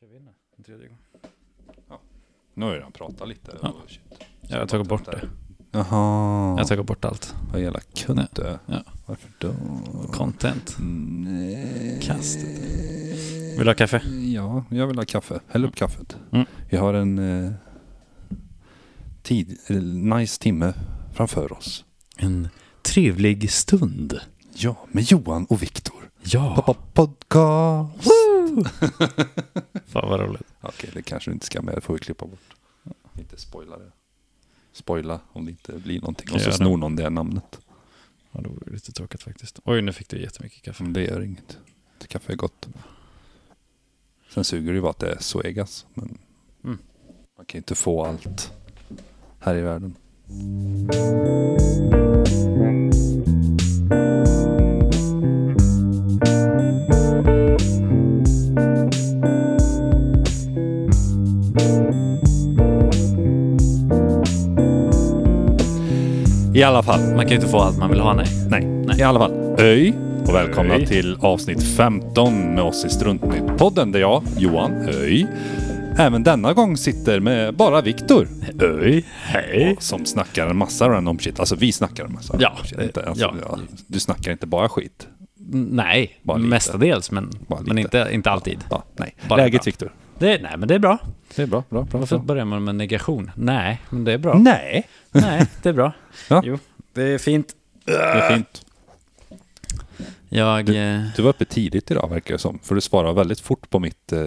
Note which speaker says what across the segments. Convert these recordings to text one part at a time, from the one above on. Speaker 1: kör vi in det. En tredje gång.
Speaker 2: Nu har jag redan pratat lite. det
Speaker 3: Ja.
Speaker 2: var shit. typ
Speaker 3: Jag har tagit bort det.
Speaker 2: Jaha.
Speaker 3: Jag tar bort allt.
Speaker 2: Vad jävla kunt du är.
Speaker 3: Ja.
Speaker 2: Varför då?
Speaker 3: Content.
Speaker 2: Nej.
Speaker 3: Kastet. Vill du ha kaffe?
Speaker 2: Ja, jag vill ha kaffe. Häll upp kaffet.
Speaker 3: Mm.
Speaker 2: Vi har en eh, tid, eh, nice timme framför oss.
Speaker 3: En trevlig stund.
Speaker 2: Ja, med Johan och Viktor. Pappa
Speaker 3: Ja.
Speaker 2: podcast.
Speaker 3: Fan vad roligt.
Speaker 2: Okej, det kanske du inte ska med. Det får vi klippa bort. Inte spoila det. Spoila om det inte blir någonting. Och så
Speaker 3: Gör det.
Speaker 2: snor någon det namnet.
Speaker 3: Ja, det var lite tråkigt faktiskt. Oj, nu fick du jättemycket kaffe.
Speaker 2: Men det gör inget. Det kaffe är gott. Sen suger det ju bara att det är Suegas. Men
Speaker 3: Mm.
Speaker 2: man kan ju inte få allt här i världen. I alla fall.
Speaker 3: Man kan ju inte få allt man vill ha, nej.
Speaker 2: Nej. I alla fall. Öj och välkomna
Speaker 3: Öj.
Speaker 2: till avsnitt 15 med oss i Struntnytt-podden där jag, Johan Öj, även denna gång sitter med bara Viktor
Speaker 3: Öj, hej.
Speaker 2: som snackar en massa random shit. Alltså vi snackar en massa
Speaker 3: Ja,
Speaker 2: random shit.
Speaker 3: det-
Speaker 2: Inte, alltså,
Speaker 3: ja.
Speaker 2: ja. Du snackar inte bara skit.
Speaker 3: Nej,
Speaker 2: Bara lite.
Speaker 3: mestadels, men,
Speaker 2: Bara lite.
Speaker 3: men inte, inte alltid.
Speaker 2: Ja, nej.
Speaker 3: Bara
Speaker 2: Läget
Speaker 3: bra.
Speaker 2: Viktor?
Speaker 3: Det, nej, men det är bra.
Speaker 2: Det är bra, bra, bra.
Speaker 3: Varför börjar man med negation? Mm. Nej, men det är bra.
Speaker 2: Nej.
Speaker 3: Nej, det är bra.
Speaker 2: Ja.
Speaker 3: Jo, det är fint.
Speaker 2: Det är fint.
Speaker 3: Jag... eh,
Speaker 2: Du var uppe tidigt idag verkar det som. För du svarar väldigt fort på mitt eh,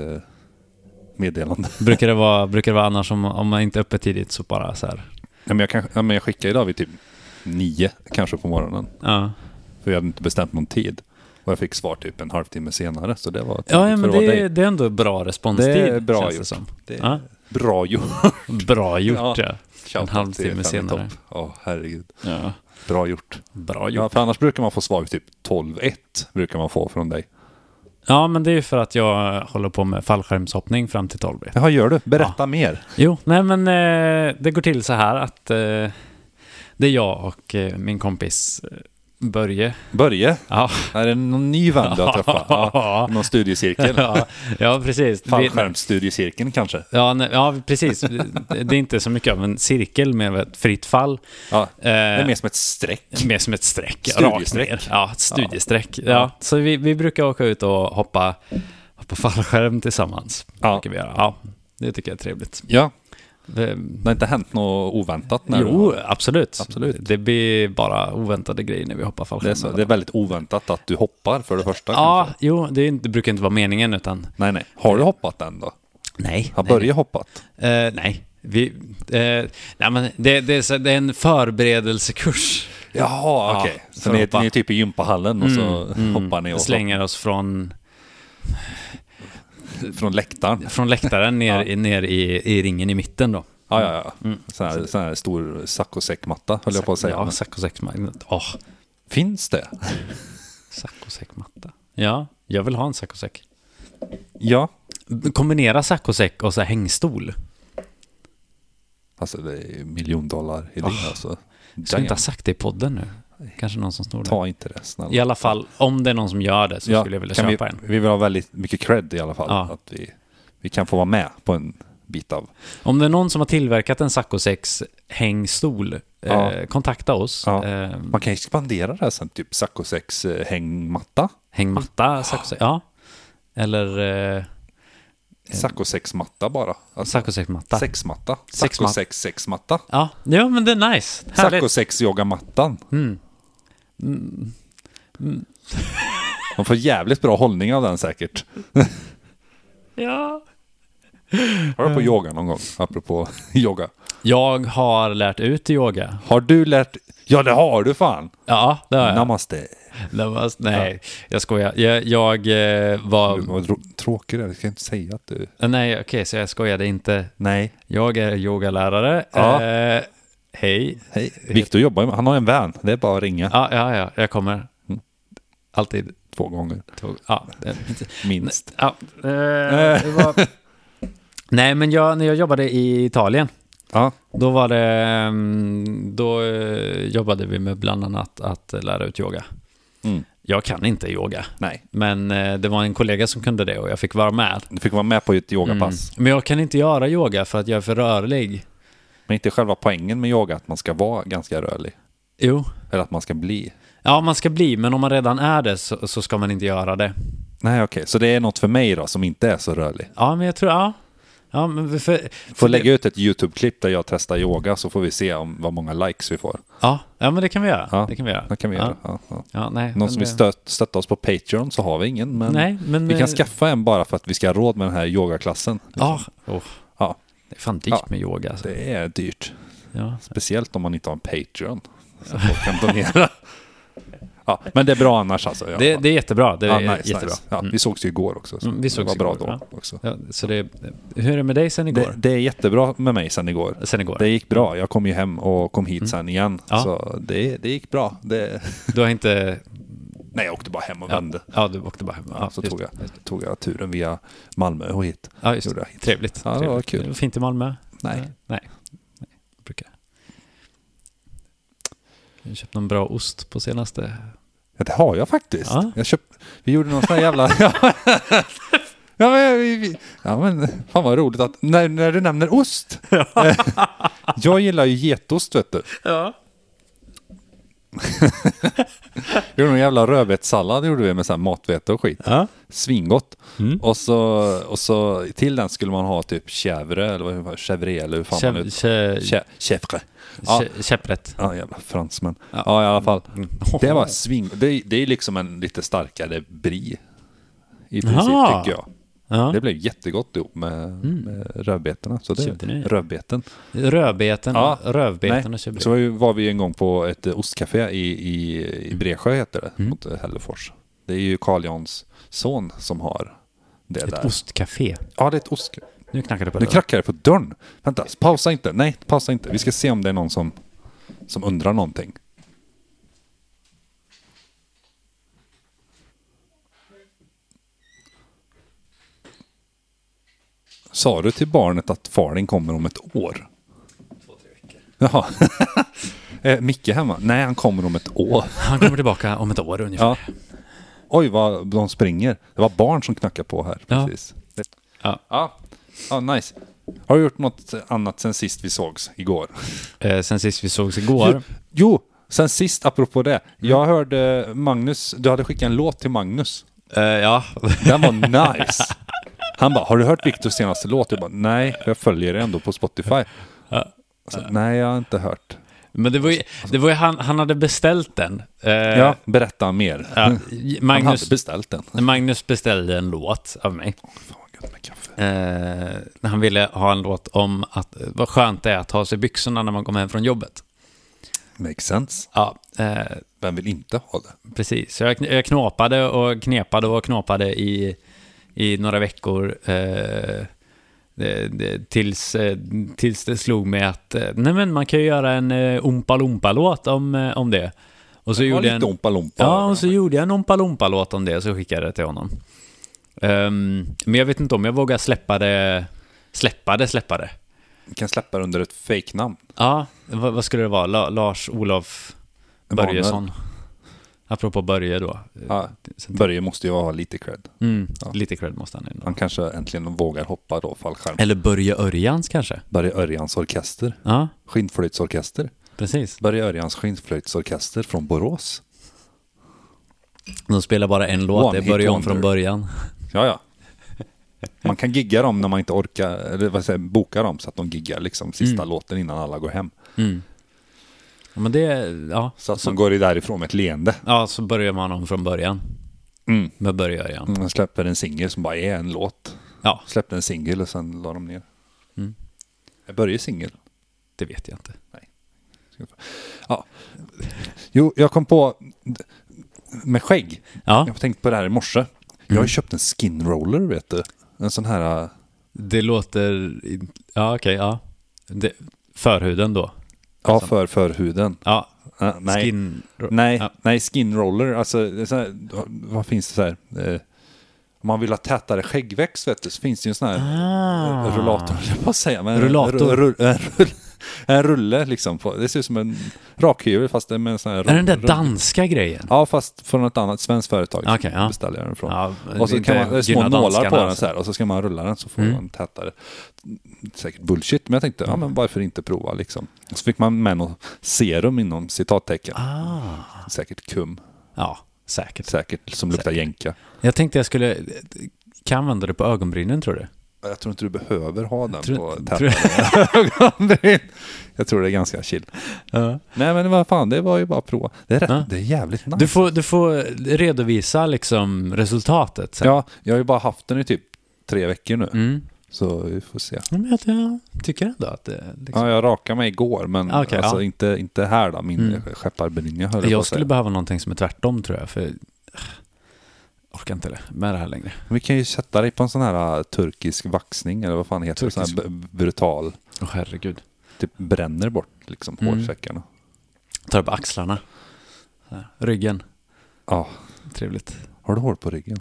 Speaker 2: meddelande.
Speaker 3: Brukar det vara, brukar det vara annars om, om man inte är uppe tidigt så bara så här.
Speaker 2: Ja, men jag, kanske, ja, men jag skickade idag vid typ nio kanske på morgonen.
Speaker 3: Ja,
Speaker 2: För jag hade inte bestämt någon tid. Och jag fick svar typ en halvtimme senare. Så det var tidigt
Speaker 3: ja,
Speaker 2: för
Speaker 3: men
Speaker 2: att vara
Speaker 3: det,
Speaker 2: dig.
Speaker 3: det är ändå bra responstid.
Speaker 2: Det är bra
Speaker 3: känns det
Speaker 2: gjort.
Speaker 3: som.
Speaker 2: Det är
Speaker 3: Ja,
Speaker 2: Bra gjort.
Speaker 3: bra gjort
Speaker 2: Ja.
Speaker 3: ja.
Speaker 2: Shoutout
Speaker 3: halvtimme
Speaker 2: till Fem i
Speaker 3: senare.
Speaker 2: topp. Ja, herregud.
Speaker 3: ja.
Speaker 2: Bra gjort.
Speaker 3: Bra
Speaker 2: Ja,
Speaker 3: gjort.
Speaker 2: för annars brukar man få svar typ 12-1. Brukar man få från dig.
Speaker 3: Ja, men det är ju för att jag håller på med fallskärmshoppning fram till 12.
Speaker 2: Jaha, gör du? Berätta mer.
Speaker 3: Jo, nej men eh, det går till så här att eh, det är jag och eh, min kompis eh, Börje.
Speaker 2: Börje,
Speaker 3: Ja,
Speaker 2: är det någon ny vän du har träffat? Ja, någon studiecirkel?
Speaker 3: ja, ja precis. Vi-
Speaker 2: Fallskärmsstudiecirkeln kanske?
Speaker 3: Ja, nej, ja, precis. Det det är inte så mycket av en cirkel med ett fritt fall.
Speaker 2: Ja,
Speaker 3: Eh,
Speaker 2: det är mer som ett streck.
Speaker 3: Mer som ett streck. Rakt
Speaker 2: Studiestreck.
Speaker 3: ner. Ja, ett studiestreck. Ja. så vi, vi brukar åka ut och hoppa, hoppa fallskärm tillsammans.
Speaker 2: Ja.
Speaker 3: Brukar vi göra. ja, det tycker jag är trevligt.
Speaker 2: Ja,
Speaker 3: Det,
Speaker 2: det har inte hänt något oväntat när
Speaker 3: jo, absolut.
Speaker 2: Absolut.
Speaker 3: Det blir bara oväntade grejer när vi hoppar
Speaker 2: Det är,
Speaker 3: fallskärm.
Speaker 2: så, det är väldigt oväntat att du hoppar för det första.
Speaker 3: ja,
Speaker 2: kanske.
Speaker 3: jo, det, är inte, det brukar inte vara meningen utan...
Speaker 2: Nej, nej. Har du hoppat än då?
Speaker 3: Nej.
Speaker 2: Har
Speaker 3: nej,
Speaker 2: Börje hoppat?
Speaker 3: nej. Eh, nej. Vi, eh, nej men det, det, är så, det är en förberedelsekurs.
Speaker 2: Jaha, okej. Mm,
Speaker 3: så
Speaker 2: Så ni,
Speaker 3: hoppa.
Speaker 2: är- ni är typ i gympahallen och så hoppar ni och
Speaker 3: Slänger oss från,
Speaker 2: från läktaren.
Speaker 3: från läktaren ner, i, ner i, i ringen i mitten då.
Speaker 2: Ja, Mm. ja, ja. Sån, här, sån här stor saccosäckmatta höll jag på att säga.
Speaker 3: Ja,
Speaker 2: Men
Speaker 3: saccosäckmatta. Åh,
Speaker 2: Finns det?
Speaker 3: saccosäckmatta. Ja, jag vill ha en saccosäck.
Speaker 2: Ja.
Speaker 3: Kombinera saccosäck och så här hängstol.
Speaker 2: Alltså det är miljondollar i det alltså.
Speaker 3: Jag skulle inte ha
Speaker 2: Damn.
Speaker 3: sagt det i podden nu. Kanske någon som snor det.
Speaker 2: Ta inte det snälla.
Speaker 3: I alla fall, om det är någon som gör det så
Speaker 2: Ja,
Speaker 3: skulle jag vilja
Speaker 2: kan
Speaker 3: köpa
Speaker 2: vi,
Speaker 3: en.
Speaker 2: Vi vill ha väldigt mycket cred i alla fall.
Speaker 3: Ja.
Speaker 2: Att vi, vi kan få vara med på en bit av.
Speaker 3: Om det är någon som har tillverkat en saccosäcks hängstol,
Speaker 2: Ja.
Speaker 3: eh, kontakta oss.
Speaker 2: Ja.
Speaker 3: Eh,
Speaker 2: Man kan expandera det här sen, typ saccosäcks eh, hängmatta.
Speaker 3: hängmatta, saccosäck. Ja. Eller eh,
Speaker 2: Saccosäcksmatta bara. Alltså,
Speaker 3: saccosäckmatta.
Speaker 2: Sexmatta.
Speaker 3: Sexmatta.
Speaker 2: Saccosäck-sexmatta.
Speaker 3: Ja. ja, men det är nice. Härligt. Mm.
Speaker 2: Saccosex-yogamattan. De får jävligt bra hållning av den säkert.
Speaker 3: Ja.
Speaker 2: Har du på yoga någon gång? Apropå yoga.
Speaker 3: Jag har lärt ut yoga.
Speaker 2: Har du lärt... Ja, det har du fan!
Speaker 3: Ja, det har jag.
Speaker 2: Namaste.
Speaker 3: Det var, nej, jag skojar. Jag, jag eh, var... Eh,
Speaker 2: Du, vad tro- tråkig du är. Jag ska inte säga att du...
Speaker 3: Nej, okej, så jag skojade inte.
Speaker 2: Nej.
Speaker 3: Jag är yogalärare.
Speaker 2: Ja.
Speaker 3: Eh, hej.
Speaker 2: Hej. Viktor jobbar ju med... Han har en vän. Det är bara att ringa.
Speaker 3: Ja, ja, ja, jag kommer.
Speaker 2: Mm.
Speaker 3: Alltid.
Speaker 2: Två gånger.
Speaker 3: Tog, ja, det,
Speaker 2: Minst.
Speaker 3: ja, eh, det var... Nej, men jag, när jag jobbade i Italien,
Speaker 2: Ja.
Speaker 3: då var det... mm, Då eh, jobbade vi med bland annat att lära ut yoga.
Speaker 2: Mm.
Speaker 3: Jag kan inte yoga.
Speaker 2: Nej.
Speaker 3: Men eh, det var en kollega som kunde det och jag fick vara med.
Speaker 2: Du fick vara med på ett yogapass.
Speaker 3: Mm. Men jag kan inte göra yoga för att jag är för rörlig. Mm.
Speaker 2: Men inte själva poängen med yoga, att man ska vara ganska rörlig.
Speaker 3: Jo.
Speaker 2: Eller att man ska bli.
Speaker 3: Ja, man ska bli, men om man redan är det så, så ska man inte göra det.
Speaker 2: Nej, okej. Så det är något för mig då som inte är så rörlig.
Speaker 3: Ja, men jag tror, ja. Ja, men för,
Speaker 2: Får lägga ut ett YouTube-klipp där jag testar yoga så får vi se om, vad många likes vi får.
Speaker 3: ja, ja, men det kan vi göra.
Speaker 2: Ja,
Speaker 3: det kan vi göra.
Speaker 2: Det kan vi
Speaker 3: Ja.
Speaker 2: göra. Ja, ja.
Speaker 3: Ja, nej, men
Speaker 2: Någon som vill
Speaker 3: det-
Speaker 2: stöt, stötta oss på Patreon så har vi ingen. Men
Speaker 3: Nej, men...
Speaker 2: vi
Speaker 3: eh,
Speaker 2: kan skaffa en bara för att vi ska ha råd med den här yogaklassen.
Speaker 3: Ja, oh,
Speaker 2: Ja,
Speaker 3: det är fan dyrt
Speaker 2: liksom. Ja.
Speaker 3: med yoga. Alltså.
Speaker 2: det är dyrt.
Speaker 3: Ja.
Speaker 2: Speciellt om man inte har en Patreon. Så folk kan donera. Ja, men det är bra annars alltså. Ja,
Speaker 3: Det, det är jättebra. Det är
Speaker 2: ja, nice,
Speaker 3: jättebra.
Speaker 2: Nice. Ja, Vi sågs ju igår också. Så
Speaker 3: Mm, vi
Speaker 2: det
Speaker 3: sågs
Speaker 2: var bra
Speaker 3: igår,
Speaker 2: då
Speaker 3: ja.
Speaker 2: också.
Speaker 3: Ja, så det, hur är det med dig sen
Speaker 2: Det,
Speaker 3: igår?
Speaker 2: det är jättebra med mig sen igår.
Speaker 3: sen igår?
Speaker 2: Det gick bra. Jag kom ju hem och kom hit sen igen.
Speaker 3: Mm. Ja.
Speaker 2: Så det, det gick bra. Det...
Speaker 3: Du har inte...
Speaker 2: Nej, jag åkte bara hem och
Speaker 3: Ja,
Speaker 2: vände.
Speaker 3: ja du åkte bara hem.
Speaker 2: Ja, så
Speaker 3: just-
Speaker 2: tog jag, tog jag turen via Malmö och hit.
Speaker 3: Ja, just
Speaker 2: Gjorde
Speaker 3: det. Mm. Trevligt.
Speaker 2: Ja, det var
Speaker 3: trevligt.
Speaker 2: kul.
Speaker 3: var Fint i Malmö?
Speaker 2: Nej.
Speaker 3: Nej. Nej. Jag brukar. Jag har köpt någon bra ost på senaste.
Speaker 2: Ja, det har jag faktiskt.
Speaker 3: Ja.
Speaker 2: Jag köpt, vi gjorde någon sån här jävla... ja, men, vi, vi, ja, men fan vad roligt att... När, när du nämner ost. jag gillar ju getost, vet du.
Speaker 3: Ja.
Speaker 2: Vi gjorde någon jävla rödbetssallad gjorde vi med så här matvete och skit.
Speaker 3: Ja.
Speaker 2: Svingott.
Speaker 3: Mm.
Speaker 2: Och, så, och så till den skulle man ha typ chèvre eller vad- vad- chèvre eller hur fan
Speaker 3: Käpp-
Speaker 2: man ut...
Speaker 3: kä-
Speaker 2: Chè- Chèvre. Ja.
Speaker 3: kä- Käpprätt.
Speaker 2: Ja, jävla fransmän.
Speaker 3: Ja. Mm.
Speaker 2: Ja, i alla fall. Det var sving... Det, det är liksom en lite starkare brie. I princip,
Speaker 3: Jaha.
Speaker 2: tycker jag.
Speaker 3: Ja. Mm.
Speaker 2: Det blev jättegott ihop med, med rödbetorna. Så
Speaker 3: Köpte ni?
Speaker 2: det, rödbeten.
Speaker 3: Rödbeten,
Speaker 2: Ja.
Speaker 3: rövbeten och
Speaker 2: Nej,
Speaker 3: käpprätt.
Speaker 2: så var, ju, var vi en gång på ett eh, ostcafé i, i, i
Speaker 3: Mm.
Speaker 2: Bresjö heter det, mot eh, Hällefors. Det är ju Carl Jans son som har det
Speaker 3: Ett
Speaker 2: där.
Speaker 3: ostcafé.
Speaker 2: Ja, det är ett ost.
Speaker 3: Nu knackar det på
Speaker 2: Nu
Speaker 3: dörren.
Speaker 2: knackar det på dörren. Vänta, pausa inte. Nej, pausa inte. Vi ska se om det är någon som, som undrar någonting. Sa du till barnet att faren kommer om ett år? Två, tre veckor. Jaha. eh, Micke hemma? Nej, han kommer om ett år.
Speaker 3: Han kommer tillbaka om ett år ungefär.
Speaker 2: Ja. Oj, vad de springer. Det var barn som knackade på här.
Speaker 3: Ja.
Speaker 2: Precis.
Speaker 3: Ja.
Speaker 2: Ja. ja, nice. Har du gjort något annat sen sist vi sågs igår?
Speaker 3: Eh, sen sist vi sågs igår.
Speaker 2: Jo, sen sist apropå det.
Speaker 3: Mm.
Speaker 2: Jag hörde Magnus, du hade skickat en låt till Magnus.
Speaker 3: Eh, ja.
Speaker 2: Den var nice. Han bara, har du hört Viktors senaste låt? Jag bara, nej, jag följer det ändå på Spotify. Så, nej, jag har inte hört.
Speaker 3: Men det var ju, det var ju han, han hade beställt den. Eh,
Speaker 2: Ja, berätta mer.
Speaker 3: ja.
Speaker 2: Han hade
Speaker 3: Magnus,
Speaker 2: beställt den.
Speaker 3: Magnus beställde en låt av mig.
Speaker 2: Fan vad gött med kaffe.
Speaker 3: Eh, när han ville ha en låt om att, eh, vad skönt det är att ha sig byxorna när man kommer hem från jobbet.
Speaker 2: Makes sense.
Speaker 3: Ja, eh,
Speaker 2: Vem vill inte ha det?
Speaker 3: precis. Så jag, kn- jag knåpade och knepade och knåpade i, i några veckor. Eh, det, det, tills, eh, tills det slog mig att eh, nej men man kan ju göra en eh, Oompa Loompa-låt om, eh, om det. Och så
Speaker 2: Det var
Speaker 3: gjorde
Speaker 2: lite
Speaker 3: jag en...
Speaker 2: ompa lompa.
Speaker 3: Ja, och så gjorde jag en Ompa Loompa-låt om det och så skickade jag det till honom. Ehm, men jag vet inte om jag vågar släppa det, släppa det, släppa det.
Speaker 2: Vi kan släppa det under ett fejknamn.
Speaker 3: Ja, vad, vad skulle det vara? La, Lars-Olof
Speaker 2: Emanuel.
Speaker 3: Börjesson. Apropå Börje då.
Speaker 2: Ja, Börje måste ju ha lite cred.
Speaker 3: Mm, Lite cred måste han ändå.
Speaker 2: Han kanske äntligen vågar hoppa då fallskärm.
Speaker 3: Eller Börje Örjans kanske?
Speaker 2: Börje Örjans orkester.
Speaker 3: Ja,
Speaker 2: Skinnflöjtsorkester.
Speaker 3: precis.
Speaker 2: Börje Örjans skinnflöjtsorkester från Borås.
Speaker 3: De spelar bara en låt,
Speaker 2: One
Speaker 3: det är Börje
Speaker 2: hit
Speaker 3: om från
Speaker 2: wonder.
Speaker 3: början.
Speaker 2: Ja, ja. Man kan gigga dem när man inte orkar, eller vad säger jag, boka dem så att de giggar liksom sista låten innan alla går hem.
Speaker 3: Mm. Ja, men det, ja.
Speaker 2: Så att de går i därifrån med ett leende.
Speaker 3: Ja, så börjar man om från början.
Speaker 2: Mm.
Speaker 3: Med Börje Örjan.
Speaker 2: Man släpper en singel som bara är en låt.
Speaker 3: Ja,
Speaker 2: Släppte en singel och sen la de ner. Mm. Är Börje singel?
Speaker 3: det vet jag inte.
Speaker 2: Ja. Jo, jag kom på med skägg.
Speaker 3: Ja, Mm.
Speaker 2: Jag har tänkt på det här i morse. Jag har ju köpt en skin roller, vet du. En sån här... äh,
Speaker 3: det låter... Ja, okej, ja. Det, förhuden då?
Speaker 2: Ja, för, för huden.
Speaker 3: Ja,
Speaker 2: Äh, nej.
Speaker 3: Alltså. skin...
Speaker 2: Nej,
Speaker 3: Ja.
Speaker 2: nej, skin roller. Alltså, det är så här, vad finns det så här? Eh, om man vill ha tätare skäggväxt, vet du, så finns det ju en sån här
Speaker 3: Ah.
Speaker 2: rullator, jag på att säga. Men
Speaker 3: Rullator.
Speaker 2: Rull, rull, en rulle liksom. På, det ser ut som en rakhyvel fast med en sån här
Speaker 3: Är den där
Speaker 2: rund-
Speaker 3: danska grejen?
Speaker 2: Ja, fast från ett annat svenskt företag. så
Speaker 3: Okej, ja.
Speaker 2: Beställer jag den från.
Speaker 3: Ja,
Speaker 2: Och så
Speaker 3: inte
Speaker 2: kan man, det är små
Speaker 3: gynna
Speaker 2: nålar
Speaker 3: danskarna
Speaker 2: på den
Speaker 3: alltså.
Speaker 2: så här och så ska man rulla den så får
Speaker 3: Mm.
Speaker 2: man tätare. Säkert bullshit, men jag tänkte, ja men varför inte prova liksom. Och så fick man med något serum inom citattecken.
Speaker 3: Ah.
Speaker 2: Säkert kum,
Speaker 3: Ja, säkert.
Speaker 2: säkert som luktar jänka.
Speaker 3: Jag tänkte jag skulle... Kan använda det på ögonbrynen, tror du?
Speaker 2: Jag tror inte du behöver ha den
Speaker 3: Tror-
Speaker 2: på
Speaker 3: tror-
Speaker 2: tätare ögonbryn. Jag tror det är ganska chill. Nej men vad fan, det var ju bara att prova. Det är, rätt,
Speaker 3: Ja.
Speaker 2: det är jävligt nice.
Speaker 3: Du, får, du får redovisa liksom resultatet sen.
Speaker 2: Ja, jag har ju bara haft den i typ tre veckor nu.
Speaker 3: Mm.
Speaker 2: Så vi får se.
Speaker 3: Ja, Men jag, jag tycker ändå att det... Liksom,
Speaker 2: Ja, jag rakade mig igår, men
Speaker 3: Ah, okej,
Speaker 2: alltså
Speaker 3: ja.
Speaker 2: inte, inte här då, min
Speaker 3: Mm.
Speaker 2: skepparbrynja höll på
Speaker 3: jag
Speaker 2: att
Speaker 3: skulle
Speaker 2: säga.
Speaker 3: behöva någonting som är tvärtom, tror jag. För jag orkar inte det- med det här längre.
Speaker 2: Vi kan ju sätta dig på en sån här äh, turkisk vaxning, eller vad fan heter det?
Speaker 3: Turkisk-
Speaker 2: Sån här b- brutal,
Speaker 3: Åh, herregud.
Speaker 2: typ bränner bort liksom
Speaker 3: Mm.
Speaker 2: hårsäckarna.
Speaker 3: Tar upp axlarna. Så här, Ryggen.
Speaker 2: Ja,
Speaker 3: Trevligt.
Speaker 2: har du hår på ryggen?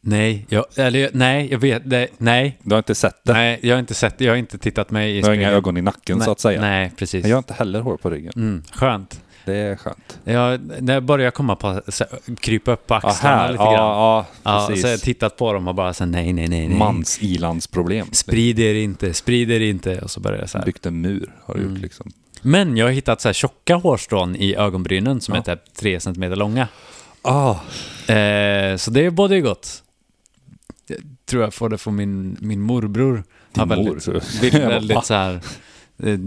Speaker 3: Nej, jag, eller, jag- nej, jag vet, nej, nej,
Speaker 2: Du har inte sett det?
Speaker 3: nej, jag har inte sett, jag har inte tittat mig i
Speaker 2: du har inga
Speaker 3: spegeln.
Speaker 2: ögon i nacken
Speaker 3: nej,
Speaker 2: så att säga.
Speaker 3: Nej, precis.
Speaker 2: Men jag har inte heller hår på ryggen.
Speaker 3: Mm, skönt.
Speaker 2: Det är skönt.
Speaker 3: Jag, när jag börjar komma på, så, krypa upp på axlarna lite
Speaker 2: ja,
Speaker 3: grann.
Speaker 2: ja,
Speaker 3: Ja, så har jag
Speaker 2: precis.
Speaker 3: tittat på dem och bara så här, nej, nej, nej, nej.
Speaker 2: Mans ilandsproblem.
Speaker 3: Sprid er inte, sprid er inte. Och så börjar jag så här.
Speaker 2: Liksom, Byggt en mur, har du
Speaker 3: Mm.
Speaker 2: gjort liksom.
Speaker 3: Men jag har hittat så här tjocka hårstrån i ögonbrynen som
Speaker 2: Ja.
Speaker 3: är typ tre centimeter långa.
Speaker 2: Ah,
Speaker 3: Eh, så det är både gott. Jag tror jag får det från min, min morbror.
Speaker 2: din
Speaker 3: Har
Speaker 2: mor. typ
Speaker 3: väldigt-
Speaker 2: så-
Speaker 3: Vill
Speaker 2: Jag bara, va?
Speaker 3: väldigt så här... eh,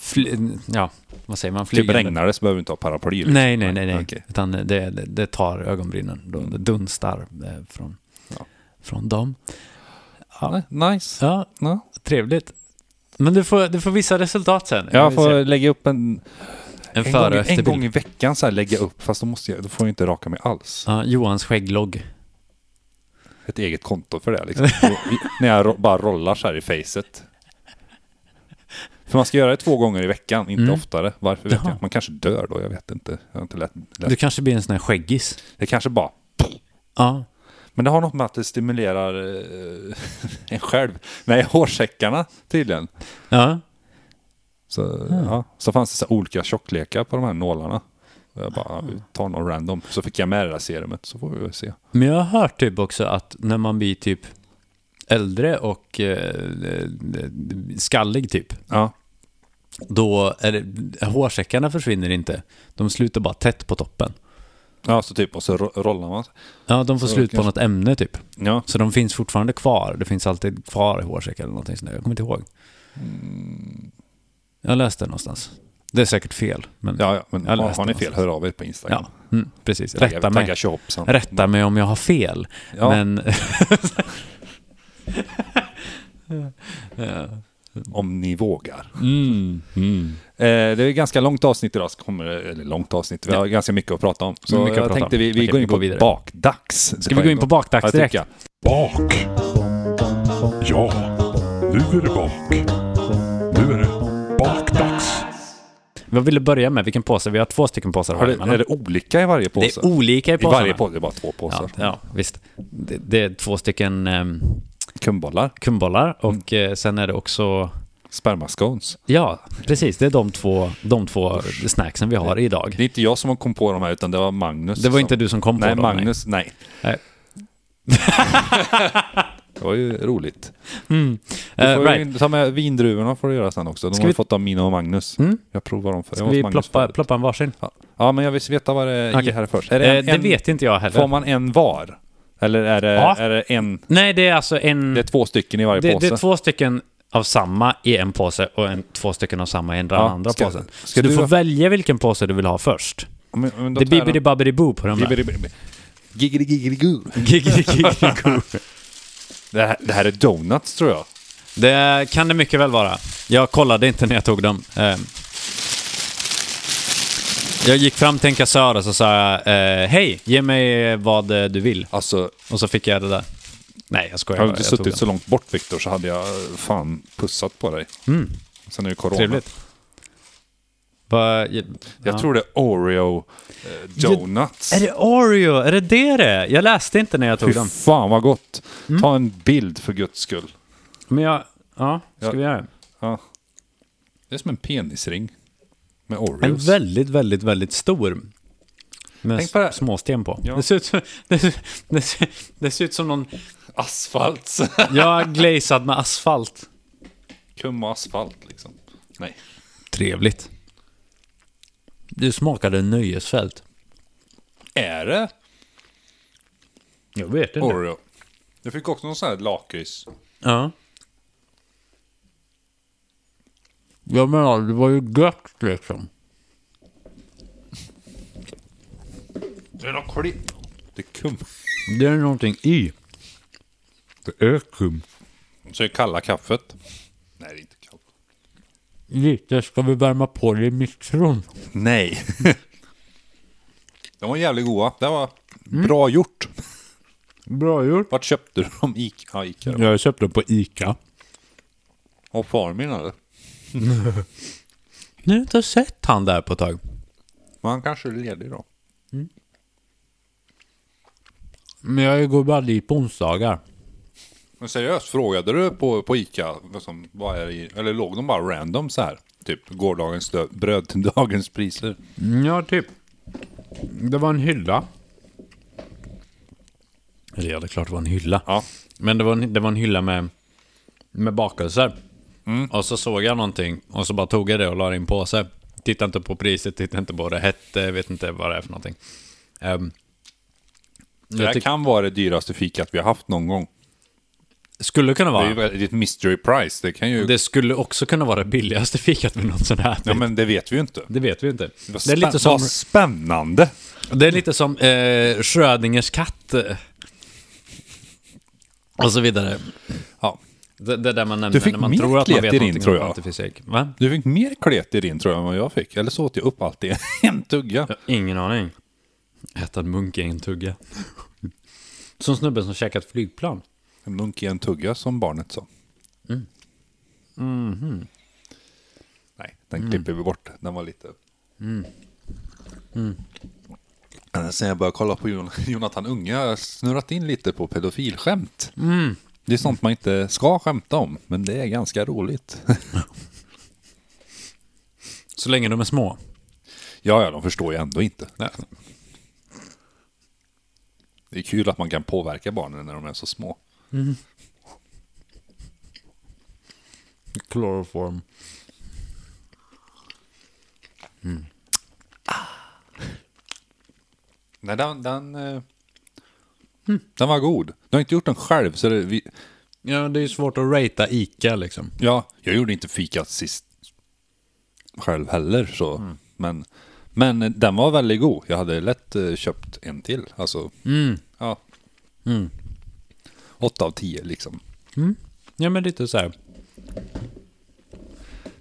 Speaker 3: fly- Ja, vad säger man?
Speaker 2: Typ
Speaker 3: Flygande.
Speaker 2: regnar det så behöver du inte ha paraply. liksom.
Speaker 3: Nej, nej, nej. nej.
Speaker 2: Okej. Mm.
Speaker 3: Utan det, det, det tar ögonbrynen. Då, det dunstar eh, från,
Speaker 2: Ja.
Speaker 3: från dem. Ja,
Speaker 2: Nej, Nice.
Speaker 3: ja,
Speaker 2: Ja.
Speaker 3: trevligt. Men du får, du får vissa resultat sen.
Speaker 2: Jag
Speaker 3: Vi ser.
Speaker 2: får lägga upp en,
Speaker 3: en före
Speaker 2: en, gång,
Speaker 3: och
Speaker 2: en gång
Speaker 3: efterbild.
Speaker 2: i veckan så här lägga upp, fast då, måste jag, då får jag inte raka mig alls.
Speaker 3: Ja, Johans skägglogg.
Speaker 2: Ett eget konto för det liksom. Och i- När jag ro, bara rollar så här i facet. För man ska göra det två gånger i veckan, inte
Speaker 3: Mm.
Speaker 2: oftare. Varför vet
Speaker 3: Jaha.
Speaker 2: jag? Man kanske dör då, jag vet inte. Jag har inte lätt,
Speaker 3: Du
Speaker 2: lätt.
Speaker 3: kanske blir en sån här skäggis.
Speaker 2: Det kanske bara...
Speaker 3: Ja,
Speaker 2: Men det har något med att det stimulerar eh, en själv. Nej, hårsäckarna tydligen.
Speaker 3: ja.
Speaker 2: Så,
Speaker 3: Mm.
Speaker 2: ja. så fanns det så här olika tjocklekar på de här nålarna. Jag bara, vi tar någon random. Så fick jag med det där serumet, så får vi väl se.
Speaker 3: Men jag har hört typ också att när man blir typ äldre och eh, eh, skallig typ.
Speaker 2: Ja,
Speaker 3: då är det, hårsäckarna försvinner inte. De slutar bara tätt på toppen.
Speaker 2: ja så typ, och så ro- rollar man.
Speaker 3: Ja, de får
Speaker 2: Så
Speaker 3: slut på
Speaker 2: kanske-
Speaker 3: något ämne typ.
Speaker 2: Ja,
Speaker 3: Så de finns fortfarande kvar. Det finns alltid kvar i hårsäckar eller någonting sånt där. Jag kommer inte ihåg.
Speaker 2: Mm.
Speaker 3: Jag läste det någonstans. Det är säkert fel, men ja,
Speaker 2: ja, ja men
Speaker 3: Jag
Speaker 2: har,
Speaker 3: läste
Speaker 2: har ni fel,
Speaker 3: någonstans.
Speaker 2: hör av er på Instagram.
Speaker 3: mm, precis.
Speaker 2: Tagga-
Speaker 3: Rätta
Speaker 2: Tagga
Speaker 3: mig.
Speaker 2: Shopsan.
Speaker 3: Rätta mig om jag har fel.
Speaker 2: Ja,
Speaker 3: Men... Ja.
Speaker 2: om ni vågar.
Speaker 3: mm, mm.
Speaker 2: Eh, det är ett ganska långt avsnitt idag, så kommer, det- eller långt avsnitt, vi har ganska mycket att prata om. Så
Speaker 3: Mycket att
Speaker 2: jag
Speaker 3: prata
Speaker 2: tänkte
Speaker 3: om.
Speaker 2: vi, vi
Speaker 3: Okej,
Speaker 2: går
Speaker 3: vi
Speaker 2: in
Speaker 3: går
Speaker 2: på
Speaker 3: vidare.
Speaker 2: bakdags.
Speaker 3: Ska vi gå in på bakdags direkt?
Speaker 2: Ja,
Speaker 1: Bak. Ja, nu är det bak. Nu är det bakdags.
Speaker 3: Vad vill du börja med? Vilken påse? Vi har två stycken påsar.
Speaker 2: har
Speaker 3: här,
Speaker 2: det,
Speaker 3: men-
Speaker 2: är det olika i varje
Speaker 3: det
Speaker 2: påse?
Speaker 3: är olika i
Speaker 2: I
Speaker 3: påsarna.
Speaker 2: varje påse, alltså? det är bara två påsar.
Speaker 3: Ja, ja visst. Det, det är två stycken ehm,
Speaker 2: Kumbollar,
Speaker 3: kumbollar
Speaker 2: Mm.
Speaker 3: och eh, sen är det också...
Speaker 2: spermascones.
Speaker 3: Ja, precis. Det är de två, de två snacksen vi har idag.
Speaker 2: Det är inte jag som kom på de här utan det var Magnus.
Speaker 3: Det var
Speaker 2: som,
Speaker 3: inte du som kom på
Speaker 2: Nej,
Speaker 3: dem.
Speaker 2: Magnus, nej.
Speaker 3: Nej.
Speaker 2: det var ju roligt. Du
Speaker 3: Eh,
Speaker 2: får
Speaker 3: right.
Speaker 2: ju ta med vindruvorna får du göra sen också. De
Speaker 3: Ska
Speaker 2: har vi...
Speaker 3: vi-
Speaker 2: fått av mina och Magnus.
Speaker 3: Mm?
Speaker 2: Jag provar dem för.
Speaker 3: Ska
Speaker 2: jag var hos
Speaker 3: vi
Speaker 2: Magnus
Speaker 3: ploppa,
Speaker 2: förut.
Speaker 3: ploppa en varsin?
Speaker 2: Ja. ja, men jag vill veta vad det är
Speaker 3: Okej.
Speaker 2: här först. Är
Speaker 3: Det,
Speaker 2: det,
Speaker 3: eh,
Speaker 2: en,
Speaker 3: det
Speaker 2: en,
Speaker 3: vet inte jag heller.
Speaker 2: Får man en var? Eller är det,
Speaker 3: Ja.
Speaker 2: är det en?
Speaker 3: Nej, det är alltså en...
Speaker 2: Det är
Speaker 3: Det,
Speaker 2: två stycken i varje
Speaker 3: det,
Speaker 2: påse.
Speaker 3: är två stycken av samma i en påse och en, två stycken av samma i den
Speaker 2: Ja,
Speaker 3: andra
Speaker 2: ska-
Speaker 3: påsen.
Speaker 2: ska
Speaker 3: Så du
Speaker 2: du
Speaker 3: får
Speaker 2: ha-
Speaker 3: välja vilken påse du vill ha först.
Speaker 2: Men- men då
Speaker 3: Det är
Speaker 2: tar jag
Speaker 3: bibbidi
Speaker 2: dem.
Speaker 3: babbidi boo på de där.
Speaker 2: Bibbidi-bibbidi. Giggidi-giggidi-goo.
Speaker 3: Giggidi-giggidi-goo.
Speaker 2: Det här, det här är donuts tror jag.
Speaker 3: Det kan det mycket väl vara. Jag kollade inte när jag tog dem. Eh, Jag gick fram till en kassör och så sa jag eh, Hej, ge mig vad eh, du vill.
Speaker 2: Alltså,
Speaker 3: Och så fick jag det där. Nej, jag skojar
Speaker 2: Hade
Speaker 3: bara.
Speaker 2: du inte
Speaker 3: Jag tog
Speaker 2: suttit
Speaker 3: den.
Speaker 2: så långt bort Viktor så hade jag eh, fan pussat på dig.
Speaker 3: Mm.
Speaker 2: Sen är det corona.
Speaker 3: Trevligt. Va, jag
Speaker 2: Jag tror det är Oreo eh, donuts.
Speaker 3: Är det Oreo? Är det det det är? Jag läste inte när jag tog dem.
Speaker 2: Fy fan vad gott.
Speaker 3: Mm.
Speaker 2: Ta en bild för guds skull.
Speaker 3: Men jag... Ja, ska
Speaker 2: Ja.
Speaker 3: vi göra det?
Speaker 2: Ja. Det är som en penisring. Med
Speaker 3: En
Speaker 2: Oreos.
Speaker 3: väldigt, väldigt, väldigt stor. Med
Speaker 2: Tänk på det.
Speaker 3: s- små sten på.
Speaker 2: Ja.
Speaker 3: Det, ser ut som, det, ser, det, ser, det ser ut som någon...
Speaker 2: Asfalt.
Speaker 3: Ja, glazad med asfalt.
Speaker 2: Kumma asfalt liksom. Nej.
Speaker 3: Trevligt. Du smakade nöjesfält.
Speaker 2: Är det
Speaker 3: Jag vet inte.
Speaker 2: Oreo? Jag fick också någon sån här lakrits.
Speaker 3: Ja. Jag menar, det var ju gött liksom.
Speaker 2: Det är något klipp. Det är kum.
Speaker 3: Det är någonting i.
Speaker 2: Det är kum. Så är det kalla kaffet. Nej, det är inte kallt.
Speaker 3: Lite ska vi värma på det i mikron.
Speaker 2: Nej. de var jävligt goda. Det var bra gjort.
Speaker 3: Bra gjort.
Speaker 2: Vart köpte du dem? Ica? Ja, Ica.
Speaker 3: Jag köpte den på Ica.
Speaker 2: Och Farmin eller?
Speaker 3: Nu har jag inte sett han där på ett tag.
Speaker 2: Men han kanske är ledig då.
Speaker 3: Men jag går bara dit på onsdagar.
Speaker 2: Men seriöst, frågade du på, på Ica, liksom, vad är det i, eller låg de bara random så här? Typ gårdagens dö- bröd till dagens priser.
Speaker 3: Ja, typ. Det var en hylla. Eller ja, det är klart det var en hylla.
Speaker 2: Ja.
Speaker 3: Men det var en, det var en hylla med, med bakelser.
Speaker 2: Mm.
Speaker 3: Och så såg jag någonting och så bara tog jag det och la det i en påse. Tittade inte på priset, tittade inte på vad det hette, vet inte vad det är för någonting. Ehm,
Speaker 2: Det
Speaker 3: jag
Speaker 2: här
Speaker 3: tyck-
Speaker 2: kan vara det dyraste fikat vi har haft någon gång.
Speaker 3: skulle kunna
Speaker 2: Det
Speaker 3: vara.
Speaker 2: är ju ett- ett mystery price, det kan ju...
Speaker 3: Det skulle också kunna vara det billigaste fikat vi någonsin har ätit.
Speaker 2: Ja men det vet vi ju inte.
Speaker 3: Det vet vi ju inte.
Speaker 2: Vad
Speaker 3: Det är lite
Speaker 2: spän-
Speaker 3: som,
Speaker 2: Vad spännande!
Speaker 3: det är lite som eh, Schrödingers katt. eh. Och så vidare.
Speaker 2: Ja.
Speaker 3: Det, det där man nämner
Speaker 2: Du fick
Speaker 3: när man
Speaker 2: mer
Speaker 3: tror att man
Speaker 2: klet
Speaker 3: vet
Speaker 2: i din,
Speaker 3: någonting
Speaker 2: tror
Speaker 3: om
Speaker 2: jag.
Speaker 3: kvantefysik. Va?
Speaker 2: Du fick mer klet i din tror jag än vad jag fick. Eller så åt jag upp allt i en tugga.
Speaker 3: Jag har Ingen aning. Äta en munk i en tugga. Som snubben som käkat flygplan.
Speaker 2: En munk i en tugga som barnet sa. Nej, den klipper vi bort. Den var lite... Mm. Sen jag började kolla på Jon- Jonathan Unge har jag snurrat in lite på pedofilskämt. Det är sånt man inte ska skämta om, men det är ganska roligt.
Speaker 3: Så länge de är små.
Speaker 2: ja, ja, de förstår ju ändå inte. Det är kul att man kan påverka barnen när de är så små.
Speaker 3: Kloroform.
Speaker 2: Nej, den, den, eh,
Speaker 3: Hm.
Speaker 2: den var god. Du har inte gjort den själv, så det, vi,
Speaker 3: Ja, det är ju svårt att ratea ICA liksom.
Speaker 2: Ja, jag gjorde inte fikat sist själv heller så.
Speaker 3: Mm.
Speaker 2: Men, men den var väldigt god. Jag hade lätt eh, köpt en till. Alltså,
Speaker 3: Mm.
Speaker 2: ja. Åtta av tio liksom.
Speaker 3: Ja, men lite så här.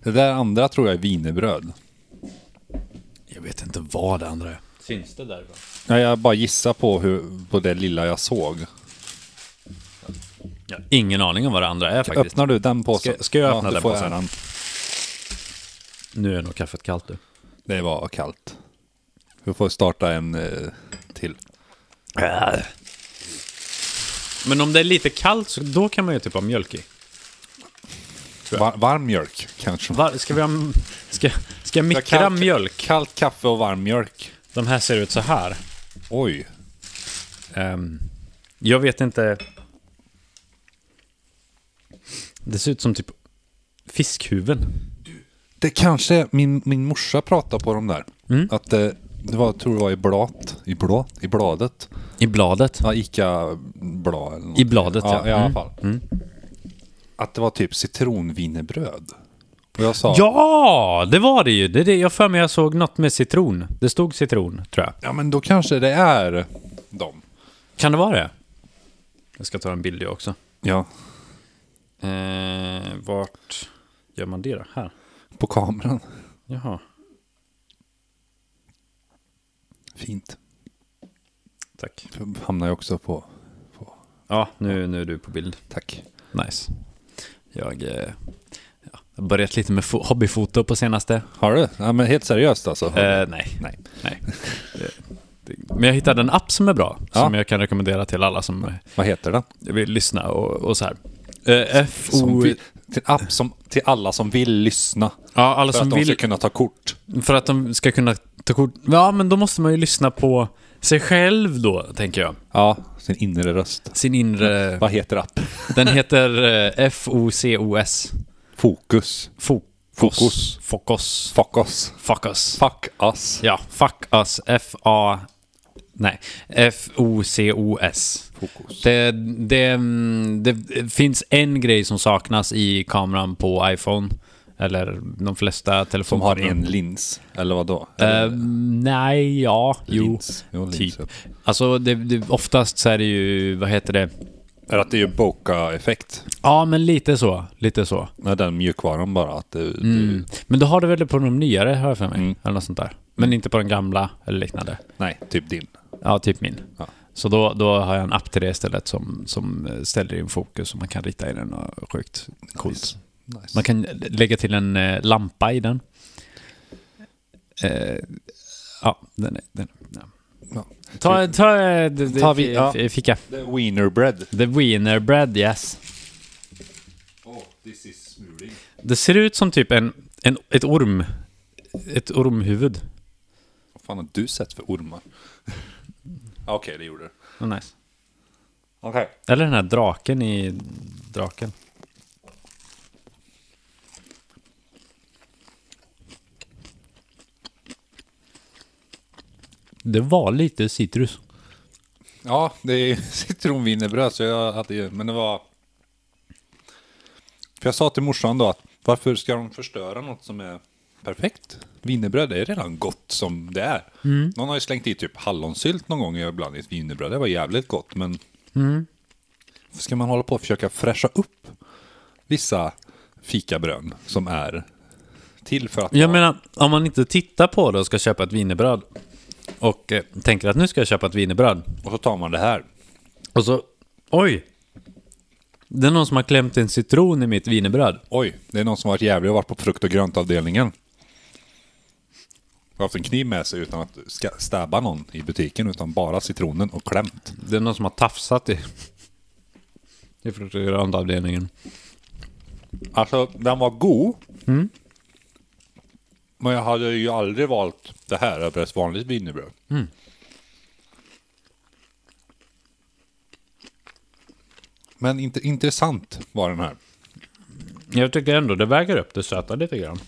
Speaker 2: Det där andra tror jag är wienerbröd.
Speaker 3: Jag vet inte vad det andra är. Syns det där?
Speaker 2: Ja, jag bara gissar på, hur, på det lilla jag såg.
Speaker 3: Ja, ingen aning om vad det andra är faktiskt.
Speaker 2: Öppnar du den påsen?
Speaker 3: Ska- ska jag öppna
Speaker 2: du
Speaker 3: den
Speaker 2: får
Speaker 3: påsen?
Speaker 2: äran.
Speaker 3: Nu är nog kaffet kallt du.
Speaker 2: Det var kallt. Du får starta en eh, till.
Speaker 3: Men om det är lite kallt, så då kan man ju typ ha mjölk i.
Speaker 2: Var, varm mjölk kanske.
Speaker 3: Var, ska vi ha... Ska, ska jag mikra
Speaker 2: Kallt-
Speaker 3: mjölk?
Speaker 2: Kallt kaffe och varm mjölk.
Speaker 3: De här ser ut så här.
Speaker 2: Oj,
Speaker 3: Ehm, jag vet inte... Det ser ut som typ fiskhuven.
Speaker 2: Det kanske är- min, min morsa pratade på dem där.
Speaker 3: Mm.
Speaker 2: Att eh, det var, tror det var i blat, i blå, i bladet.
Speaker 3: I bladet.
Speaker 2: Ja, Ica blad eller något.
Speaker 3: I bladet, ja.
Speaker 2: ja. i alla
Speaker 3: Mm.
Speaker 2: fall. Att det var typ citronvinerbröd. Och jag sa,
Speaker 3: Ja, det var det ju. Det är det. Jag för mig jag såg något med citron. Det stod citron, tror jag.
Speaker 2: ja men då kanske det är dem.
Speaker 3: Kan det vara det? Jag ska ta en bild jag också.
Speaker 2: Ja,
Speaker 3: Eh, vart gör man det då? Här?
Speaker 2: på kameran.
Speaker 3: Jaha,
Speaker 2: Fint.
Speaker 3: tack.
Speaker 2: Hamnar jag också på,
Speaker 3: Ja, nu, nu är du på bild.
Speaker 2: tack.
Speaker 3: Nice. Jag eh, ja, har börjat lite med fo- hobbyfoto på senaste.
Speaker 2: Har du? Ja men helt seriöst alltså.
Speaker 3: Eh, nej.
Speaker 2: Nej.
Speaker 3: nej. Det- det- Men jag hittade en app som är bra,
Speaker 2: Ja.
Speaker 3: som jag kan rekommendera till alla som eh,
Speaker 2: Vad heter den?
Speaker 3: vill lyssna och, och så här. Eh, F-O...
Speaker 2: Som vi, till en app som till alla som vill lyssna.
Speaker 3: Ja, alla
Speaker 2: För
Speaker 3: som
Speaker 2: att de
Speaker 3: vill,
Speaker 2: ska kunna ta kort.
Speaker 3: för att de ska kunna ta kort. Ja, men då måste man ju lyssna på sig själv då, tänker jag.
Speaker 2: Ja, sin inre röst.
Speaker 3: Sin inre...
Speaker 2: Vad heter appen?
Speaker 3: Den heter eh, FOCOS.
Speaker 2: Fokus.
Speaker 3: Fokus.
Speaker 2: Fokus.
Speaker 3: Fokus.
Speaker 2: Fuck us.
Speaker 3: Fokus.
Speaker 2: Fuck us.
Speaker 3: Ja, fuck us. F-A... Nej. F-O-C-O-S.
Speaker 2: Fokus.
Speaker 3: Det, det, mm, det finns en grej som saknas i kameran på iPhone. Eller de flesta
Speaker 2: Som har
Speaker 3: telefoner.
Speaker 2: en lins. Eller vad då?
Speaker 3: Eh, nej, ja, jo.
Speaker 2: lins. jo lins.
Speaker 3: Typ.
Speaker 2: ja.
Speaker 3: Alltså, det, det, oftast så är det ju, vad heter det?
Speaker 2: Eller att det är ju Boka-effekt.
Speaker 3: Ja, men lite så. Lite så.
Speaker 2: Med den mjukvaran bara. Att det,
Speaker 3: Mm. Men då har du väl det på de nyare, hör jag för mig.
Speaker 2: Mm.
Speaker 3: Eller något sånt där. Men inte på den gamla eller liknande.
Speaker 2: nej, typ din.
Speaker 3: Ja, typ min.
Speaker 2: Ja.
Speaker 3: Så då, då har jag en app till det istället som, som eh, ställer in fokus och man kan rita i den och sjukt coolt.
Speaker 2: Nice.
Speaker 3: Man kan lä- lägga till en eh, lampa i den. Eh, ja, den är... Den, ja.
Speaker 2: Ja.
Speaker 3: Ta, ta, eh, d- d-
Speaker 2: Tar vi- ja.
Speaker 3: f- fika.
Speaker 2: The wiener bread.
Speaker 3: The Wiener Bread, yes.
Speaker 2: Oh, this is smoothie.
Speaker 3: Det ser ut som typ en, en, ett orm. Ett ormhuvud.
Speaker 2: Vad fan har du sett för ormar? Ja, Okej, det gjorde det.
Speaker 3: Oh, nice.
Speaker 2: Okej.
Speaker 3: Eller den här draken i draken. Det var lite citrus.
Speaker 2: Ja, det är citronvinerbröd, så jag hade ju, men det var... För jag sa till morsan då att varför ska de förstöra något som är perfekt? Wienerbröd är redan gott som det är. Någon har ju slängt i typ hallonsylt någon gång ibland i ett wienerbröd. Det var jävligt gott, men... Ska man hålla på och försöka fräscha upp vissa fikabrön som är till för att...
Speaker 3: Jag
Speaker 2: vara-
Speaker 3: menar, om man inte tittar på det och ska köpa ett wienerbröd och eh, tänker att nu ska jag köpa ett wienerbröd
Speaker 2: Och så tar man det här.
Speaker 3: och så, oj! Det är någon som har klämt en citron i mitt wienerbröd.
Speaker 2: Oj, det är någon som har varit jävlig och varit på frukt och gröntavdelningen. Har haft en kniv med sig utan att ska- stäba någon i butiken utan bara citronen och klämt.
Speaker 3: Det är någon som har tafsat i, i frukt och gröntavdelningen.
Speaker 2: Alltså, den var god.
Speaker 3: Mm.
Speaker 2: Men jag hade ju aldrig valt det här över ett vanligt wienerbröd.
Speaker 3: Mm.
Speaker 2: Men inte, intressant var den här.
Speaker 3: Jag tycker ändå det väger upp det söta lite grann.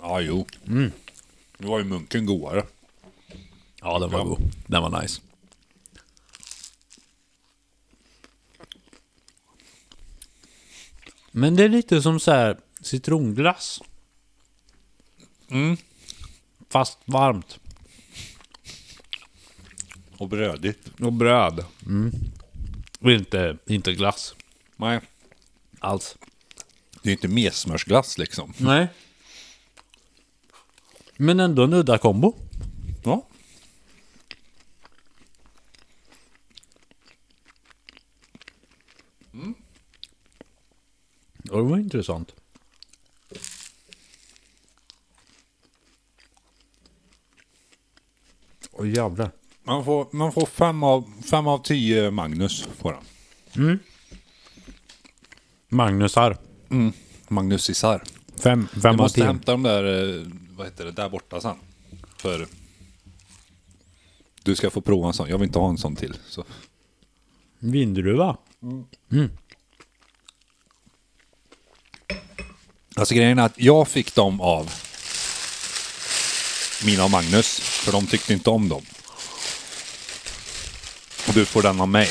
Speaker 2: Ja, jo.
Speaker 3: Mm.
Speaker 2: Nu var ju munken godare.
Speaker 3: Ja, den var god. Den var nice. Men det är lite som så här citronglass. Mm. Fast varmt.
Speaker 2: Och brödigt.
Speaker 3: Och bröd. Mm. Och inte, inte glass
Speaker 2: Nej,
Speaker 3: alls.
Speaker 2: det är ju inte messmörsglass liksom.
Speaker 3: Nej. Men ändå en udda kombo.
Speaker 2: Ja.
Speaker 3: Ja, det var intressant. Åh jävlar.
Speaker 2: Man får, man får fem, av, fem av tio Magnus. Får han.
Speaker 3: Magnusar.
Speaker 2: Magnus Isar.
Speaker 3: Fem,
Speaker 2: Jag
Speaker 3: fem av
Speaker 2: måste
Speaker 3: tio.
Speaker 2: hämta de där, eh, vad heter det, där borta sen. För du ska få prova en sån. Jag vill inte ha en sån till. Så.
Speaker 3: Vindruva.
Speaker 2: Alltså grejen är att jag fick dem av mina och Magnus. För de tyckte inte om dem. Och du får den av mig.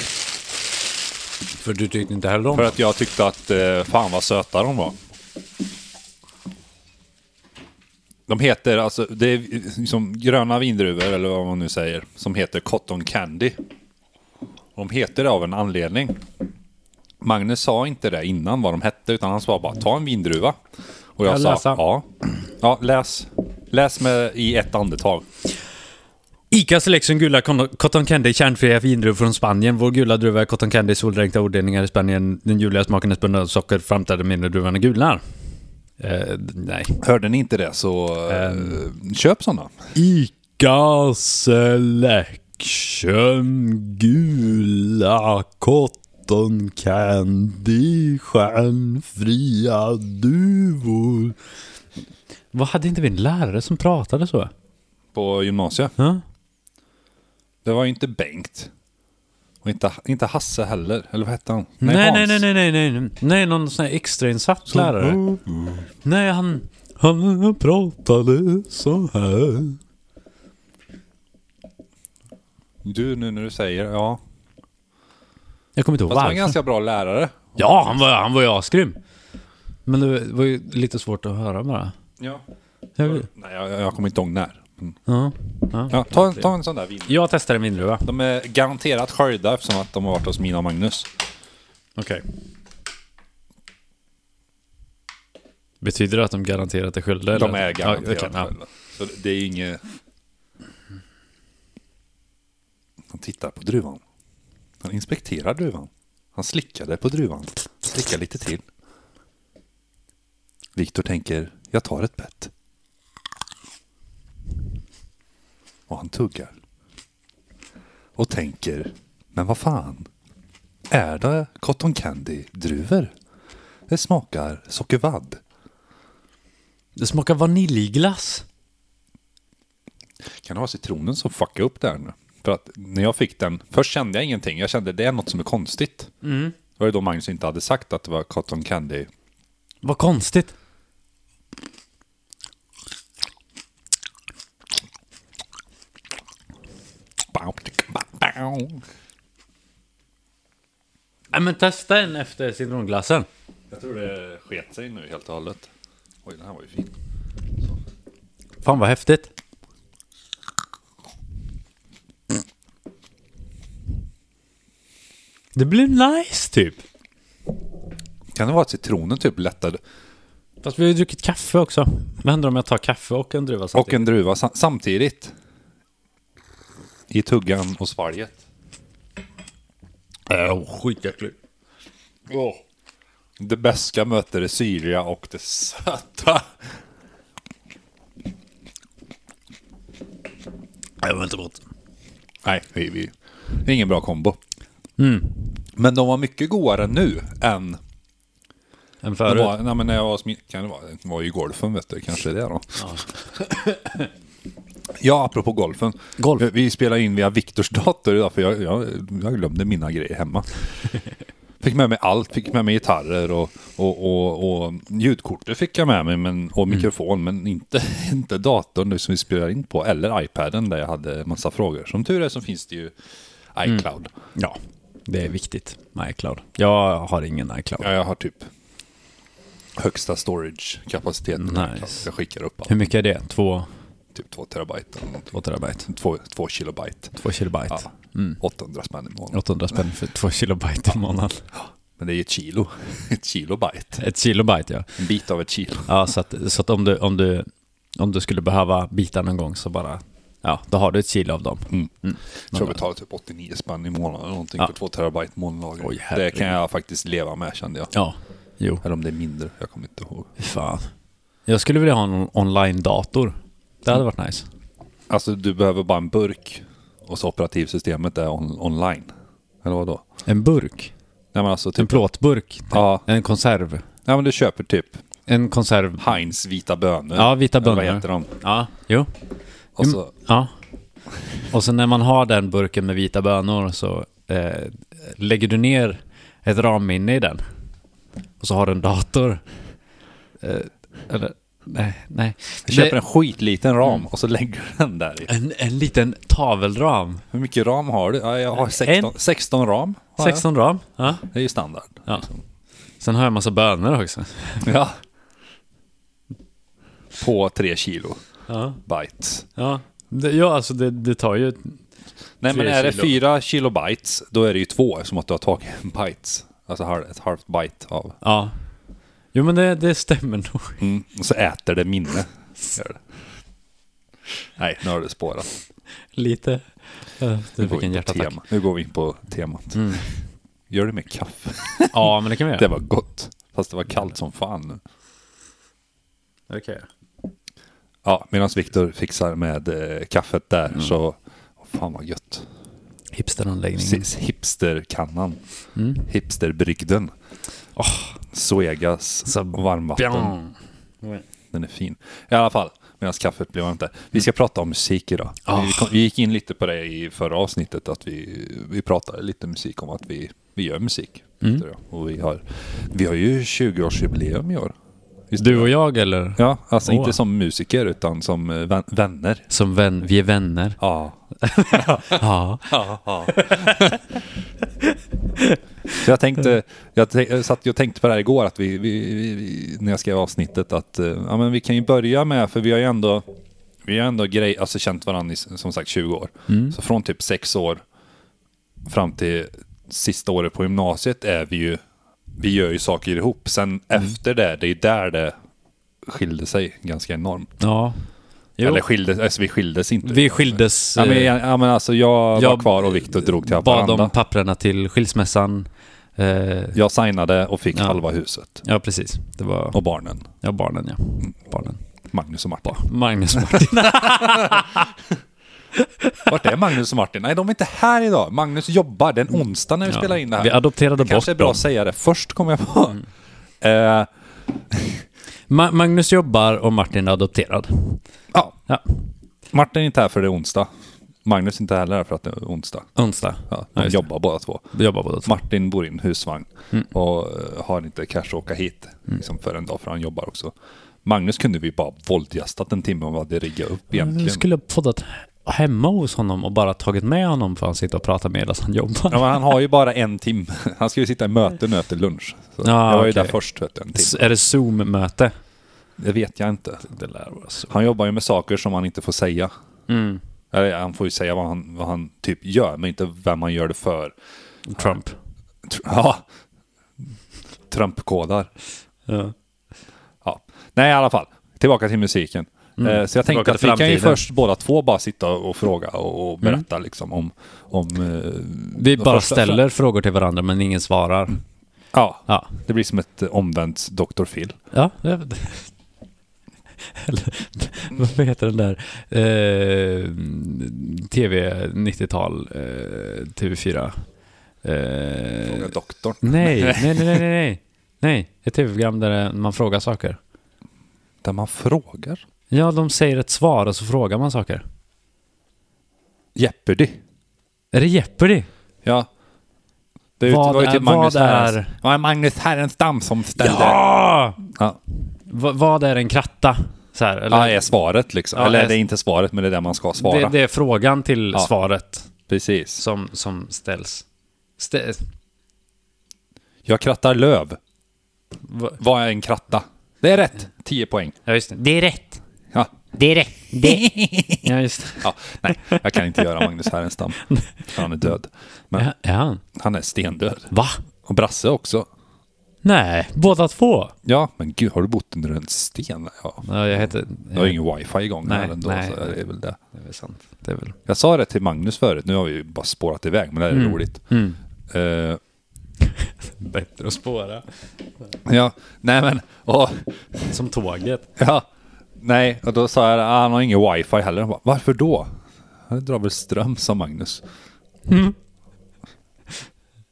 Speaker 3: För du tyckte inte heller om
Speaker 2: För att jag tyckte att eh, fan vad söta de var. De heter alltså, det är liksom gröna vindruvor eller vad man nu säger, som heter cotton candy. De heter det av en anledning. Magnus sa inte det innan vad de hette, utan han sa bara ta en vindruva. Och jag,
Speaker 3: Jag
Speaker 2: sa
Speaker 3: läsa?
Speaker 2: ja. Ja, läs. Läs med i ett andetag.
Speaker 3: ICA Selection gula kon- cotton candy kärnfria vindruvor från Spanien. Vår gula druva är cotton candy soldränkta odlingar i Spanien. Den ljuvliga smaken är spunnen av socker framträder mindre druvan är gulnar. Eh, d- nej.
Speaker 2: Hörde ni inte det så eh, köp sådana.
Speaker 3: ICA Selection gula cotton Cotton candy, stjärnfria duvor. Vad hade inte vi en lärare som pratade så?
Speaker 2: på gymnasiet.
Speaker 3: Ja?
Speaker 2: Det var ju inte Bengt. Och inte, inte Hasse heller. Eller vad hette han?
Speaker 3: Nej, nej,
Speaker 2: Hans.
Speaker 3: nej, nej, nej, nej, nej, nej, någon sån här extrainsatt lärare. Nej, han, Mm. han pratade så här.
Speaker 2: Du nu när du säger, ja.
Speaker 3: Jag kommer inte ihåg
Speaker 2: Fast han var
Speaker 3: varför.
Speaker 2: en ganska bra lärare.
Speaker 3: Ja, han var, han var ju asgrym. Men det var ju lite svårt att höra bara.
Speaker 2: Ja.
Speaker 3: Jag,
Speaker 2: Nej, jag, jag kommer inte ihåg när. Mm.
Speaker 3: ja,
Speaker 2: Ja, ta, en- ta en sån där vin.
Speaker 3: jag testar en vindruva.
Speaker 2: De är garanterat sköljda eftersom att de har varit hos mina och Magnus.
Speaker 3: Okej. Betyder det att de garanterat är skyldiga?
Speaker 2: De
Speaker 3: eller?
Speaker 2: är
Speaker 3: Ja,
Speaker 2: garanterat
Speaker 3: okej, ja.
Speaker 2: sköljda. Så det är ju inget... Han tittar på druvan. Han inspekterar druvan. Han slickade på druvan. Slickar lite till. Viktor tänker, jag tar ett bett. Och han tuggar. Och tänker, men vad fan? Är det cotton candy-druvor? Det smakar sockervadd.
Speaker 3: Det smakar vaniljglass.
Speaker 2: Kan det vara citronen som fuckade upp det här nu? För att när jag fick den, först kände jag ingenting. Jag kände det är något som är konstigt. Det var ju då Magnus inte hade sagt att det var cotton candy.
Speaker 3: Vad konstigt. Nej, men testa en efter citronglassen.
Speaker 2: Jag tror det sket sig nu helt och hållet. Oj, den här var ju fin.
Speaker 3: Fan vad häftigt. Det blir nice typ.
Speaker 2: Kan det vara att citronen typ lättade?
Speaker 3: Fast vi har ju druckit kaffe också. Vad händer om jag tar kaffe och en druva
Speaker 2: Och
Speaker 3: samtidigt?
Speaker 2: en druva sa- samtidigt. I tuggan och svalget.
Speaker 3: Äh, skitäcklig.
Speaker 2: Oh. Det bäska möter det syrliga och det söta.
Speaker 3: Det var inte gott.
Speaker 2: Nej, vi, vi. det är ingen bra kombo. Men de var mycket godare nu än
Speaker 3: En
Speaker 2: de
Speaker 3: förut.
Speaker 2: var, nej, men när jag var smi- kan det vara, det var ju golfen vet du, kanske det då. Ja, apropå golfen.
Speaker 3: Golf.
Speaker 2: Vi, vi spelar in via Viktors dator idag för jag, jag, jag glömde mina grejer hemma. Fick med mig allt, fick med mig gitarrer och, och, och, och ljudkortet fick jag med mig men, och mikrofon men inte, inte datorn nu som vi spelar in på eller iPaden där jag hade en massa frågor. Som tur är så finns det ju iCloud.
Speaker 3: Ja, det är viktigt med iCloud. Jag har ingen iCloud.
Speaker 2: Ja, jag har typ högsta storage-kapaciteten.
Speaker 3: Nice.
Speaker 2: Jag skickar upp allt,
Speaker 3: Hur mycket är det? Två,
Speaker 2: typ 2 terabyte. eller något.
Speaker 3: två terabyte?
Speaker 2: Två, två kilobyte.
Speaker 3: Två kilobyte?
Speaker 2: Ja,
Speaker 3: Mm.
Speaker 2: 800 spänn i månaden.
Speaker 3: 800 spänn för två kilobyte i månaden.
Speaker 2: Men det är ju ett kilo. Ett kilobyte.
Speaker 3: Ett kilobyte ja.
Speaker 2: En bit av ett kilo.
Speaker 3: Ja, så att, så att om, du, om, du, om du skulle behöva bitar någon gång så bara, ja, då har du ett kilo av dem.
Speaker 2: Jag tror jag betalar typ 89 spänn i månaden eller någonting
Speaker 3: Ja.
Speaker 2: för 2 terabyte molnlager.
Speaker 3: Oj,
Speaker 2: det
Speaker 3: herregud.
Speaker 2: kan jag faktiskt leva med kände jag.
Speaker 3: Ja, jo.
Speaker 2: Eller om det är mindre, jag kommer inte ihåg.
Speaker 3: Fy Fan. Jag skulle vilja ha en online-dator. Det hade varit nice.
Speaker 2: Alltså du behöver bara en burk och så operativsystemet är on- online. Eller vadå?
Speaker 3: En burk.
Speaker 2: Nej men alltså
Speaker 3: En
Speaker 2: typ...
Speaker 3: plåtburk.
Speaker 2: Ja.
Speaker 3: En konserv.
Speaker 2: Nej men du köper typ
Speaker 3: En konserv.
Speaker 2: Heinz vita bönor.
Speaker 3: Ja, vita
Speaker 2: Eller
Speaker 3: bönor.
Speaker 2: Vad heter de?
Speaker 3: Ja, jo.
Speaker 2: Och så,
Speaker 3: Ja. Och sen när man har den burken med vita bönor så eh, lägger du ner ett ramminne i den. Och så har du en dator. Eh, eller, nej, nej.
Speaker 2: jag köper
Speaker 3: Det-
Speaker 2: en skitliten
Speaker 3: Mm.
Speaker 2: ram och så lägger du den där i.
Speaker 3: en, en liten tavelram.
Speaker 2: Hur mycket ram har du? Ja, jag har 16, 16 ram. Har jag.
Speaker 3: 16 ram. Ja.
Speaker 2: Det är ju standard. liksom.
Speaker 3: ja. Sen har jag en massa bönor också.
Speaker 2: Ja. På 3 kilo
Speaker 3: Ja.
Speaker 2: bytes.
Speaker 3: Ja, det, ja alltså det, det tar ju...
Speaker 2: Nej men
Speaker 3: Tre
Speaker 2: är det
Speaker 3: kilo.
Speaker 2: 4 kilo bytes, då är det ju 2 eftersom att du har tagit en bytes. Alltså halv- ett halvt byte av.
Speaker 3: Ja. Jo men det, det stämmer nog.
Speaker 2: Mm. Och så äter det minne. Gör det. Nej, nu har det spårat.
Speaker 3: Lite. Eh,
Speaker 2: Nu
Speaker 3: Du
Speaker 2: går
Speaker 3: fick
Speaker 2: vi
Speaker 3: en
Speaker 2: in på
Speaker 3: hjärtattack. Mm.
Speaker 2: tema. Nu går vi in på temat. Gör det med kaffe.
Speaker 3: Ja men det kan vi göra.
Speaker 2: Det var gott. Fast det var kallt som fan nu.
Speaker 3: Okej.
Speaker 2: Mm. Ja, medan Viktor fixar med eh, kaffet där så... Fan vad gött.
Speaker 3: Hipsteranläggningen.
Speaker 2: Precis, hipsterkannan. Mm. Hipsterbrygden. Suegas och varmvatten.
Speaker 3: Björn.
Speaker 2: Den är fin. I alla fall, medan kaffet blir varmt där. Vi ska prata om musik idag. Vi, kom, vi gick in lite på det i förra avsnittet, att vi, vi pratade lite musik om att vi, vi gör musik. Peter och jag. Och vi, har, vi har ju 20-årsjubileum i år. Visst
Speaker 3: Du och jag eller?
Speaker 2: Ja, alltså
Speaker 3: Åh.
Speaker 2: inte som musiker utan som eh, vän, vänner.
Speaker 3: Som vän, vi är vänner.
Speaker 2: Ja.
Speaker 3: Ja.
Speaker 2: Så jag tänkte, jag, tän- jag satt ju och tänkte på det här igår, att vi, vi, vi- vi, när jag skrev avsnittet, att eh, ja, men vi kan ju börja med, för vi har ju ändå, vi har ändå grej, alltså känt varandra i som sagt 20 år. Så från typ 6 år fram till sista året på gymnasiet är vi ju, vi gör ju saker ihop. Sen efter det, det är där det skilde sig ganska enormt.
Speaker 3: ja. Jo.
Speaker 2: Eller skildes, alltså vi skildes inte.
Speaker 3: vi skildes.
Speaker 2: Ja men,
Speaker 3: eh,
Speaker 2: ja, ja, men alltså jag, var
Speaker 3: jag
Speaker 2: kvar och Viktor drog till
Speaker 3: bad om
Speaker 2: Haparanda.
Speaker 3: papprena till skilsmässan. Eh,
Speaker 2: Jag signade och fick
Speaker 3: Ja.
Speaker 2: halva huset.
Speaker 3: ja, precis. Det var
Speaker 2: Och barnen.
Speaker 3: ja, barnen, ja. Barnen.
Speaker 2: Magnus och Martin.
Speaker 3: Magnus och Martin.
Speaker 2: Vart är Magnus och Martin? Nej, de är inte här idag. Magnus jobbar. Det är en onsdag när vi spelar in det här.
Speaker 3: Vi adopterade bort
Speaker 2: kanske är bra
Speaker 3: dem. Mm.
Speaker 2: att säga det först, kommer jag på. Eh,
Speaker 3: Ma- Magnus jobbar och Martin är adopterad.
Speaker 2: ja,
Speaker 3: Ja,
Speaker 2: Martin är inte här för det är onsdag. Magnus är inte heller här för att det är onsdag.
Speaker 3: onsdag.
Speaker 2: Ja,
Speaker 3: Ja,
Speaker 2: de
Speaker 3: just det.
Speaker 2: jobbar båda två.
Speaker 3: Vi jobbar båda två.
Speaker 2: Martin bor i en husvagn
Speaker 3: Mm.
Speaker 2: och eh, har inte cash att åka hit liksom, för en dag, för han jobbar också. Magnus kunde vi bara våldgästat en timme om vad det riggar upp
Speaker 3: Vi
Speaker 2: egentligen.
Speaker 3: skulle ha poddat hemma hos honom och bara tagit med honom för att han sitter och pratar medan han jobbar.
Speaker 2: Ja, men han har ju bara en timme. Han ska ju sitta i möte nu efter lunch. Så
Speaker 3: Ah,
Speaker 2: jag var ju
Speaker 3: okej.
Speaker 2: där först vet du, en
Speaker 3: S-
Speaker 2: timme.
Speaker 3: Är det Zoom-möte?
Speaker 2: Det vet jag inte.
Speaker 3: Det lär vara så. Mm.
Speaker 2: Han jobbar ju med saker som han inte får säga. Eller, han får ju säga vad han, vad han typ gör, men inte vem han gör det för.
Speaker 3: Trump.
Speaker 2: Tr- Ja. Trumpkodar.
Speaker 3: Ja.
Speaker 2: Ja. Nej, i alla fall. Tillbaka till musiken. Eh, Så jag tänkte
Speaker 3: Mm. Tillbaka
Speaker 2: att
Speaker 3: till
Speaker 2: vi kan ju
Speaker 3: framtiden. Mm.
Speaker 2: först båda två bara sitta och fråga och, och berätta liksom om... om eh,
Speaker 3: Vi
Speaker 2: de
Speaker 3: bara
Speaker 2: första- Mm.
Speaker 3: ställer frågor till varandra men ingen svarar.
Speaker 2: Ja,
Speaker 3: Ja.
Speaker 2: det blir som ett eh, omvänt Dr. Phil.
Speaker 3: Ja, det- Eller, vad heter den där eh, TV 90-tal eh, TV4? Eh,
Speaker 2: Fråga doktorn.
Speaker 3: nej, nej, nej, nej, nej, nej. Nej, ett TV-program där man frågar saker.
Speaker 2: Där man frågar.
Speaker 3: Ja, de säger ett svar och så frågar man saker.
Speaker 2: Jeopardy.
Speaker 3: Är det Jeopardy?
Speaker 2: Ja. Det är ju-
Speaker 3: Vad
Speaker 2: det var ju
Speaker 3: är-
Speaker 2: typ Magnus
Speaker 3: vad är-
Speaker 2: Herrens- Vad är Magnus Härenstam som ställde...
Speaker 3: Ja!
Speaker 2: Ja.
Speaker 3: Va, vad är en kratta? Så här, eller?
Speaker 2: Ja, är svaret liksom.
Speaker 3: Ja,
Speaker 2: Eller
Speaker 3: är-
Speaker 2: det är inte svaret, men det är det man ska svara.
Speaker 3: det, det är frågan till
Speaker 2: Ja.
Speaker 3: svaret
Speaker 2: Precis.
Speaker 3: som, som ställs. Stä,
Speaker 2: Jag krattar löv.
Speaker 3: va,
Speaker 2: Vad är en kratta? Det är rätt. 10 poäng.
Speaker 3: ja, just det. Det är rätt.
Speaker 2: Ja.
Speaker 3: Det är rätt. Det. ja, just det.
Speaker 2: ja. Nej, jag kan inte göra Magnus Härenstam. Han är död. Men
Speaker 3: Ja, är han?
Speaker 2: han är stendöd.
Speaker 3: Va?
Speaker 2: Och Brasse också.
Speaker 3: Nej, båda två.
Speaker 2: Ja, men gud, har du bott under en sten? Ja.
Speaker 3: Ja, jag heter...
Speaker 2: Jag har ingen wifi igång
Speaker 3: Nej,
Speaker 2: här ändå,
Speaker 3: nej.
Speaker 2: så det är väl det.
Speaker 3: Det är väl sant. Det är väl...
Speaker 2: Jag sa det till Magnus förut, nu har vi ju bara spårat iväg, men det här är
Speaker 3: Mm.
Speaker 2: roligt. Eh,
Speaker 3: Bättre att spåra.
Speaker 2: ja, nej men, och,
Speaker 3: Som tåget.
Speaker 2: ja, nej, och då sa jag ah, han har ingen wifi heller. Han Bara, Varför då? Han drar väl ström, sa Magnus.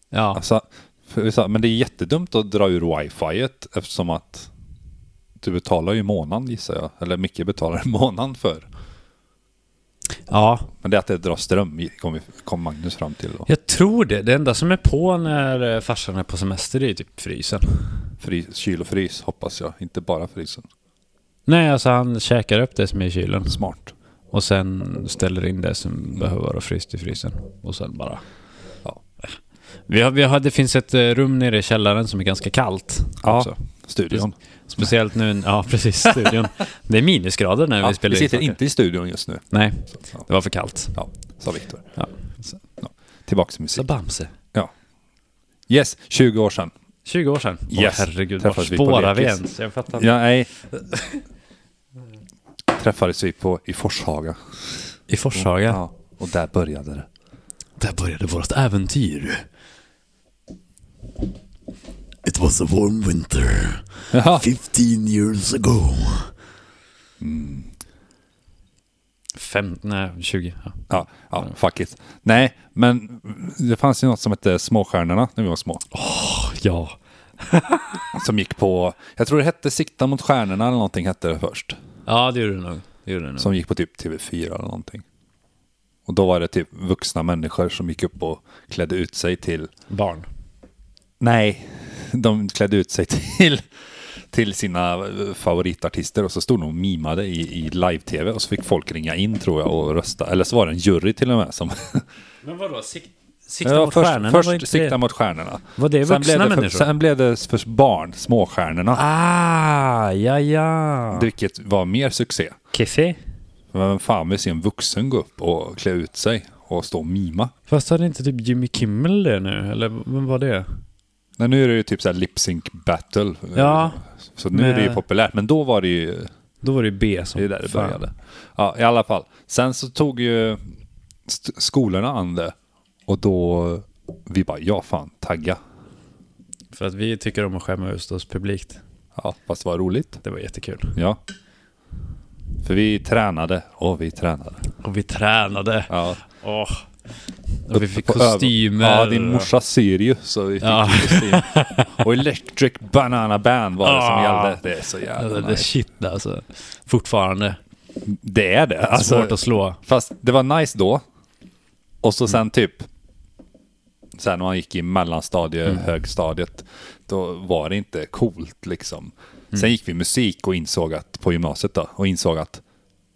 Speaker 3: Ja.
Speaker 2: Alltså, för vi sa, men det är jättedumt att dra ur wifiet eftersom att du betalar ju i månaden gissar jag, eller Micke betalar i månaden för.
Speaker 3: Ja.
Speaker 2: Men det är att det drar ström, kom, vi, kom Magnus fram till då.
Speaker 3: Jag tror det. Det enda som är på när eh, farsan är på semester det är ju typ frysen.
Speaker 2: Frys, kyl och frys hoppas jag, inte bara frysen.
Speaker 3: Nej, alltså han käkar upp det som är i kylen.
Speaker 2: Smart.
Speaker 3: Och sen ställer in det som behöver vara fryst i frysen. Och sen bara...
Speaker 2: Ja.
Speaker 3: Vi har, vi har, det finns ett eh, rum nere i källaren som är ganska kallt. Också.
Speaker 2: studion.
Speaker 3: Speciellt nu, ja precis, studion. Det är minusgrader när
Speaker 2: Ja,
Speaker 3: vi spelar
Speaker 2: vi sitter
Speaker 3: in saker.
Speaker 2: inte i studion just nu.
Speaker 3: Nej,
Speaker 2: Ja.
Speaker 3: det var för kallt.
Speaker 2: Ja, sa Viktor.
Speaker 3: Ja.
Speaker 2: Ja. Tillbaka till
Speaker 3: Så
Speaker 2: musik.
Speaker 3: Bamse.
Speaker 2: Ja. Yes, 20 år sedan.
Speaker 3: 20 år sedan. Åh
Speaker 2: Yes.
Speaker 3: herregud, vart
Speaker 2: Träffades vi på
Speaker 3: spårar vi
Speaker 2: lekis.
Speaker 3: ens? Jag fattar inte.
Speaker 2: Ja, nej. Träffades vi på, i Forshaga.
Speaker 3: I Forshaga.
Speaker 2: Ja, och där började det.
Speaker 3: Där började vårt äventyr.
Speaker 4: It was a warm winter
Speaker 2: Jaha.
Speaker 4: 15 years ago.
Speaker 3: Fem, nej, 20. Ja.
Speaker 2: Ja, ja, fuck it. Nej, men det fanns ju något som hette Småstjärnorna när vi var små.
Speaker 3: ja.
Speaker 2: Som gick på, jag tror det hette Sikta mot stjärnorna eller någonting hette det först.
Speaker 3: Ja, det gjorde du nog. Det gjorde du nog.
Speaker 2: Som gick på typ TV4 eller någonting. Och då var det typ vuxna människor som gick upp och klädde ut sig till
Speaker 3: Barn.
Speaker 2: Nej, de klädde ut sig till, till sina eh, favoritartister och så stod de och mimade i, i live-tv och så fick folk ringa in tror jag och rösta. Eller så var det en jury till och med som...
Speaker 3: Men vadå, sik- sikta
Speaker 2: Ja,
Speaker 3: mot
Speaker 2: först
Speaker 3: stjärnorna? var
Speaker 2: först
Speaker 3: inte
Speaker 2: sikta
Speaker 3: det-
Speaker 2: mot stjärnorna.
Speaker 3: Var det
Speaker 2: sen
Speaker 3: vuxna
Speaker 2: blev det för,
Speaker 3: människor?
Speaker 2: Sen blev det för barn, småstjärnorna.
Speaker 3: Ah, ja, ja.
Speaker 2: Vilket var mer succé.
Speaker 3: Keffe?
Speaker 2: Men vem fan vill se en vuxen gå upp och klä ut sig och stå och mima?
Speaker 3: Fast hade inte typ Jimmy Kimmel det nu? Eller vad var det?
Speaker 2: Nej, nu är det ju typ så här lip sync battle.
Speaker 3: Ja.
Speaker 2: Så nu är det ju
Speaker 3: Med-
Speaker 2: populärt, men då var det ju
Speaker 3: Då var det ju B som...
Speaker 2: Det är där det
Speaker 3: fan.
Speaker 2: började. Ja, i alla fall. Sen så tog ju st- skolorna an det. Och då, vi bara, ja fan, tagga.
Speaker 3: För att vi tycker om att skämma ut oss publikt.
Speaker 2: Ja, fast det var roligt.
Speaker 3: Det var jättekul.
Speaker 2: Ja. För vi tränade och vi tränade.
Speaker 3: Och vi tränade.
Speaker 2: Ja.
Speaker 3: Åh. Och vi fick
Speaker 2: På över-
Speaker 3: kostymer.
Speaker 2: Ja, din morsa syr ju. Så vi fick
Speaker 3: Ja.
Speaker 2: ju kostym. Och Electric Banana Band var det som
Speaker 3: Ah.
Speaker 2: gällde. Det är så jävla
Speaker 3: Alltså, det är
Speaker 2: nice.
Speaker 3: shit alltså. Fortfarande.
Speaker 2: Det är det. Alltså,
Speaker 3: Svårt att Mm. slå.
Speaker 2: Fast det var nice då. Och så sen typ, sen när man gick i mellanstadiet,
Speaker 3: Mm.
Speaker 2: högstadiet, då var det inte coolt liksom.
Speaker 3: Mm.
Speaker 2: Sen gick vi musik och insåg att, på gymnasiet då, och insåg att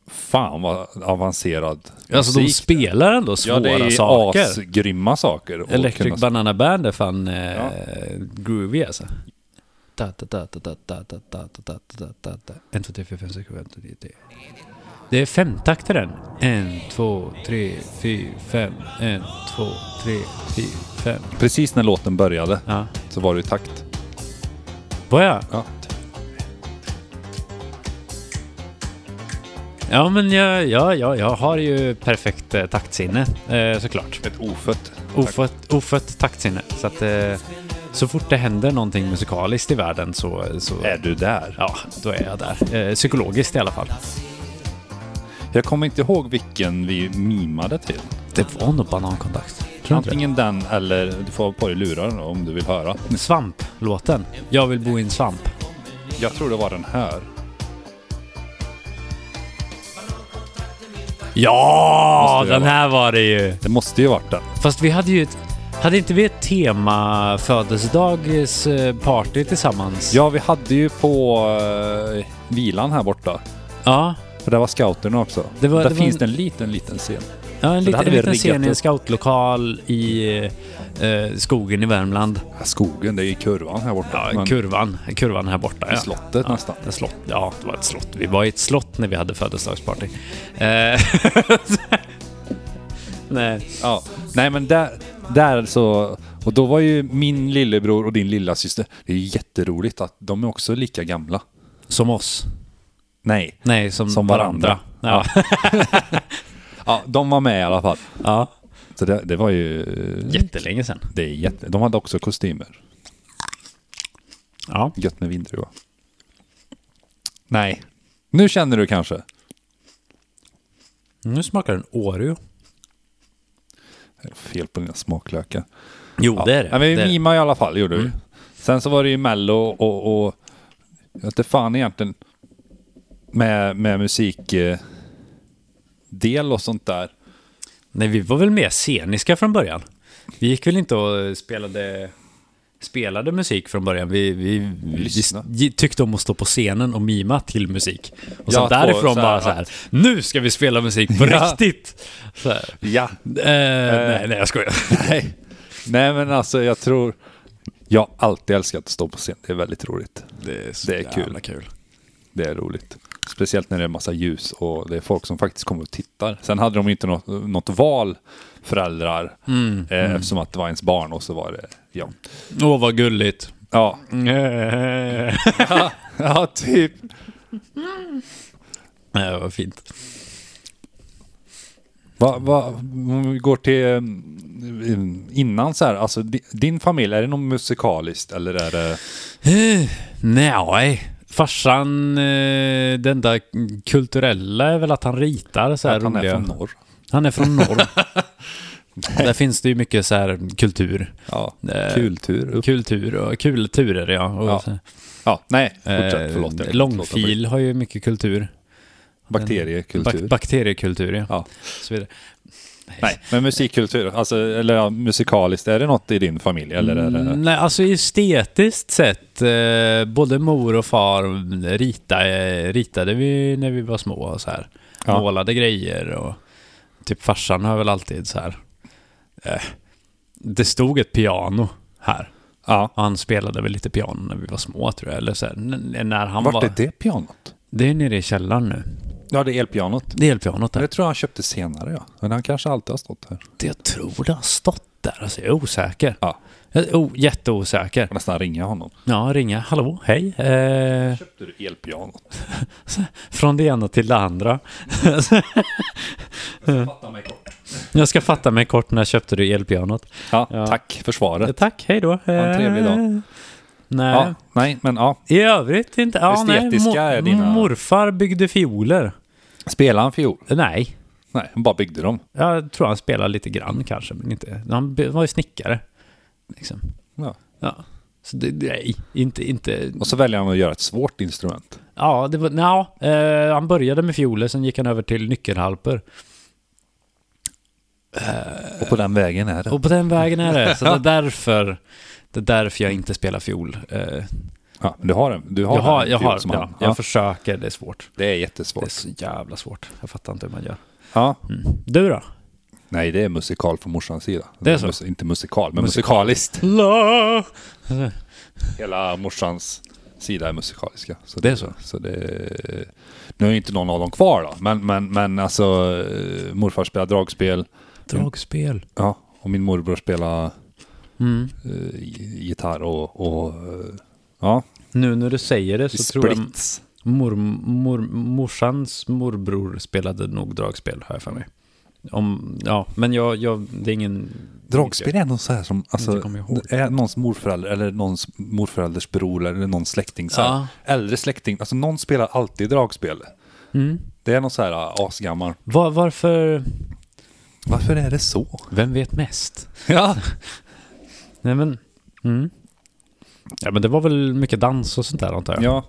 Speaker 2: fan vad avancerad
Speaker 3: Alltså de
Speaker 2: musik.
Speaker 3: spelar ändå svåra
Speaker 2: Ja, det är
Speaker 3: saker.
Speaker 2: asgrymma saker. och
Speaker 3: Electric
Speaker 2: kunna-
Speaker 3: Banana Band är fan eh,
Speaker 2: Ja.
Speaker 3: groovy alltså. Ta, ta, ta, ta, ta, ta, ta, ta, ta, ta, ta, ta, ta. En, två, tre, fyra, fem, sex, sju, åtta, nio, tio. Det är femtakt i den. En, två, tre, fyra, fem. En, två, tre, fyra, fem.
Speaker 2: Precis när låten började
Speaker 3: Ja.
Speaker 2: så var det i takt.
Speaker 3: Vad ja.
Speaker 2: Ja.
Speaker 3: Ja, men jag, ja, ja, jag har ju perfekt eh, taktsinne eh, såklart.
Speaker 2: Ett ofött.
Speaker 3: Ofött, ofött taktsinne. Så att eh, så fort det händer någonting musikaliskt i världen så, så
Speaker 2: Är du där?
Speaker 3: ja, då är jag där. Eh, psykologiskt i alla fall.
Speaker 2: Jag kommer inte ihåg vilken vi mimade till.
Speaker 3: Det var nog banankontakt. Tror du inte
Speaker 2: Antingen den eller du får ha på dig lurarna om du vill höra.
Speaker 3: det? Svamp-låten. Jag vill bo i en svamp.
Speaker 2: Jag tror det var den här.
Speaker 3: Ja,
Speaker 2: Måste det
Speaker 3: den
Speaker 2: vara.
Speaker 3: här var det ju.
Speaker 2: Det måste ju varit den.
Speaker 3: Fast vi hade ju ett... Hade inte vi ett tema födelsedagsparty tillsammans?
Speaker 2: Ja, vi hade ju på eh, vilan här borta.
Speaker 3: Ja,
Speaker 2: För där var scouterna också.
Speaker 3: Det var-
Speaker 2: där
Speaker 3: det var
Speaker 2: finns
Speaker 3: en-
Speaker 2: det en liten, liten scen.
Speaker 3: ja en
Speaker 2: Så det
Speaker 3: liten,
Speaker 2: hade
Speaker 3: en
Speaker 2: vi
Speaker 3: liten scen
Speaker 2: riggat
Speaker 3: i en
Speaker 2: upp.
Speaker 3: scoutlokal i eh, skogen i Värmland.
Speaker 2: Ja, skogen, det är ju kurvan här borta.
Speaker 3: Ja,
Speaker 2: Men
Speaker 3: kurvan. Kurvan här borta.
Speaker 2: i
Speaker 3: Ja.
Speaker 2: slottet nästan.
Speaker 3: Ett slott. Ja, det var ett slott. Vi var i ett slott när vi hade födelsedagsparty. Eh, Nej.
Speaker 2: Ja. Nej, men där, där så... Och då var ju min lillebror och din lilla syster. Det är ju jätteroligt att de är också lika gamla.
Speaker 3: Som oss.
Speaker 2: Nej.
Speaker 3: Nej, som,
Speaker 2: Som varandra.
Speaker 3: varandra. Ja.
Speaker 2: Ja, de var med i alla fall.
Speaker 3: ja.
Speaker 2: Så det, det var ju...
Speaker 3: Jättelänge sedan.
Speaker 2: Det är jätte... De hade också kostymer.
Speaker 3: Ja.
Speaker 2: Gött med vindruva. Nej. Nu känner du kanske.
Speaker 3: Nu smakar den Oreo.
Speaker 2: Fel på dina smaklökar.
Speaker 3: Jo, det är
Speaker 2: Ja,
Speaker 3: det.
Speaker 2: men vi
Speaker 3: det. Mm. är det.
Speaker 2: mimade i alla fall, gjorde vi. Sen så var det ju mello och... och jag vet inte fan egentligen med, med musik eh, del och sånt där.
Speaker 3: Nej, vi var väl mer sceniska från början. Vi gick väl inte och spelade, spelade musik från början. Vi, vi, vi,
Speaker 2: Lyssna.
Speaker 3: vi tyckte om att stå på scenen och mima till musik. Och
Speaker 2: Ja,
Speaker 3: sen
Speaker 2: två-
Speaker 3: därifrån
Speaker 2: så här
Speaker 3: bara så här, nu ska vi spela musik på
Speaker 2: Ja.
Speaker 3: riktigt! Så här.
Speaker 2: Ja.
Speaker 3: Eh, Nej, nej, jag skojar.
Speaker 2: Nej. Nej men alltså jag tror... Jag har alltid älskat att stå på scen. Det är väldigt roligt.
Speaker 3: Det är,
Speaker 2: Det är kul. Det är roligt. Speciellt när det är massa ljus och det är folk som faktiskt kommer och tittar. Sen hade de ju inte något, något val, föräldrar,
Speaker 3: Mm,
Speaker 2: eh, eftersom att det var ens barn och så var det, ja.
Speaker 3: Åh, vad gulligt.
Speaker 2: Ja,
Speaker 3: Eh,
Speaker 2: ja typ.
Speaker 3: vad fint.
Speaker 2: Va, va, om vi går till mm, innan så här, alltså di- din familj, är det något musikaliskt eller är det...
Speaker 3: Eh, Nej, Farsan, eh, det enda kulturella är väl att han ritar så här
Speaker 2: Att han är
Speaker 3: roliga-
Speaker 2: från norr.
Speaker 3: Han är från norr. Där finns det ju mycket så här kultur.
Speaker 2: Ja,
Speaker 3: Eh,
Speaker 2: kultur. Upp.
Speaker 3: Kultur och kulturer ja. Och
Speaker 2: Ja,
Speaker 3: så-
Speaker 2: Ja, nej,
Speaker 3: eh,
Speaker 2: fortsätt. Förlåt. jag låter på dig.
Speaker 3: långfil har ju mycket kultur.
Speaker 2: Bakteriekultur.
Speaker 3: Bak- bakteriekultur ja.
Speaker 2: Ja.
Speaker 3: Så vidare.
Speaker 2: Nej, men musikkultur, alltså, eller ja, musikaliskt, är det något i din familj? Eller är det...
Speaker 3: Mm, Nej, alltså estetiskt sett, eh, både mor och far rita, eh, ritade vi när vi var små och så här.
Speaker 2: Ja.
Speaker 3: Målade grejer och typ farsan har väl alltid så här. Eh, det stod ett piano här.
Speaker 2: Ja.
Speaker 3: Och han spelade väl lite piano när vi var små tror jag. Eller så här, n- när han
Speaker 2: Vart
Speaker 3: var...
Speaker 2: är det pianot?
Speaker 3: Det är nere i källaren nu.
Speaker 2: Ja, det är elpianot.
Speaker 3: Det är elpianot där.
Speaker 2: Det tror jag han köpte senare, ja. Men han kanske alltid har stått här.
Speaker 3: Det jag tror det har stått där. Alltså jag är osäker.
Speaker 2: Ja,
Speaker 3: Jag är o- jätteosäker.
Speaker 2: får nästan ringa honom.
Speaker 3: Ja, ringa. Hallå, hej. Eh,
Speaker 2: Köpte du elpianot?
Speaker 3: från det ena till det andra. Mm.
Speaker 2: Fatta mig kort.
Speaker 3: Jag ska fatta mig kort när jag köpte du elpianot.
Speaker 2: Ja,
Speaker 3: Ja.
Speaker 2: tack för svaret.
Speaker 3: Tack, hej då. Ha
Speaker 2: en trevlig dag.
Speaker 3: Nej.
Speaker 2: Ja, nej, men ja.
Speaker 3: I övrigt inte. Ja, nej.
Speaker 2: Estetiska
Speaker 3: Mo-
Speaker 2: är dina-
Speaker 3: Morfar byggde fioler. Eh,
Speaker 2: Spelade han fiol?
Speaker 3: Nej,
Speaker 2: Nej, han bara byggde dem.
Speaker 3: jag tror han spelade lite grann kanske, men inte. Han be- var ju snickare. Liksom.
Speaker 2: Ja.
Speaker 3: Ja. Så det, nej, inte, inte.
Speaker 2: Och så väljer han att göra ett svårt instrument.
Speaker 3: Ja, det var, nja, eh, han började med fioler, sen gick han över till nyckelharpor.
Speaker 2: Och på den vägen är det.
Speaker 3: Och på den vägen är det. Så det är därför, det är därför jag inte spelar fiol. Eh,
Speaker 2: Ja, men du har en. Du har
Speaker 3: jag har,
Speaker 2: en
Speaker 3: jag,
Speaker 2: fiol
Speaker 3: har,
Speaker 2: som
Speaker 3: ja,
Speaker 2: han.
Speaker 3: jag
Speaker 2: Ja,
Speaker 3: försöker, det är svårt.
Speaker 2: det är
Speaker 3: Det är
Speaker 2: jättesvårt.
Speaker 3: så jävla svårt. Jag fattar inte hur man gör.
Speaker 2: Ja.
Speaker 3: Du då?
Speaker 2: Nej, det är musikal från morsans sida.
Speaker 3: Det är så?
Speaker 2: Mus- inte musikal, men musikaliskt.
Speaker 3: La.
Speaker 2: Hela morsans sida är musikaliska. Så
Speaker 3: Det är så?
Speaker 2: så det, nu är ju inte någon av dem kvar då, men, men, men alltså eh, morfar spelar dragspel
Speaker 3: Dragspel.
Speaker 2: ja, och min morbror spelar
Speaker 3: Mm.
Speaker 2: eh, gi- gitarr och, och eh, ja,
Speaker 3: Nu när du säger det så tror jag
Speaker 2: splits.
Speaker 3: mor, mor, morsans morbror spelade nog dragspel, har jag för mig. Om, ja, men jag, jag, det är ingen...
Speaker 2: Dragspel är någon så här som, alltså,
Speaker 3: Inte kommer jag ihåg.
Speaker 2: är någons morförälder eller någons morförälders bror eller någon släkting. Så här,
Speaker 3: Ja.
Speaker 2: Äldre släkting, alltså någon spelar alltid dragspel. Det är någon så här ah, asgammal.
Speaker 3: Var, Mm. varför...
Speaker 2: Varför är det så?
Speaker 3: Vem vet mest?
Speaker 2: Ja,
Speaker 3: Nej men... Mm. Ja men det var väl mycket dans och sånt där antar jag?
Speaker 2: Ja.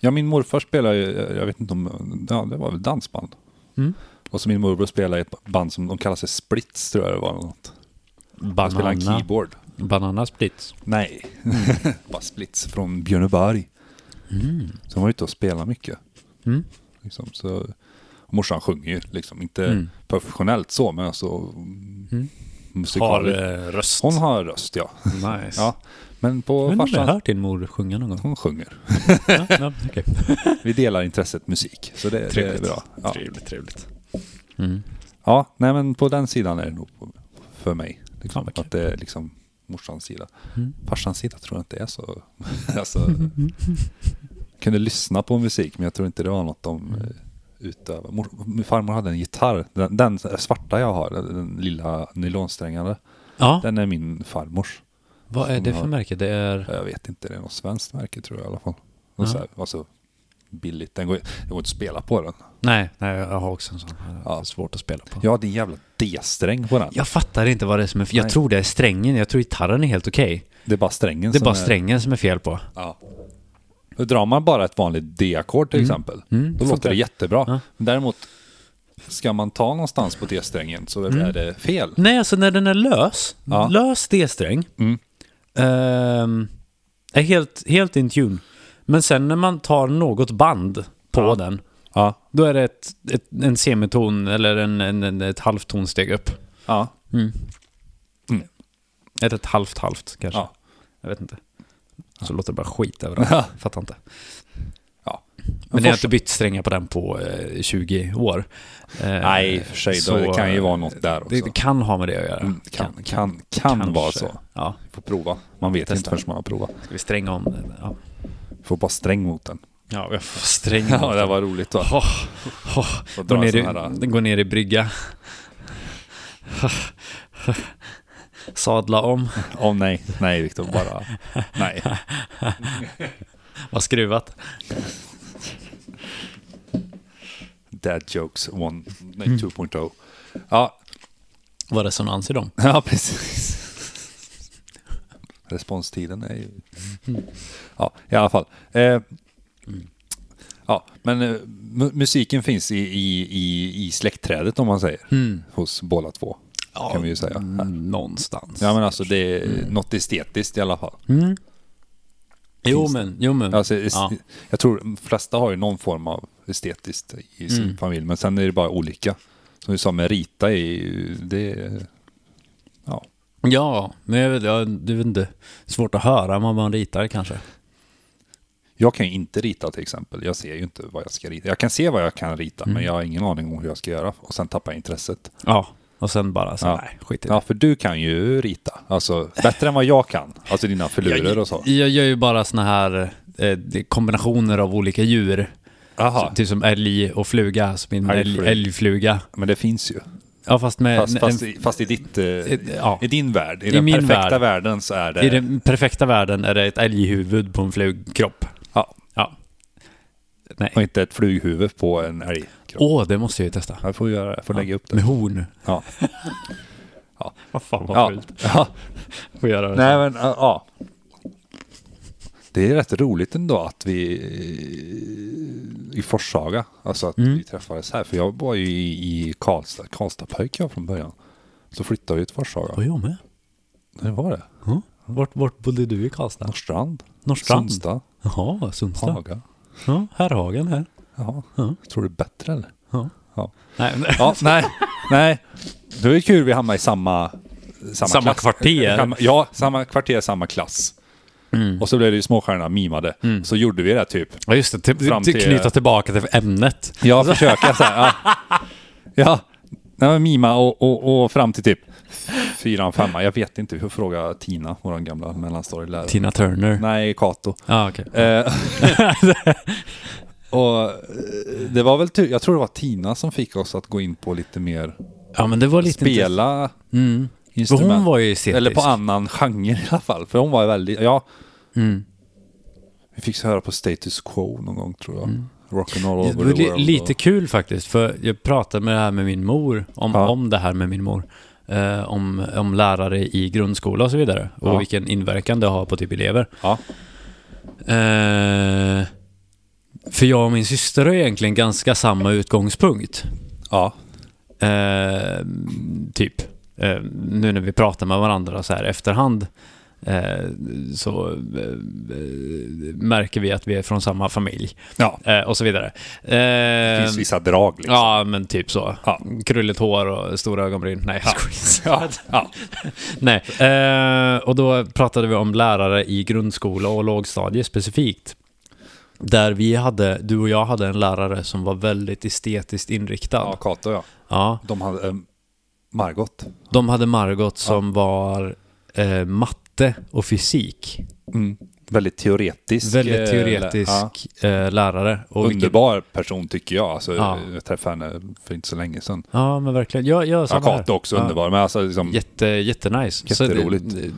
Speaker 2: ja, min morfar spelar ju, jag vet inte om, ja, det var väl dansband.
Speaker 3: Mm.
Speaker 2: Och så min morbror spelar i ett band som de kallar sig Splits tror jag det var eller något. Han spelar en
Speaker 3: Banana,
Speaker 2: keyboard.
Speaker 3: banana splits.
Speaker 2: Nej,
Speaker 3: Mm.
Speaker 2: bara Splits från Björneberg. Så de var ute och spelade mycket.
Speaker 3: Mm.
Speaker 2: Liksom, så, och morsan sjunger ju liksom, inte
Speaker 3: Mm.
Speaker 2: professionellt så men alltså mm.
Speaker 3: Har
Speaker 2: musikaliskt.
Speaker 3: eh, röst.
Speaker 2: Hon har röst ja.
Speaker 3: Nice.
Speaker 2: ja. Men på
Speaker 3: Men har jag
Speaker 2: farsan,
Speaker 3: hört din mor sjunga någon gång?
Speaker 2: hon sjunger.
Speaker 3: ja, ja, okej.
Speaker 2: Vi delar intresset musik. Så det, det är
Speaker 3: Trevligt.
Speaker 2: bra. Ja.
Speaker 3: Trevligt, trevligt.
Speaker 2: Ja, nej men på den sidan är det nog på- för mig.
Speaker 3: Ja,
Speaker 2: Liksom,
Speaker 3: vad kul.
Speaker 2: att det är liksom morsans sida. Farsans sida tror jag inte är så... alltså, kunde lyssna på musik men jag tror inte det var något de mm. utövade. Mor, min farmor hade en gitarr. Den, den svarta jag har, den lilla nylonsträngade.
Speaker 3: Ja,
Speaker 2: Den är min farmors.
Speaker 3: vad är det för
Speaker 2: har-
Speaker 3: märke? Det är...
Speaker 2: Jag vet inte, det är något svenskt märke tror jag i alla fall. Och så här, alltså, billigt. Den går, ju- det går inte att spela på den.
Speaker 3: Nej, nej, jag har också en sån. Ja.
Speaker 2: Ja.
Speaker 3: svårt att spela på.
Speaker 2: Jag hade en jävla D-sträng på den.
Speaker 3: Jag fattar inte vad det är som är fel. Jag
Speaker 2: Nej.
Speaker 3: tror det är strängen. Jag tror gitarren är helt okej.
Speaker 2: Det är bara strängen
Speaker 3: Det är
Speaker 2: som
Speaker 3: bara strängen som är fel på.
Speaker 2: Ja. Då drar man bara ett vanligt D-ackord till exempel, då låter
Speaker 3: funkar.
Speaker 2: det jättebra. Men däremot, ska man ta någonstans på D-strängen så är det fel.
Speaker 3: Nej, alltså när den är lös. Lös D-sträng. Ehm, är helt, helt in tune. Men sen när man tar något band på den,
Speaker 2: Ja.
Speaker 3: då är det ett, ett, en semiton eller en, en, en, ett halvtonsteg upp.
Speaker 2: Ja.
Speaker 3: Ett, ett halvt halvt kanske.
Speaker 2: Ja.
Speaker 3: Jag vet inte. Så låter det bara skit överallt.
Speaker 2: Ja.
Speaker 3: Fattar inte.
Speaker 2: ja.
Speaker 3: Men jag har
Speaker 2: forsa-
Speaker 3: inte bytt strängar på den på eh, 20 år. Eh,
Speaker 2: Nej, i och för sig, då,
Speaker 3: så,
Speaker 2: det kan ju
Speaker 3: eh,
Speaker 2: vara något där också.
Speaker 3: Det, det kan ha med det att göra.
Speaker 2: Mm, kan, kan, kan, vara
Speaker 3: kanske.
Speaker 2: så.
Speaker 3: Ja,
Speaker 2: Får prova. Man vet
Speaker 3: Testa.
Speaker 2: inte förrän man har provat.
Speaker 3: ska vi stränga om det? Ja.
Speaker 2: Får bara sträng mot den.
Speaker 3: Ja, jag får sträng.
Speaker 2: Ja, det var roligt va?
Speaker 3: Oh,
Speaker 2: Får dra
Speaker 3: Går,
Speaker 2: en
Speaker 3: ner i,
Speaker 2: sån här-
Speaker 3: går ner i brygga. Sadla om.
Speaker 2: Åh nej, nej Viktor, bara nej.
Speaker 3: Vad skruvat.
Speaker 2: Dad jokes one- nej, 2.0. Ja,
Speaker 3: Vad resonans i dem.
Speaker 2: ja, precis. Responstiden är ju... Ja, i alla fall. Eh, ja, men eh, mu- musiken finns i, i, i, i släktträdet om man säger. Hos båda två. Kan vi ju säga.
Speaker 3: Någonstans.
Speaker 2: Ja men alltså det är något estetiskt i alla fall.
Speaker 3: jo, men, jo, men.
Speaker 2: Alltså, es-
Speaker 3: ja.
Speaker 2: Jag tror de flesta har ju någon form av estetiskt i sin familj, men sen är det bara olika. Som du sa med Rita, är ju, det är- ja.
Speaker 3: ja, men jag vet, jag, du vet inte. Svårt att höra om man ritar kanske.
Speaker 2: Jag kan ju inte rita till exempel. Jag ser ju inte vad jag ska rita. Jag kan se vad jag kan rita,
Speaker 3: Mm.
Speaker 2: men jag har ingen aning om hur jag ska göra. Och sen tappar jag intresset.
Speaker 3: Ja, och sen bara så,
Speaker 2: Ja.
Speaker 3: nej, skit i det.
Speaker 2: Ja, för du kan ju rita. Alltså bättre än vad jag kan. Alltså dina filurer och så.
Speaker 3: Jag gör ju bara såna här eh, kombinationer av olika djur.
Speaker 2: Aha.
Speaker 3: Så, typ som älg och fluga, som min
Speaker 2: Älgfluga.
Speaker 3: älg, älgfluga.
Speaker 2: Men det finns
Speaker 3: Eh,
Speaker 2: ju.
Speaker 3: Ja, fast med...
Speaker 2: Fast,
Speaker 3: en-
Speaker 2: fast,
Speaker 3: en,
Speaker 2: i, fast i, ditt, eh,
Speaker 3: ja.
Speaker 2: i din värld, i,
Speaker 3: I
Speaker 2: den
Speaker 3: min
Speaker 2: perfekta
Speaker 3: värld.
Speaker 2: världen så är det...
Speaker 3: I den perfekta världen är det ett älghuvud på en flugkropp.
Speaker 2: ja.
Speaker 3: Ja. Nej.
Speaker 2: Och inte ett flughuvud på en älgkropp.
Speaker 3: Åh, det måste jag ju testa.
Speaker 2: Jag får göra det, får lägga upp det.
Speaker 3: Med horn.
Speaker 2: Ja.
Speaker 3: Vad fan vad
Speaker 2: ja. ja.
Speaker 3: Får göra det.
Speaker 2: Nej men, ja, ja. Det är rätt roligt ändå att vi eh, i Forshaga, alltså att vi träffades här. För jag var ju i, i Karlstad, Karlstadpöjk jag från början. Så flyttade jag ju till Forshaga.
Speaker 3: Var jag med?
Speaker 2: Det var det.
Speaker 3: Ja. Vart, vart bodde du i Karlstad?
Speaker 2: Norrstrand,
Speaker 3: Norrstrand?
Speaker 2: Sundsta,
Speaker 3: Jaha, Sundstrand.
Speaker 2: Haga.
Speaker 3: Ja, Herrhagen här.
Speaker 2: Ja. Tror du det är bättre eller?
Speaker 3: Ja.
Speaker 2: Ja.
Speaker 3: Nej, men-
Speaker 2: Ja, nej, nej. Det är kul vi hamnar i samma... Samma,
Speaker 3: Samma
Speaker 2: klass. Eh,
Speaker 3: kvarter.
Speaker 2: Samma- Ja, samma kvarter, samma klass. Och så blev det ju Småstjärnorna mimade. Så gjorde vi det typ.
Speaker 3: Ja, just det. Till,
Speaker 2: Fram
Speaker 3: till,
Speaker 2: till- eh,
Speaker 3: knyta tillbaka till ämnet.
Speaker 2: Jag försöker så här. Ja, ja. Nej, men mima och, och, och fram till typ fyran, femma. Jag vet inte. Vi får fråga Tina, vår gamla mellanstadielärare.
Speaker 3: Tina Turner.
Speaker 2: Nej, Kato.
Speaker 3: Ja, okej.
Speaker 2: Eh, och eh, det var väl tur. Jag tror det var Tina som fick oss att gå in på lite mer
Speaker 3: Ja, men det var lite... intressant.
Speaker 2: spela
Speaker 3: Mm. För
Speaker 2: instrument.
Speaker 3: hon var ju estetisk.
Speaker 2: Eller på annan genre i alla fall. För hon var ju väldigt, ja.
Speaker 3: Mm.
Speaker 2: Vi fick höra på Status Quo någon gång tror jag.
Speaker 3: Mm.
Speaker 2: Rock'n'roll
Speaker 3: Det
Speaker 2: over
Speaker 3: var
Speaker 2: the
Speaker 3: li-
Speaker 2: world.
Speaker 3: lite
Speaker 2: och,
Speaker 3: kul faktiskt, för jag pratade med det här med min mor, om,
Speaker 2: Ja.
Speaker 3: om det här med min mor, eh, om, om lärare i grundskola och så vidare, och
Speaker 2: Ja.
Speaker 3: vilken inverkan det har på typ elever.
Speaker 2: ja.
Speaker 3: Eh, för jag och min syster har egentligen ganska samma utgångspunkt,
Speaker 2: ja.
Speaker 3: eh, typ. Eh, nu när vi pratar med varandra så här efterhand, eh, så eh, eh, märker vi att vi är från samma familj.
Speaker 2: Ja.
Speaker 3: Eh, och så vidare.
Speaker 2: Det
Speaker 3: Eh,
Speaker 2: finns vissa drag liksom.
Speaker 3: Ja, men typ så.
Speaker 2: Ja.
Speaker 3: Krulligt hår och stora ögonbryn. Nej, jag skojar.
Speaker 2: Ja. Ja.
Speaker 3: Nej. Eh, och då pratade vi om lärare i grundskola och lågstadie specifikt. Där vi hade, du och jag hade en lärare som var väldigt estetiskt
Speaker 2: ja,
Speaker 3: inriktad. Ja.
Speaker 2: Kato ja. De hade eh, Margot.
Speaker 3: De hade Margot som var eh, matte och fysik.
Speaker 2: Väldigt teoretisk. eh,
Speaker 3: Mm. Väldigt
Speaker 2: ja.
Speaker 3: teoretisk eh, lärare. Och vilket-
Speaker 2: Underbar person tycker jag. Alltså,
Speaker 3: Ja.
Speaker 2: Jag träffade henne för inte så länge sedan.
Speaker 3: Ja, men verkligen. Jag, jag,
Speaker 2: Ja,
Speaker 3: samma här.
Speaker 2: Kato också
Speaker 3: Ja.
Speaker 2: underbar. Men alltså liksom,
Speaker 3: Jätte, jättenice. Så
Speaker 2: Jätteroligt.
Speaker 3: det-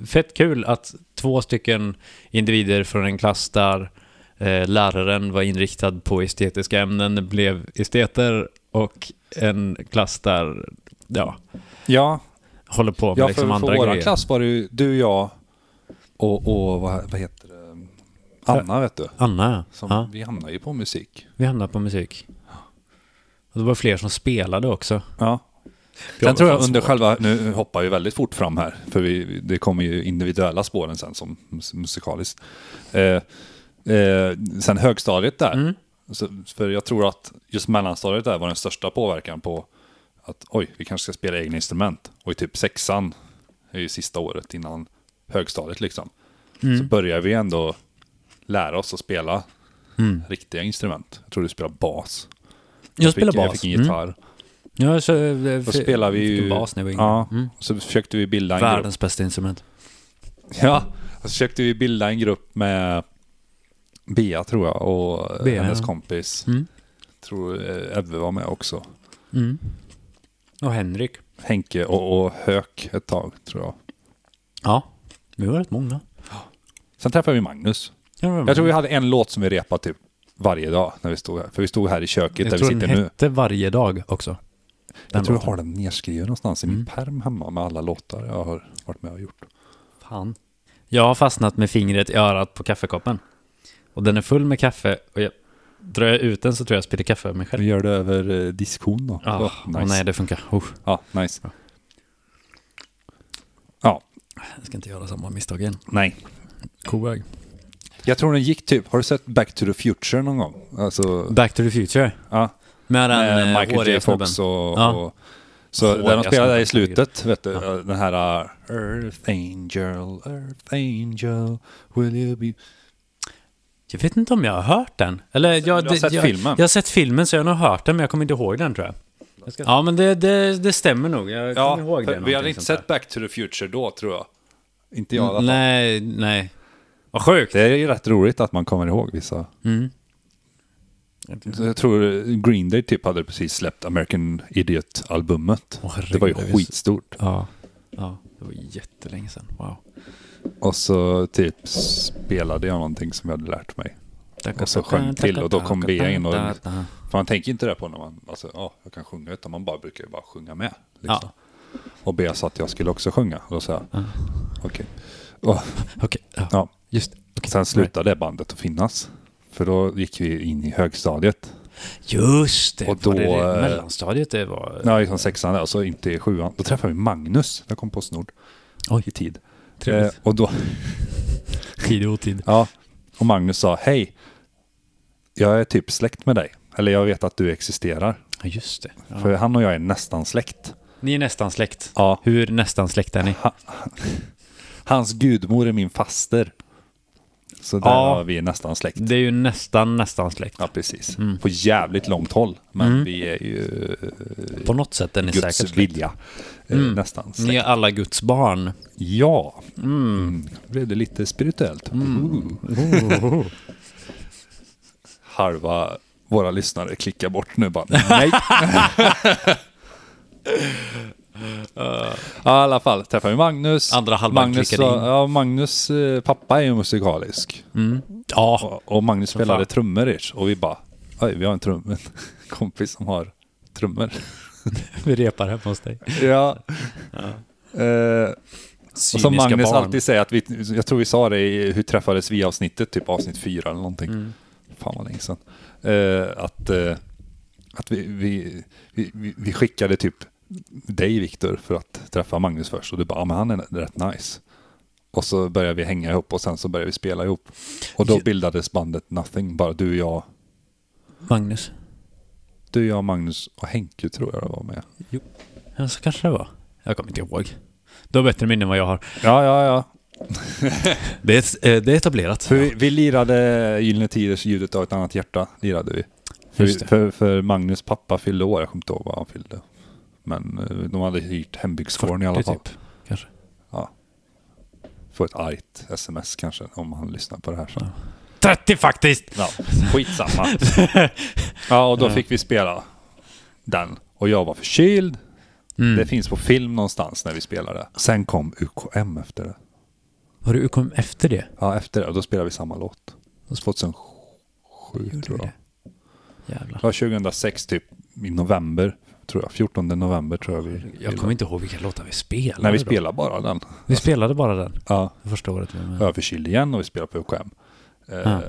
Speaker 3: det- Fett kul att två stycken individer från en klass där eh, läraren var inriktad på estetiska ämnen blev esteter och en klass där, ja,
Speaker 2: ja,
Speaker 3: håller på med
Speaker 2: Ja,
Speaker 3: liksom
Speaker 2: för,
Speaker 3: andra
Speaker 2: för våran
Speaker 3: grejer.
Speaker 2: klass var det ju du, jag och, och vad, vad heter det? Anna vet du.
Speaker 3: Anna,
Speaker 2: Som,
Speaker 3: ja.
Speaker 2: Vi hamnade ju på musik.
Speaker 3: Vi hamnade på musik. Och det var fler som spelade också.
Speaker 2: Ja.
Speaker 3: var
Speaker 2: Sen tror jag
Speaker 3: fan
Speaker 2: under
Speaker 3: svår.
Speaker 2: själva, nu hoppar vi väldigt fort fram här, för vi, det kommer ju individuella spåren sen som mus- musikaliskt. Eh, eh, sen högstadiet där,
Speaker 3: Mm.
Speaker 2: så, för jag tror att just mellanstadiet där var den största påverkan på att oj, vi kanske ska spela egna instrument. Och i typ sexan, är ju sista året innan högstadiet liksom,
Speaker 3: Mm.
Speaker 2: så börjar vi ändå lära oss att spela riktiga instrument. Jag tror du spelar bas.
Speaker 3: Jag
Speaker 2: fick,
Speaker 3: spelade bas.
Speaker 2: Mm.
Speaker 3: Mm.
Speaker 2: Jag fick en gitarr.
Speaker 3: Ja, så, eh,
Speaker 2: Då spelade vi ju...
Speaker 3: Bas när vi var
Speaker 2: ja,
Speaker 3: yngre. Mm.
Speaker 2: så försökte vi bilda en
Speaker 3: Världens bästa instrument.
Speaker 2: grupp. Ja, och så försökte vi bilda en grupp med Bea tror jag och
Speaker 3: Bea,
Speaker 2: hennes
Speaker 3: ja.
Speaker 2: kompis.
Speaker 3: Mm.
Speaker 2: Tror eh, Ebbe var med också.
Speaker 3: Mm. Och Henrik.
Speaker 2: Henke och, och Höök ett tag tror jag.
Speaker 3: Ja, vi var rätt många.
Speaker 2: Sen träffade vi Magnus.
Speaker 3: Kan
Speaker 2: Jag tror vi hade en låt som vi repade typ varje dag när vi stod här. För vi stod här i köket där vi sitter
Speaker 3: den
Speaker 2: nu.
Speaker 3: hette Varje dag också.
Speaker 2: Jag tror jag
Speaker 3: låten. Mm.
Speaker 2: har den nedskriven någonstans i min perm hemma med alla låtar jag har varit med och gjort.
Speaker 3: Fan. Jag har fastnat med fingret i örat på kaffekoppen. Och den är full med kaffe och jag drar jag ut den så tror jag jag spiller kaffe över mig själv.
Speaker 2: Vi gör det över eh, diskhon då.
Speaker 3: Ah,
Speaker 2: Så,
Speaker 3: åh
Speaker 2: nice.
Speaker 3: nej, det funkar. Oh,
Speaker 2: Ja, nice. Ja,
Speaker 3: jag ska inte göra samma misstag igen.
Speaker 2: nej.
Speaker 3: Koväg.
Speaker 2: Jag tror den gick typ, har du sett Back to the Future någon gång? Alltså,
Speaker 3: Back to the Future.
Speaker 2: ja.
Speaker 3: Med den
Speaker 2: Med
Speaker 3: eh,
Speaker 2: Michael
Speaker 3: håriga
Speaker 2: J.
Speaker 3: snubben.
Speaker 2: Fox och...
Speaker 3: Ja.
Speaker 2: och så
Speaker 3: Håriga
Speaker 2: där de spelar där i
Speaker 3: snubben.
Speaker 2: slutet, vet du, den här uh, Earth Angel, Earth Angel, will you be...
Speaker 3: Jag vet inte om jag har hört den. Eller jag,
Speaker 2: du har
Speaker 3: det-
Speaker 2: sett
Speaker 3: jag,
Speaker 2: filmen?
Speaker 3: Jag har sett filmen så jag har nog hört den men jag kommer inte ihåg den tror jag. Ja men det, det, det stämmer nog. Jag
Speaker 2: Ja,
Speaker 3: kommer ihåg
Speaker 2: för
Speaker 3: det.
Speaker 2: vi hade
Speaker 3: någonting
Speaker 2: inte
Speaker 3: sånt
Speaker 2: sett Back to the Future då tror jag. Inte jag i
Speaker 3: där.
Speaker 2: alla fall.
Speaker 3: Nej, nej. Vad sjukt.
Speaker 2: Mm, Det är ju rätt roligt att man kommer ihåg vissa. Så Jag tror Green Day typ hade precis släppt American Idiot-albumet.
Speaker 3: Åh, herregud,
Speaker 2: det var ju
Speaker 3: det är så-
Speaker 2: skitstort.
Speaker 3: Ja. ja, det var jättelänge sedan. Wow.
Speaker 2: Och så typ spelade jag någonting som jag hade lärt mig. Och så sjöng till och då kom Bea in och... För man tänker inte det på när man, alltså ja, jag kan sjunga utan man bara brukar ju bara sjunga med. Liksom.
Speaker 3: Ja.
Speaker 2: Och Bea sa att jag skulle också sjunga. Och då sa jag, okej. Och-
Speaker 3: Okej, ja.
Speaker 2: Ja.
Speaker 3: just okej.
Speaker 2: Sen slutade det bandet att finnas. För då gick vi in i högstadiet.
Speaker 3: Just det,
Speaker 2: Och
Speaker 3: var det,
Speaker 2: då,
Speaker 3: det
Speaker 2: eh,
Speaker 3: mellanstadiet det var...
Speaker 2: Ja, liksom sexan där, alltså inte i sjuan. Då träffade vi Magnus, jag kom på snord,
Speaker 3: Oj,
Speaker 2: i tid. Eh,
Speaker 3: Trevligt.
Speaker 2: och då,
Speaker 3: tid och otid.
Speaker 2: ja, och Magnus sa, hej, jag är typ släkt med dig. Eller jag vet att du existerar.
Speaker 3: Ja, just det. Ja.
Speaker 2: För han och jag är nästan släkt.
Speaker 3: Ni är nästan släkt.
Speaker 2: Ja.
Speaker 3: Hur nästan släkt är ni?
Speaker 2: Hans gudmor är min faster. Så där
Speaker 3: Ja.
Speaker 2: har vi nästan släkt.
Speaker 3: Det är ju nästan, nästan släkt.
Speaker 2: Ja, precis. På jävligt långt håll. Men vi är ju
Speaker 3: På något sätt är ni Mm. säkert
Speaker 2: Guds
Speaker 3: släkt. Mm.
Speaker 2: vilja. eh, Nästan släkt.
Speaker 3: Ni är alla Guds barn.
Speaker 2: Ja. Mm. Blev det lite spirituellt?
Speaker 3: Mm.
Speaker 2: Ooh. Halva våra lyssnare klickar bort nu bara. Nej. Ja, I alla fall, träffade vi Magnus.
Speaker 3: Andra halvan
Speaker 2: Magnus,
Speaker 3: klickade
Speaker 2: sa-
Speaker 3: in.
Speaker 2: Ja, Magnus eh, pappa är ju musikalisk.
Speaker 3: Ja,
Speaker 2: Och- Och Magnus spelade
Speaker 3: fan.
Speaker 2: trummor ish. Och vi bara, oj, vi har en trum- en kompis som har trummor.
Speaker 3: vi repar hemma hos dig.
Speaker 2: ja. Eh, och som
Speaker 3: Cyniska
Speaker 2: Magnus
Speaker 3: barn.
Speaker 2: alltid säger, att vi, jag tror vi sa det i Hur träffades vi avsnittet, typ avsnitt fyra eller någonting. Fan vad länge sedan. Eh, att eh, att vi, vi, vi, vi- vi skickade typ dig Viktor för att träffa Magnus först och du bara, ja men han är rätt nice. Och så började vi hänga ihop och sen så började vi spela ihop. Och då bildades bandet Nothing, bara du, jag,
Speaker 3: Magnus.
Speaker 2: du, jag, Magnus och Henke tror jag det var med.
Speaker 3: Ja, så kanske det var. Jag kommer inte ihåg. Du har bättre minne än vad jag har.
Speaker 2: Ja, ja, ja.
Speaker 3: Det är, eh, det är etablerat.
Speaker 2: För vi, vi lirade Gyllene Tiders ljudet av ett annat hjärta, lirade vi. För,
Speaker 3: Just det.
Speaker 2: för, för Magnus pappa fyllde år, jag kommer inte ihåg vad han fyllde. Men eh, de hade hyrt hembygdsgården i alla
Speaker 3: Det
Speaker 2: fall.
Speaker 3: typ, kanske.
Speaker 2: Få ett argt sms kanske, om han lyssnar på det här sen.
Speaker 3: 30 faktiskt!
Speaker 2: Ja, skitsamma. ja, och då fick vi spela den. Och jag var förkyld. Det finns på film någonstans när vi spelade. Sen kom UKM efter det.
Speaker 3: Har du kom efter det?
Speaker 2: Ja, efter det. Och då spelade vi samma låt. 2007 tror jag.
Speaker 3: Jävlar.
Speaker 2: Det var 2006 typ i november, tror jag. 14 november tror jag vi...
Speaker 3: Jag kommer inte ihåg vilka låtar vi spelade.
Speaker 2: Nej, vi
Speaker 3: då.
Speaker 2: spelade bara den.
Speaker 3: Vi spelade bara den.
Speaker 2: Ja,
Speaker 3: Det första året vi var med.
Speaker 2: överkyld igen och vi spelade på UKM. Eh,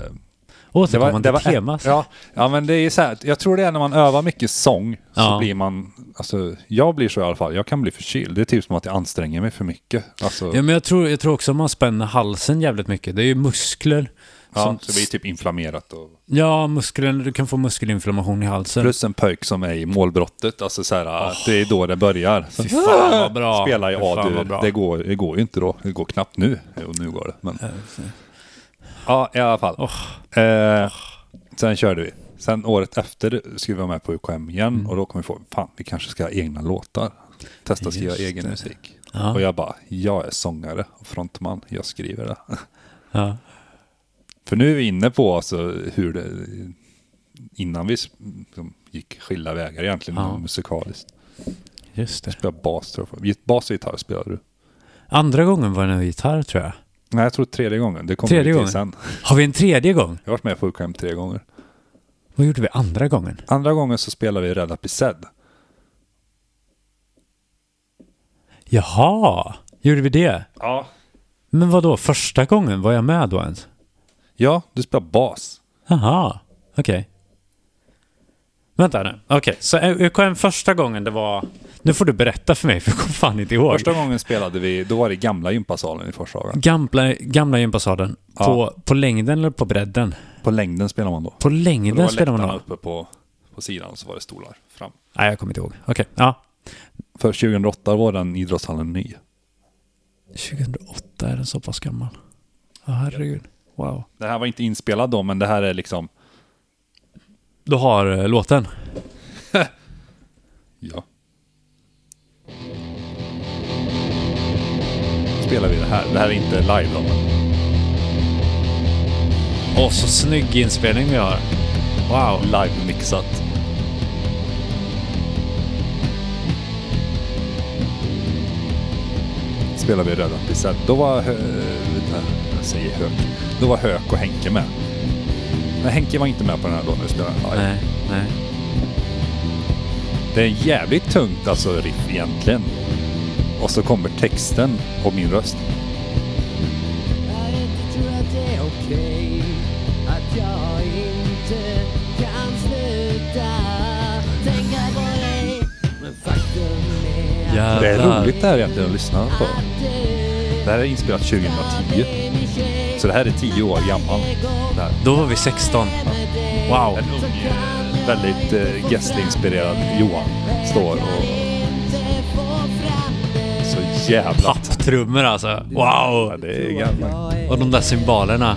Speaker 3: Ja. Återkommande tema. så.
Speaker 2: ja, ja, men det är så här, jag tror det är när man övar mycket sång så
Speaker 3: Ja.
Speaker 2: blir man, alltså jag blir så i alla fall, jag kan bli förkyld. Det är typ som att jag anstränger mig för mycket. Alltså,
Speaker 3: Ja, men jag tror, jag tror också man spänner halsen jävligt mycket. Det är ju muskler.
Speaker 2: ja,
Speaker 3: som,
Speaker 2: så det blir typ inflammerat. Och,
Speaker 3: ja musklerna, du kan få muskelinflammation i halsen.
Speaker 2: plus en pöjk som är i målbrottet, alltså så här, att det är då det börjar. Så,
Speaker 3: Fy fan vad bra.
Speaker 2: Spela i
Speaker 3: Fy fan vad
Speaker 2: A-dur.
Speaker 3: bra.
Speaker 2: Det går, det går ju inte då. Det går knappt nu. Jo, nu går det. Men... Ja, i alla fall. Eh, sen körde vi. Sen året efter skulle vi vara med på UKM igen
Speaker 3: Mm.
Speaker 2: och då kom vi på, fan vi kanske ska ha egna låtar. Testa att skriva
Speaker 3: Just
Speaker 2: egen
Speaker 3: det.
Speaker 2: musik.
Speaker 3: Ja.
Speaker 2: Och jag bara, jag är sångare och frontman, jag skriver det.
Speaker 3: Ja.
Speaker 2: För nu är vi inne på alltså hur det, innan vi s- liksom, gick skilda vägar egentligen
Speaker 3: Ja.
Speaker 2: musikaliskt.
Speaker 3: Just det.
Speaker 2: Jag bas tror jag. Bas och gitarr spelade du.
Speaker 3: Andra gången var det en gitarr tror jag.
Speaker 2: Nej, jag tror tredje gången. Det kommer
Speaker 3: Tredje
Speaker 2: vi till
Speaker 3: gången?
Speaker 2: sen.
Speaker 3: Har vi en tredje gång?
Speaker 2: Jag har varit med på skämt tre gånger.
Speaker 3: Vad gjorde vi andra gången?
Speaker 2: Andra gången så spelade vi Rädda Pised.
Speaker 3: Jaha, gjorde vi det?
Speaker 2: Ja.
Speaker 3: Men vad då? första gången var jag med då ens?
Speaker 2: Ja, du spelar bas.
Speaker 3: Jaha, okej. Vänta nu, okej. Så UKM första gången det var... Nu får du berätta för mig, för jag kommer fan inte ihåg.
Speaker 2: Första gången spelade vi, då var det gamla gympasalen i Forshaga.
Speaker 3: Gamla, gamla gympasalen.
Speaker 2: Ja.
Speaker 3: På, på längden eller på bredden?
Speaker 2: På längden spelar man då.
Speaker 3: På
Speaker 2: Och då
Speaker 3: längden
Speaker 2: var
Speaker 3: spelar man
Speaker 2: läktarna
Speaker 3: då?
Speaker 2: uppe på, på sidan och så var det stolar fram.
Speaker 3: Nej, jag kommer inte ihåg. Okej, ja.
Speaker 2: För 2008 var den idrottshallen ny.
Speaker 3: 2008 är den så pass gammal. Ja, herregud. Wow.
Speaker 2: Det här var inte inspelad då, men det här är liksom...
Speaker 3: Du har eh, låten?
Speaker 2: Ja. Spelar vi det här. Det här är inte live då. men-
Speaker 3: Åh, så snygg inspelning vi har. Wow.
Speaker 2: Live-mixat. Spelar vi Röda Pisset. Då var... Hö, vänta, jag säger Höök. Då var Höök och Henke med. Men Henke var inte med på den här då när vi spelade live.
Speaker 3: Nej, nej.
Speaker 2: Det är jävligt tungt alltså riff egentligen. Och så kommer texten och min röst.
Speaker 5: Är inte tror att det är okej att jag inte kan sluta tänka på dig Men faktum är att
Speaker 2: Det är
Speaker 3: Jävlar.
Speaker 2: roligt det här egentligen att lyssna på. Det här är inspelat 2010. Så det här är 10 år gammal. Det här.
Speaker 3: Då var vi 16. Wow.
Speaker 2: En ung, eh, väldigt eh, Gessle-inspirerad Johan står och så jävla...
Speaker 3: Papptrummor alltså.
Speaker 2: Ja,
Speaker 3: Wow.
Speaker 2: det är gammalt.
Speaker 3: Och de där cymbalerna.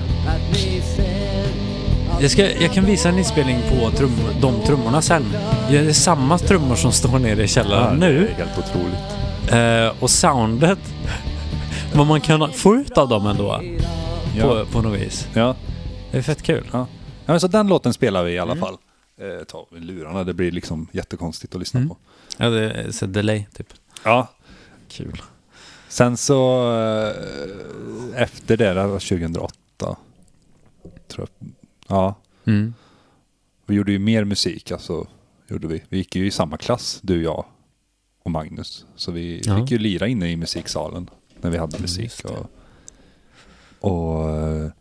Speaker 3: Jag, ska, jag kan visa en inspelning på trum, de trummorna sen. Det är samma trummor som står nere i
Speaker 2: Ja,
Speaker 3: källaren
Speaker 2: det är
Speaker 3: nu.
Speaker 2: helt otroligt.
Speaker 3: Eh, och soundet. Vad man kan få ut av dem ändå.
Speaker 2: Ja.
Speaker 3: På, på något vis.
Speaker 2: Ja.
Speaker 3: Det är fett kul.
Speaker 2: Ja. ja, men så den låten spelar vi i alla fall. Eh, ta av lurarna, det blir liksom jättekonstigt att lyssna på.
Speaker 3: Ja, det är så delay typ.
Speaker 2: Ja,
Speaker 3: Kul.
Speaker 2: Sen så eh, efter det, det här var 2008. Tror jag. Ja,
Speaker 3: Mm.
Speaker 2: vi gjorde ju mer musik. Alltså, gjorde vi. vi gick ju i samma klass, du, jag och Magnus. Så vi
Speaker 3: Ja. Mm,
Speaker 2: fick ju lira inne i musiksalen när vi hade musik.
Speaker 3: just
Speaker 2: Och, och eh,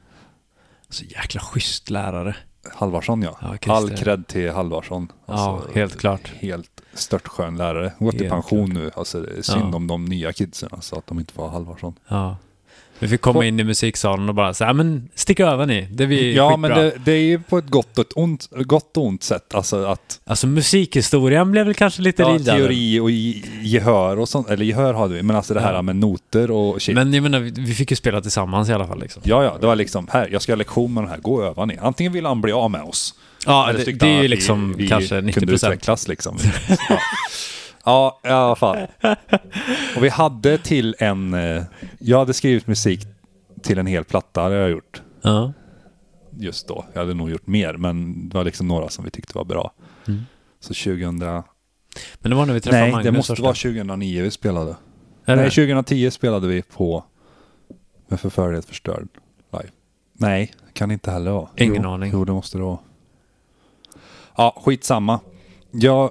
Speaker 3: Så jäkla schysst lärare.
Speaker 2: Halvarsson ja.
Speaker 3: Ja, Christer.
Speaker 2: All cred till Halvarsson.
Speaker 3: ja, helt klart.
Speaker 2: Helt störtskön lärare. Hon går i
Speaker 3: Helt
Speaker 2: pension nu. Alltså, det är synd
Speaker 3: Ja.
Speaker 2: om de nya kidsen, alltså, att de inte får Halvarsson.
Speaker 3: Ja. Vi fick komma in i musiksalen och bara så här, men stick över ni. Det blir
Speaker 2: Ja,
Speaker 3: skitbra.
Speaker 2: men det, det är ju på ett gott och ett ont, gott och ont sätt. Alltså att
Speaker 3: Alltså musikhistorien blev väl kanske lite
Speaker 2: ja,
Speaker 3: lidande.
Speaker 2: teori och ge- gehör och sånt, eller gehör hade vi, men alltså det här
Speaker 3: Ja.
Speaker 2: med noter och shit.
Speaker 3: Men jag menar, vi- vi fick ju spela tillsammans i alla fall liksom.
Speaker 2: Ja, ja, det var liksom här, jag ska ha lektion med den här, gå och öva ni. Antingen vill han bli av med oss.
Speaker 3: Ja,
Speaker 2: eller
Speaker 3: det,
Speaker 2: tyckte
Speaker 3: det
Speaker 2: han
Speaker 3: är ju
Speaker 2: att vi-
Speaker 3: liksom
Speaker 2: vi
Speaker 3: kanske 90
Speaker 2: kunde
Speaker 3: procent.
Speaker 2: utvecklas liksom. Ja. ja, i alla fall. Och vi hade till en, eh, jag hade skrivit musik till en hel platta, det har jag gjort.
Speaker 3: Ja.
Speaker 2: just då. Jag hade nog gjort mer, men det var liksom några som vi tyckte var bra. Så 2000...
Speaker 3: Men det var när vi träffade
Speaker 2: Nej,
Speaker 3: Mm. Magnus
Speaker 2: det måste
Speaker 3: första.
Speaker 2: vara 2009 vi spelade.
Speaker 3: Eller?
Speaker 2: Nej, 2010 spelade vi på Med förförlighet förstörd live. Nej, kan inte heller vara.
Speaker 3: Ingen
Speaker 2: jo,
Speaker 3: aning.
Speaker 2: Jo, det måste det vara. Ja, skitsamma. Jag...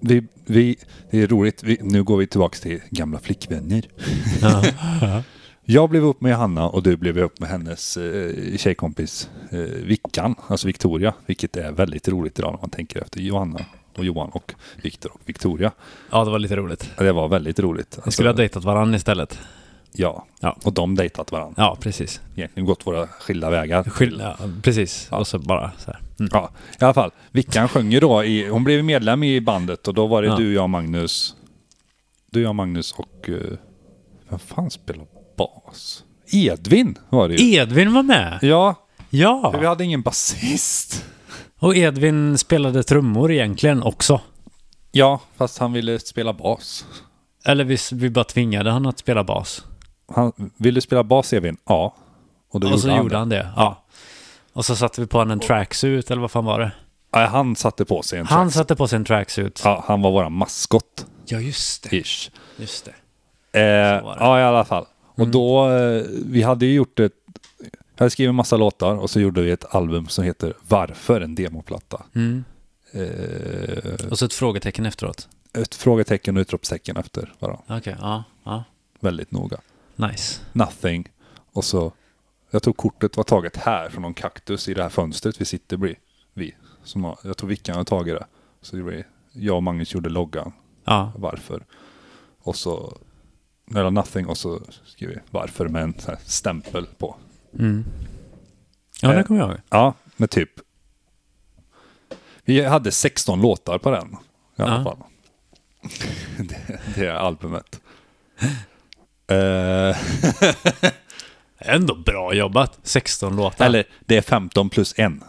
Speaker 2: Vi, vi, det är roligt, vi, nu går vi tillbaka till gamla flickvänner.
Speaker 3: Ja.
Speaker 2: Jag blev upp med Johanna och du blev upp med hennes eh, tjejkompis eh, Vickan, alltså Victoria, vilket är väldigt roligt idag när man tänker efter Johanna och Johan och Viktor och Victoria.
Speaker 3: ja, det var lite roligt.
Speaker 2: Det var väldigt roligt. Alltså,
Speaker 3: Vi skulle ha dejtat varandra istället.
Speaker 2: ja.
Speaker 3: Ja.
Speaker 2: och de dejtat varandra.
Speaker 3: Ja, precis.
Speaker 2: Egentligen gått våra skilda vägar.
Speaker 3: Skil- ja, precis. Och så bara så här. Mm.
Speaker 2: Ja, i alla fall. Vickan sjöng ju då, i, hon blev medlem i bandet och då var det
Speaker 3: Ja.
Speaker 2: du, jag, Magnus. Du, jag, Magnus och... eh, vem fan spelar bas? Edvin var det ju.
Speaker 3: Edvin var med!
Speaker 2: ja, för vi
Speaker 3: Ja!
Speaker 2: hade ingen basist.
Speaker 3: Och Edvin spelade trummor egentligen också.
Speaker 2: Ja, fast han ville spela bas.
Speaker 3: Eller vi, vi bara tvingade han att spela bas.
Speaker 2: Han, vill du spela bas Evin? Ja. Och, då
Speaker 3: och så
Speaker 2: han
Speaker 3: gjorde han det, ja. Och så satte vi på honom en tracksuit, eller vad fan var det?
Speaker 2: det. Nej, han satte på sig en
Speaker 3: Han
Speaker 2: han,
Speaker 3: satte på sig en tracksuit.
Speaker 2: ja, han var våran maskott,
Speaker 3: Ja, just det.
Speaker 2: ish.
Speaker 3: Just det.
Speaker 2: Eh,
Speaker 3: var det. Mm.
Speaker 2: ja, i alla fall. Och då, eh, vi hade ju gjort ett, jag hade skrivit en massa låtar och så gjorde vi ett album som heter Varför en demoplatta?
Speaker 3: Mm.
Speaker 2: Eh,
Speaker 3: Och så ett frågetecken efteråt.
Speaker 2: ett frågetecken och utropstecken efter varandra,
Speaker 3: Okej, ja, ja.
Speaker 2: väldigt noga.
Speaker 3: Nice.
Speaker 2: Nothing. Och så, jag tror kortet var taget här från någon kaktus i det här fönstret vi sitter vid. Vi, som har, jag tror Vickan har tagit det. Så det var, jag och Magnus gjorde loggan,
Speaker 3: Ja,
Speaker 2: varför. Och så, eller nothing och så skrev vi varför med en sån här stämpel på.
Speaker 3: ja det
Speaker 2: Eh.
Speaker 3: kommer jag ihåg.
Speaker 2: Ja, med typ. Vi hade 16 låtar på den. I alla
Speaker 3: Ja.
Speaker 2: fall. Det, det är albumet. Eh,
Speaker 3: Ändå bra jobbat. 16 låtar.
Speaker 2: Eller det är 15 plus en.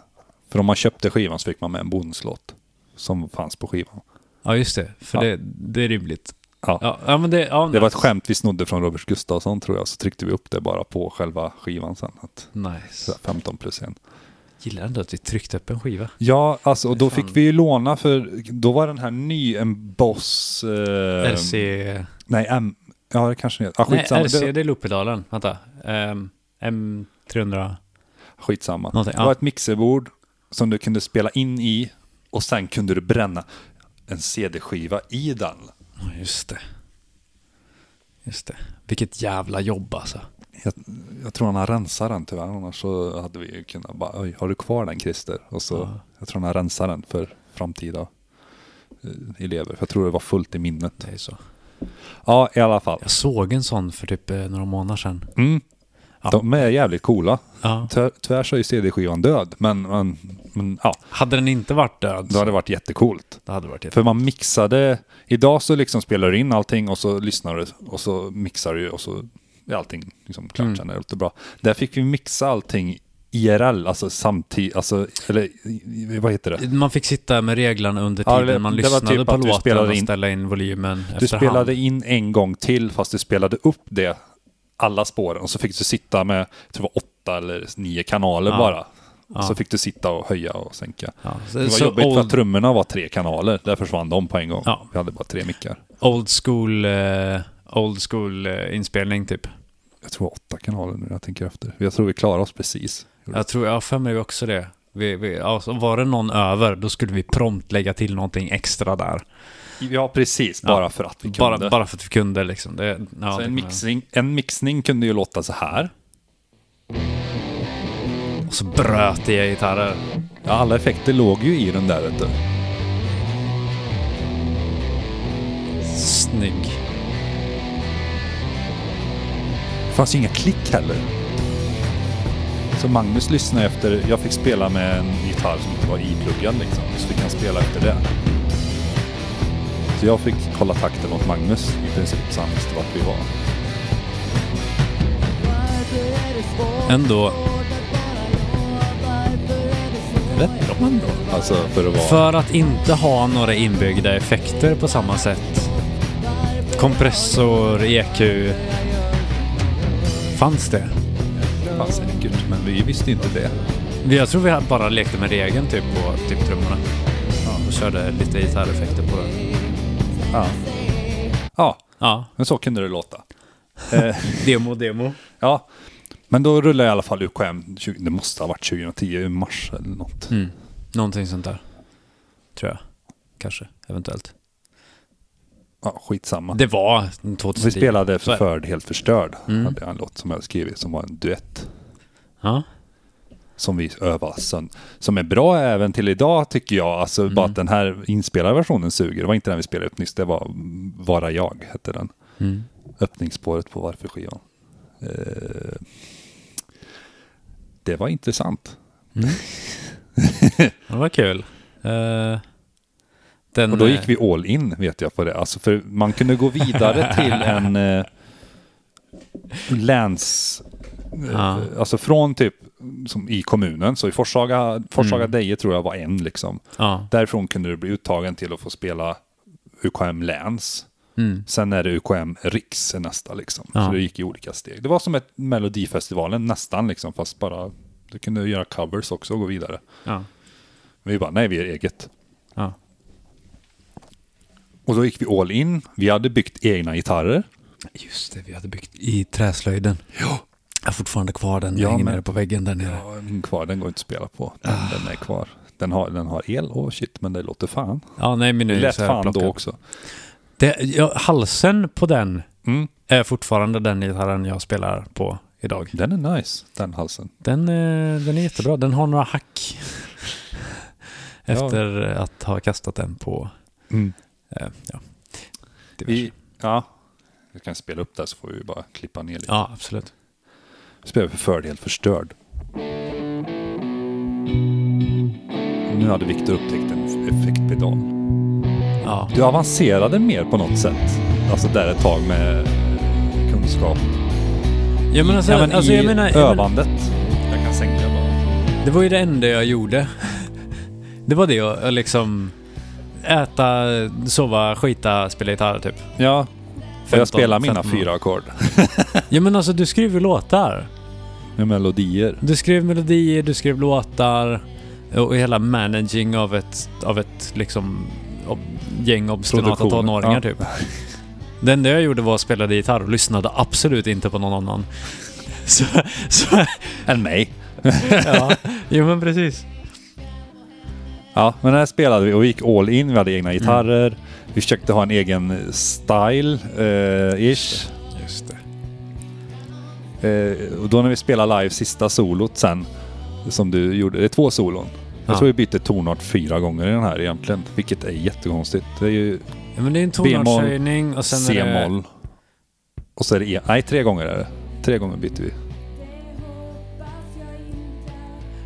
Speaker 2: För om man köpte skivan så fick man med en bonuslåt. Som fanns på skivan.
Speaker 3: Ja, just det. För
Speaker 2: Ja.
Speaker 3: Det, det är rimligt.
Speaker 2: Ja.
Speaker 3: Ja, ja men det... Ja,
Speaker 2: Det var ett skämt vi snodde från Robert Gustafsson tror jag. Så tryckte vi upp det bara på själva skivan sen. Att
Speaker 3: Nice.
Speaker 2: så här 15 plus en.
Speaker 3: Gillar ändå att vi tryckte upp en skiva.
Speaker 2: Ja, alltså, och då fick vi ju låna för då var den här ny, en Boss... Eh,
Speaker 3: RC...
Speaker 2: Nej, M... Ja, det kanske den heter. Ah,
Speaker 3: Nej,
Speaker 2: skitsamma.
Speaker 3: RC,
Speaker 2: Det,
Speaker 3: det är Loopedalen. Vänta. Ehm, M300...
Speaker 2: skitsamma.
Speaker 3: Någonting,
Speaker 2: Det
Speaker 3: ja.
Speaker 2: var ett mixerbord som du kunde spela in i och sen kunde du bränna en CD-skiva i den.
Speaker 3: Ja, just det. Just det. Vilket jävla jobb alltså.
Speaker 2: Jag, jag tror han har rensat den tyvärr, annars så hade vi ju kunnat bara, Oj, har du kvar den Christer? Och så, jag tror han har rensat den för framtida eh, elever, för jag tror det var fullt i minnet.
Speaker 3: Det är så.
Speaker 2: Ja, i alla fall.
Speaker 3: Jag såg en sån för typ eh, några månader sedan.
Speaker 2: Mm.
Speaker 3: Ja.
Speaker 2: De är jävligt coola.
Speaker 3: Ja.
Speaker 2: Tyvärr, tyvärr så är ju CD-skivan död, men, men, men ja,
Speaker 3: Hade den inte varit död
Speaker 2: det
Speaker 3: så
Speaker 2: hade varit jättecoolt.
Speaker 3: det hade varit jätte...
Speaker 2: För man mixade, idag så liksom spelar du in allting och så lyssnar du och så mixar du och så är allting liksom klart sen är det lite bra. Där fick vi mixa allting IRL, alltså samtidigt, alltså, eller i- i- vad heter det?
Speaker 3: Man fick sitta med reglerna under
Speaker 2: Ja,
Speaker 3: tiden
Speaker 2: det-
Speaker 3: man
Speaker 2: det var
Speaker 3: lyssnade
Speaker 2: typ
Speaker 3: på
Speaker 2: att du
Speaker 3: låten
Speaker 2: spelade
Speaker 3: och
Speaker 2: in-
Speaker 3: ställa in volymen efterhand.
Speaker 2: Du spelade in en gång till fast du spelade upp det, alla spåren och så fick du sitta med, jag tror det var åtta eller nio kanaler bara. Och Så fick du sitta och höja och sänka.
Speaker 3: Ja, så-
Speaker 2: det var
Speaker 3: så
Speaker 2: jobbigt för att
Speaker 3: old-
Speaker 2: trummorna var tre kanaler, där försvann de på en gång.
Speaker 3: Ja.
Speaker 2: Vi hade bara tre mickar.
Speaker 3: Old school, eh, old school eh, inspelning typ.
Speaker 2: jag tror åtta kanaler nu när jag tänker efter. Jag tror vi klarar oss precis.
Speaker 3: Jag tror, jag har för mig också det. Vi, vi, alltså, var det någon över, då skulle vi prompt lägga till någonting extra där.
Speaker 2: Ja, precis. Bara för att vi kunde.
Speaker 3: Bara, bara för att vi kunde liksom. Det, ja, det
Speaker 2: så en,
Speaker 3: kommer jag-
Speaker 2: mixning, en mixning kunde ju låta så här.
Speaker 3: Och så bröt det i gitarrer.
Speaker 2: Ja, alla effekter låg ju i den där. Vet du.
Speaker 3: Snygg.
Speaker 2: Det fanns ju inga klick heller. Så Magnus lyssnade efter. Jag fick spela med en gitarr som inte var ipluggad liksom. Så fick han spela efter det. Så jag fick hålla takten åt Magnus i princip så han visste vart vi var.
Speaker 3: Ändå.
Speaker 2: Rätt bra ändå. Alltså för att vara...
Speaker 3: För att inte ha några inbyggda effekter på samma sätt. Kompressor, EQ. Fanns det?
Speaker 2: Fan, säkert. Men vi visste inte det.
Speaker 3: Jag tror vi bara lekte med regeln typ på typ trummorna. Ja, och körde lite gitarreffekter på det.
Speaker 2: Ja. Ja,
Speaker 3: Ja,
Speaker 2: men så kunde det låta.
Speaker 3: demo, demo.
Speaker 2: Ja, men då rullar i alla fall UKM. 20, det måste ha varit 2010 i mars eller något.
Speaker 3: Mm. Någonting sånt där. Tror jag. Kanske, eventuellt.
Speaker 2: Ja, skitsamma.
Speaker 3: Det var
Speaker 2: vi
Speaker 3: 2010.
Speaker 2: spelade
Speaker 3: Så Mm. är det.
Speaker 2: Förförd helt förstörd. Hade jag en låt som jag skrivit som var en duett.
Speaker 3: Ja.
Speaker 2: Som vi övade sönder. Som är bra även till idag tycker jag. Alltså bara
Speaker 3: Mm.
Speaker 2: att den här inspelade versionen suger. Det var inte den vi spelade upp nyss. Det var mm, Vara jag hette den.
Speaker 3: Mm.
Speaker 2: Öppningsspåret på Varför-skivan. Eh, det var intressant.
Speaker 3: Det var kul. Eh, den, eh,
Speaker 2: Och då gick vi all in vet jag på det. Alltså för man kunde gå vidare till en eh, läns... Eh,
Speaker 3: Ja.
Speaker 2: Alltså från typ som i kommunen, så i Forshaga, Forshaga Deje tror jag var en liksom.
Speaker 3: Mm. Ja.
Speaker 2: Därifrån kunde du bli uttagen till att få spela UKM läns.
Speaker 3: Mm.
Speaker 2: Sen är det UKM riks är nästa liksom.
Speaker 3: Ja.
Speaker 2: Så det gick i olika steg. Det var som ett Melodifestivalen nästan liksom, fast bara du kunde göra covers också och gå vidare.
Speaker 3: Ja.
Speaker 2: Men vi bara, nej vi gör eget.
Speaker 3: Ja.
Speaker 2: Och då gick vi all in. Vi hade byggt egna gitarrer.
Speaker 3: Just det, vi hade byggt i träslöjden.
Speaker 2: Ja.
Speaker 3: Jag har fortfarande kvar den.
Speaker 2: Ja,
Speaker 3: Ja, hänger
Speaker 2: men-
Speaker 3: nere på väggen där nere.
Speaker 2: Ja, min kvar, den går inte att spela på. Den,
Speaker 3: Ah.
Speaker 2: den är kvar. Den har, den har el och shit, men det låter fan.
Speaker 3: Ja, nej, men
Speaker 2: Det
Speaker 3: nu
Speaker 2: lät
Speaker 3: så har jag
Speaker 2: fan då
Speaker 3: plockat.
Speaker 2: också.
Speaker 3: Det, ja, halsen på den
Speaker 2: Mm.
Speaker 3: är fortfarande den gitarren jag spelar på idag.
Speaker 2: Den är nice, den halsen.
Speaker 3: Den, eh, den är jättebra. Den har några hack. Efter att ha kastat den på...
Speaker 2: Mm.
Speaker 3: Eh, ja.
Speaker 2: Vi, ja, vi kan spela upp där så får vi bara klippa ner lite.
Speaker 3: ja, absolut.
Speaker 2: Spelar för fördel förstörd. Nu hade Viktor upptäckt en effektpedal.
Speaker 3: Ja.
Speaker 2: Du avancerade mer på något sätt. Alltså där ett tag med eh, kunskap.
Speaker 3: Ja, men alltså,
Speaker 2: Ja, men
Speaker 3: alltså,
Speaker 2: i
Speaker 3: jag menar, jag menar,
Speaker 2: övandet. Jag kan sänka bara.
Speaker 3: det var ju det enda jag gjorde. Det var det jag jag liksom... Äta, sova, skita, spela gitarr typ.
Speaker 2: Ja, för
Speaker 3: 15,
Speaker 2: jag spelar mina
Speaker 3: 15.
Speaker 2: fyra ackord.
Speaker 3: Ja men alltså du skrev ju låtar.
Speaker 2: Med melodier.
Speaker 3: Du skrev melodier, du skrev låtar och hela managing av ett, av ett liksom ob, gäng obstinata
Speaker 2: Produktion,
Speaker 3: tonåringar
Speaker 2: ja.
Speaker 3: typ. Det enda jag gjorde var att spela gitarr och lyssnade absolut inte på någon annan. Så, så
Speaker 2: Än mig.
Speaker 3: ja. Jo men precis.
Speaker 2: Ja, men här spelade vi och vi gick all in. Vi hade egna
Speaker 3: Mm.
Speaker 2: gitarrer. Vi försökte ha en egen style, eh, ish.
Speaker 3: Just det.
Speaker 2: Eh, och då när vi spelade live sista solot sen, som du gjorde, det är två solon. Jag
Speaker 3: Ja.
Speaker 2: tror vi bytte tonart fyra gånger i den här egentligen, vilket är jättekonstigt. Det är ju
Speaker 3: Ja, men det är en
Speaker 2: B-moll,
Speaker 3: tonartshöjning och sen är det...
Speaker 2: C-moll. Och så är det E. Nej, tre gånger är det. Tre gånger bytte vi.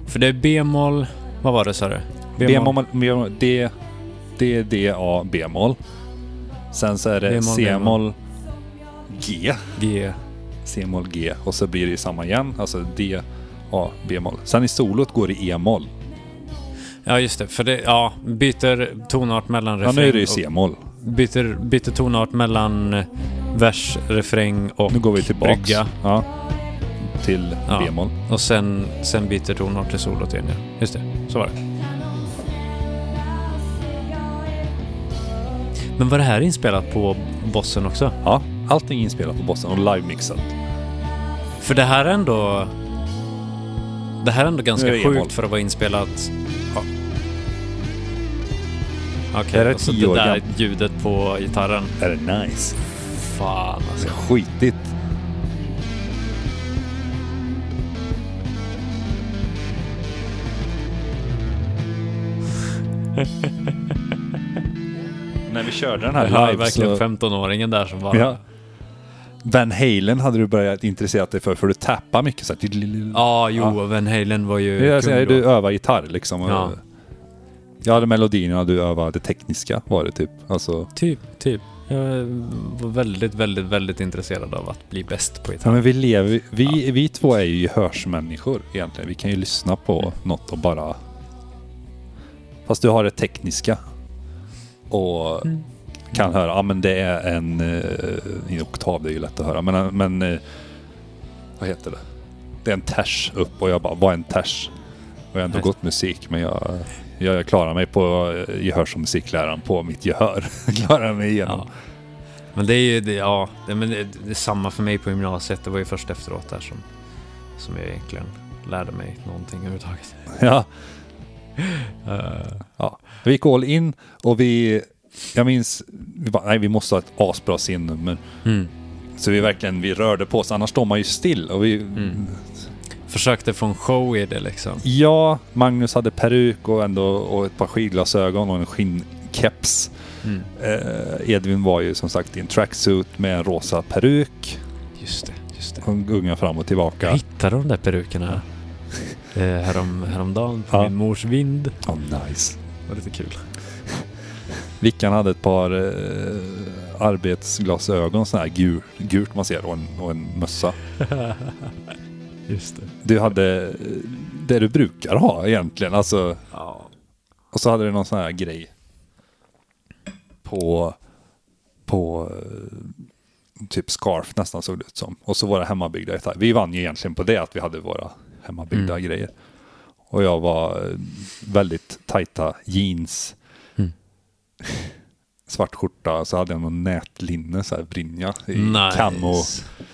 Speaker 3: För det är B-moll... Vad var det sa du?
Speaker 2: B-moll, B-moll, D, D, D, A, B-moll. Sen så är det
Speaker 3: B-moll,
Speaker 2: C-moll, G.
Speaker 3: G.
Speaker 2: C-moll, G. Och så blir det ju samma igen. Alltså D, A, B-moll. Sen i solot går det E-moll.
Speaker 3: Ja just det, för det... Ja, byter tonart mellan
Speaker 2: Ja,
Speaker 3: refräng
Speaker 2: nu är det ju
Speaker 3: och-
Speaker 2: C-moll.
Speaker 3: byter, byter tonart mellan vers, refräng och
Speaker 2: Nu går vi tillbaks.
Speaker 3: brygga.
Speaker 2: Ja. Till
Speaker 3: Ja.
Speaker 2: B-moll.
Speaker 3: Och sen, sen byter tonart till solot igen. ja. Just det, så var det. Men var det här inspelat på bossen också?
Speaker 2: Ja. Allting inspelat på bossen och live-mixat.
Speaker 3: För det här är ändå... Det här är ändå ganska
Speaker 2: Nu är det
Speaker 3: sjukt
Speaker 2: e-moll.
Speaker 3: för att vara inspelat... Ja. Okej,
Speaker 2: Det här är
Speaker 3: och så
Speaker 2: tio
Speaker 3: det
Speaker 2: år
Speaker 3: där
Speaker 2: gammalt.
Speaker 3: ljudet på gitarren.
Speaker 2: Är det nice?
Speaker 3: Fan alltså.
Speaker 2: Skitigt. När vi körde den här
Speaker 3: Jag hör
Speaker 2: live
Speaker 3: verkligen
Speaker 2: så...
Speaker 3: 15-åringen där som bara...
Speaker 2: Ja. Van Halen hade du börjat intressera dig för, för du tappar mycket så här.
Speaker 3: Ja, jo, Van Halen var ju
Speaker 2: Jag
Speaker 3: kung
Speaker 2: säger,
Speaker 3: då.
Speaker 2: du övar gitarr liksom.
Speaker 3: Ja.
Speaker 2: Jag hade melodierna, du övade det tekniska var det typ. Alltså,
Speaker 3: Typ, typ. Jag var väldigt, väldigt, väldigt intresserad av att bli bäst på
Speaker 2: ja,
Speaker 3: gitarr.
Speaker 2: men vi, lever, vi, vi två är ju gehörsmänniskor egentligen. Vi kan ju lyssna på något och bara... Fast du har det tekniska. Och kan höra, ja men det är en... eh, I oktav, det är ju lätt att höra. Men, men eh, vad heter det? Det är en ters upp och jag bara, vad är en ters? Och jag har ändå
Speaker 3: Nej.
Speaker 2: gått musik men jag, jag, jag klarar mig på eh, gehör som musikläraren på mitt gehör. Jag klarar mig igenom.
Speaker 3: Ja. Men det är ju, det, ja, det, men det, det är samma för mig på gymnasiet. Det var ju först efteråt där som, som jag egentligen lärde mig någonting överhuvudtaget.
Speaker 2: Ja.
Speaker 3: Eh,
Speaker 2: Ja. Vi gick all in och vi, jag minns, vi bara, nej vi måste ha ett asbra scennummer.
Speaker 3: mm.
Speaker 2: Så vi verkligen, vi rörde på oss, annars står man ju still. Och vi,
Speaker 3: Försökte få en show i det liksom.
Speaker 2: Ja, Magnus hade peruk och ändå och ett par skidglasögon och en skinnkeps.
Speaker 3: Mm.
Speaker 2: Eh, Edvin var ju som sagt i en tracksuit med en rosa peruk.
Speaker 3: Just det, just det.
Speaker 2: Hon gungar fram och
Speaker 3: Jag
Speaker 2: tillbaka.
Speaker 3: hittade de där perukerna eh, härom, häromdagen på
Speaker 2: Ja.
Speaker 3: min mors vind.
Speaker 2: Oh, nice.
Speaker 3: Det var lite kul.
Speaker 2: Vickan hade ett par eh, arbetsglasögon, sådana här gul, gult man ser, och en, och en mössa.
Speaker 3: Just det.
Speaker 2: Du hade eh, det du brukar ha egentligen. Alltså,
Speaker 3: Ja.
Speaker 2: och så hade du någon sån här grej på, på eh, typ scarf nästan såg det ut som. Och så våra hemmabyggda gitarrer. Vi vann ju egentligen på det, att vi hade våra hemmabyggda
Speaker 3: Mm.
Speaker 2: grejer. Och
Speaker 3: Mm.
Speaker 2: jag var eh, väldigt tajta jeans. svart skjorta, så hade jag någon nätlinne, så här brinja i
Speaker 3: Nice.
Speaker 2: kam och...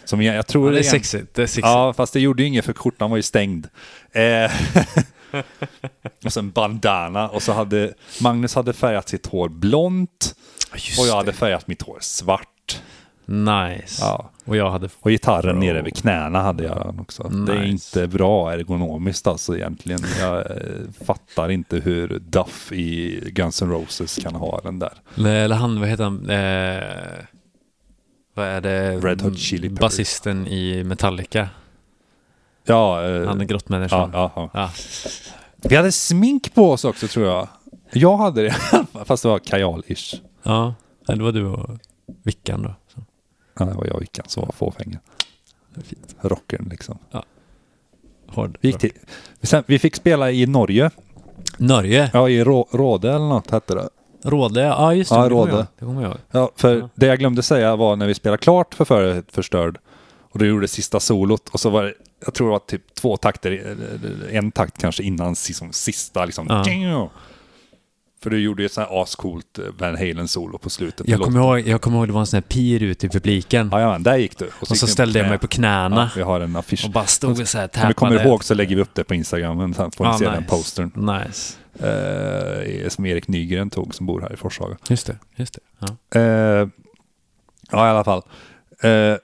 Speaker 2: Som jag, jag tror
Speaker 3: Det är
Speaker 2: egent-
Speaker 3: sexigt, det är sexigt.
Speaker 2: Ja, fast det gjorde ju inget för skjortan var ju stängd. Eh, och sen bandana och så hade Magnus hade färgat sitt hår blont
Speaker 3: Just
Speaker 2: och jag
Speaker 3: det.
Speaker 2: hade färgat mitt hår svart.
Speaker 3: Nice.
Speaker 2: Ja.
Speaker 3: Och jag hade...
Speaker 2: Och gitarren nere vid knäna hade jag också. Det är
Speaker 3: Nice.
Speaker 2: inte bra ergonomiskt alltså egentligen. Jag eh, fattar inte hur Duff i Guns N' Roses kan ha den där.
Speaker 3: Eller han, vad heter han? Eh, vad är det?
Speaker 2: Red Hot Chili Peppers.
Speaker 3: Basisten i Metallica.
Speaker 2: Ja, eh,
Speaker 3: Han är
Speaker 2: ja,
Speaker 3: grottmänniskan.
Speaker 2: ja, ja.
Speaker 3: Ja.
Speaker 2: Vi hade smink på oss också tror jag. Jag hade det, fast det var kajal-ish.
Speaker 3: ja. ja. Det var du och Vickan då. Så.
Speaker 2: Ja, det var jag och Ickan som var fåfänga. Rockern liksom.
Speaker 3: Hård.
Speaker 2: Vi, gick till, sen, vi fick spela i Norge.
Speaker 3: Norge.
Speaker 2: Ja, i Rå, Råde eller något hette det.
Speaker 3: Råde, ja just det.
Speaker 2: Ja,
Speaker 3: det kommer jag
Speaker 2: Råde.
Speaker 3: ihåg. Det kommer jag ihåg.
Speaker 2: Ja, för det jag glömde säga var när vi spelade klart för Förut förstörd och du gjorde sista solot och så var det, jag tror det var typ två takter, eller- eller en takt kanske innan si- som sista liksom.
Speaker 3: Ja.
Speaker 2: Tjingo! För du gjorde ju ett sånt här ascoolt eh, Van Halen-solo på slutet.
Speaker 3: Jag kommer ihåg, jag kommer ihåg det var en sån här pir ut i publiken.
Speaker 2: Jajamän, där gick du.
Speaker 3: och så
Speaker 2: gick du
Speaker 3: ställde jag
Speaker 2: knä.
Speaker 3: mig på knäna.
Speaker 2: Ja, vi har en affisch.
Speaker 3: Och bara stod och så här
Speaker 2: Om
Speaker 3: tappade.
Speaker 2: vi kommer ihåg så lägger vi upp det på Instagram sen får ni
Speaker 3: Ja,
Speaker 2: se den
Speaker 3: Ah, nice.
Speaker 2: postern.
Speaker 3: Nice.
Speaker 2: eh, som Erik Nygren tog som bor här i Forshaga.
Speaker 3: Just det. Just det. Ja.
Speaker 2: Eh, ja, i alla fall. Eh,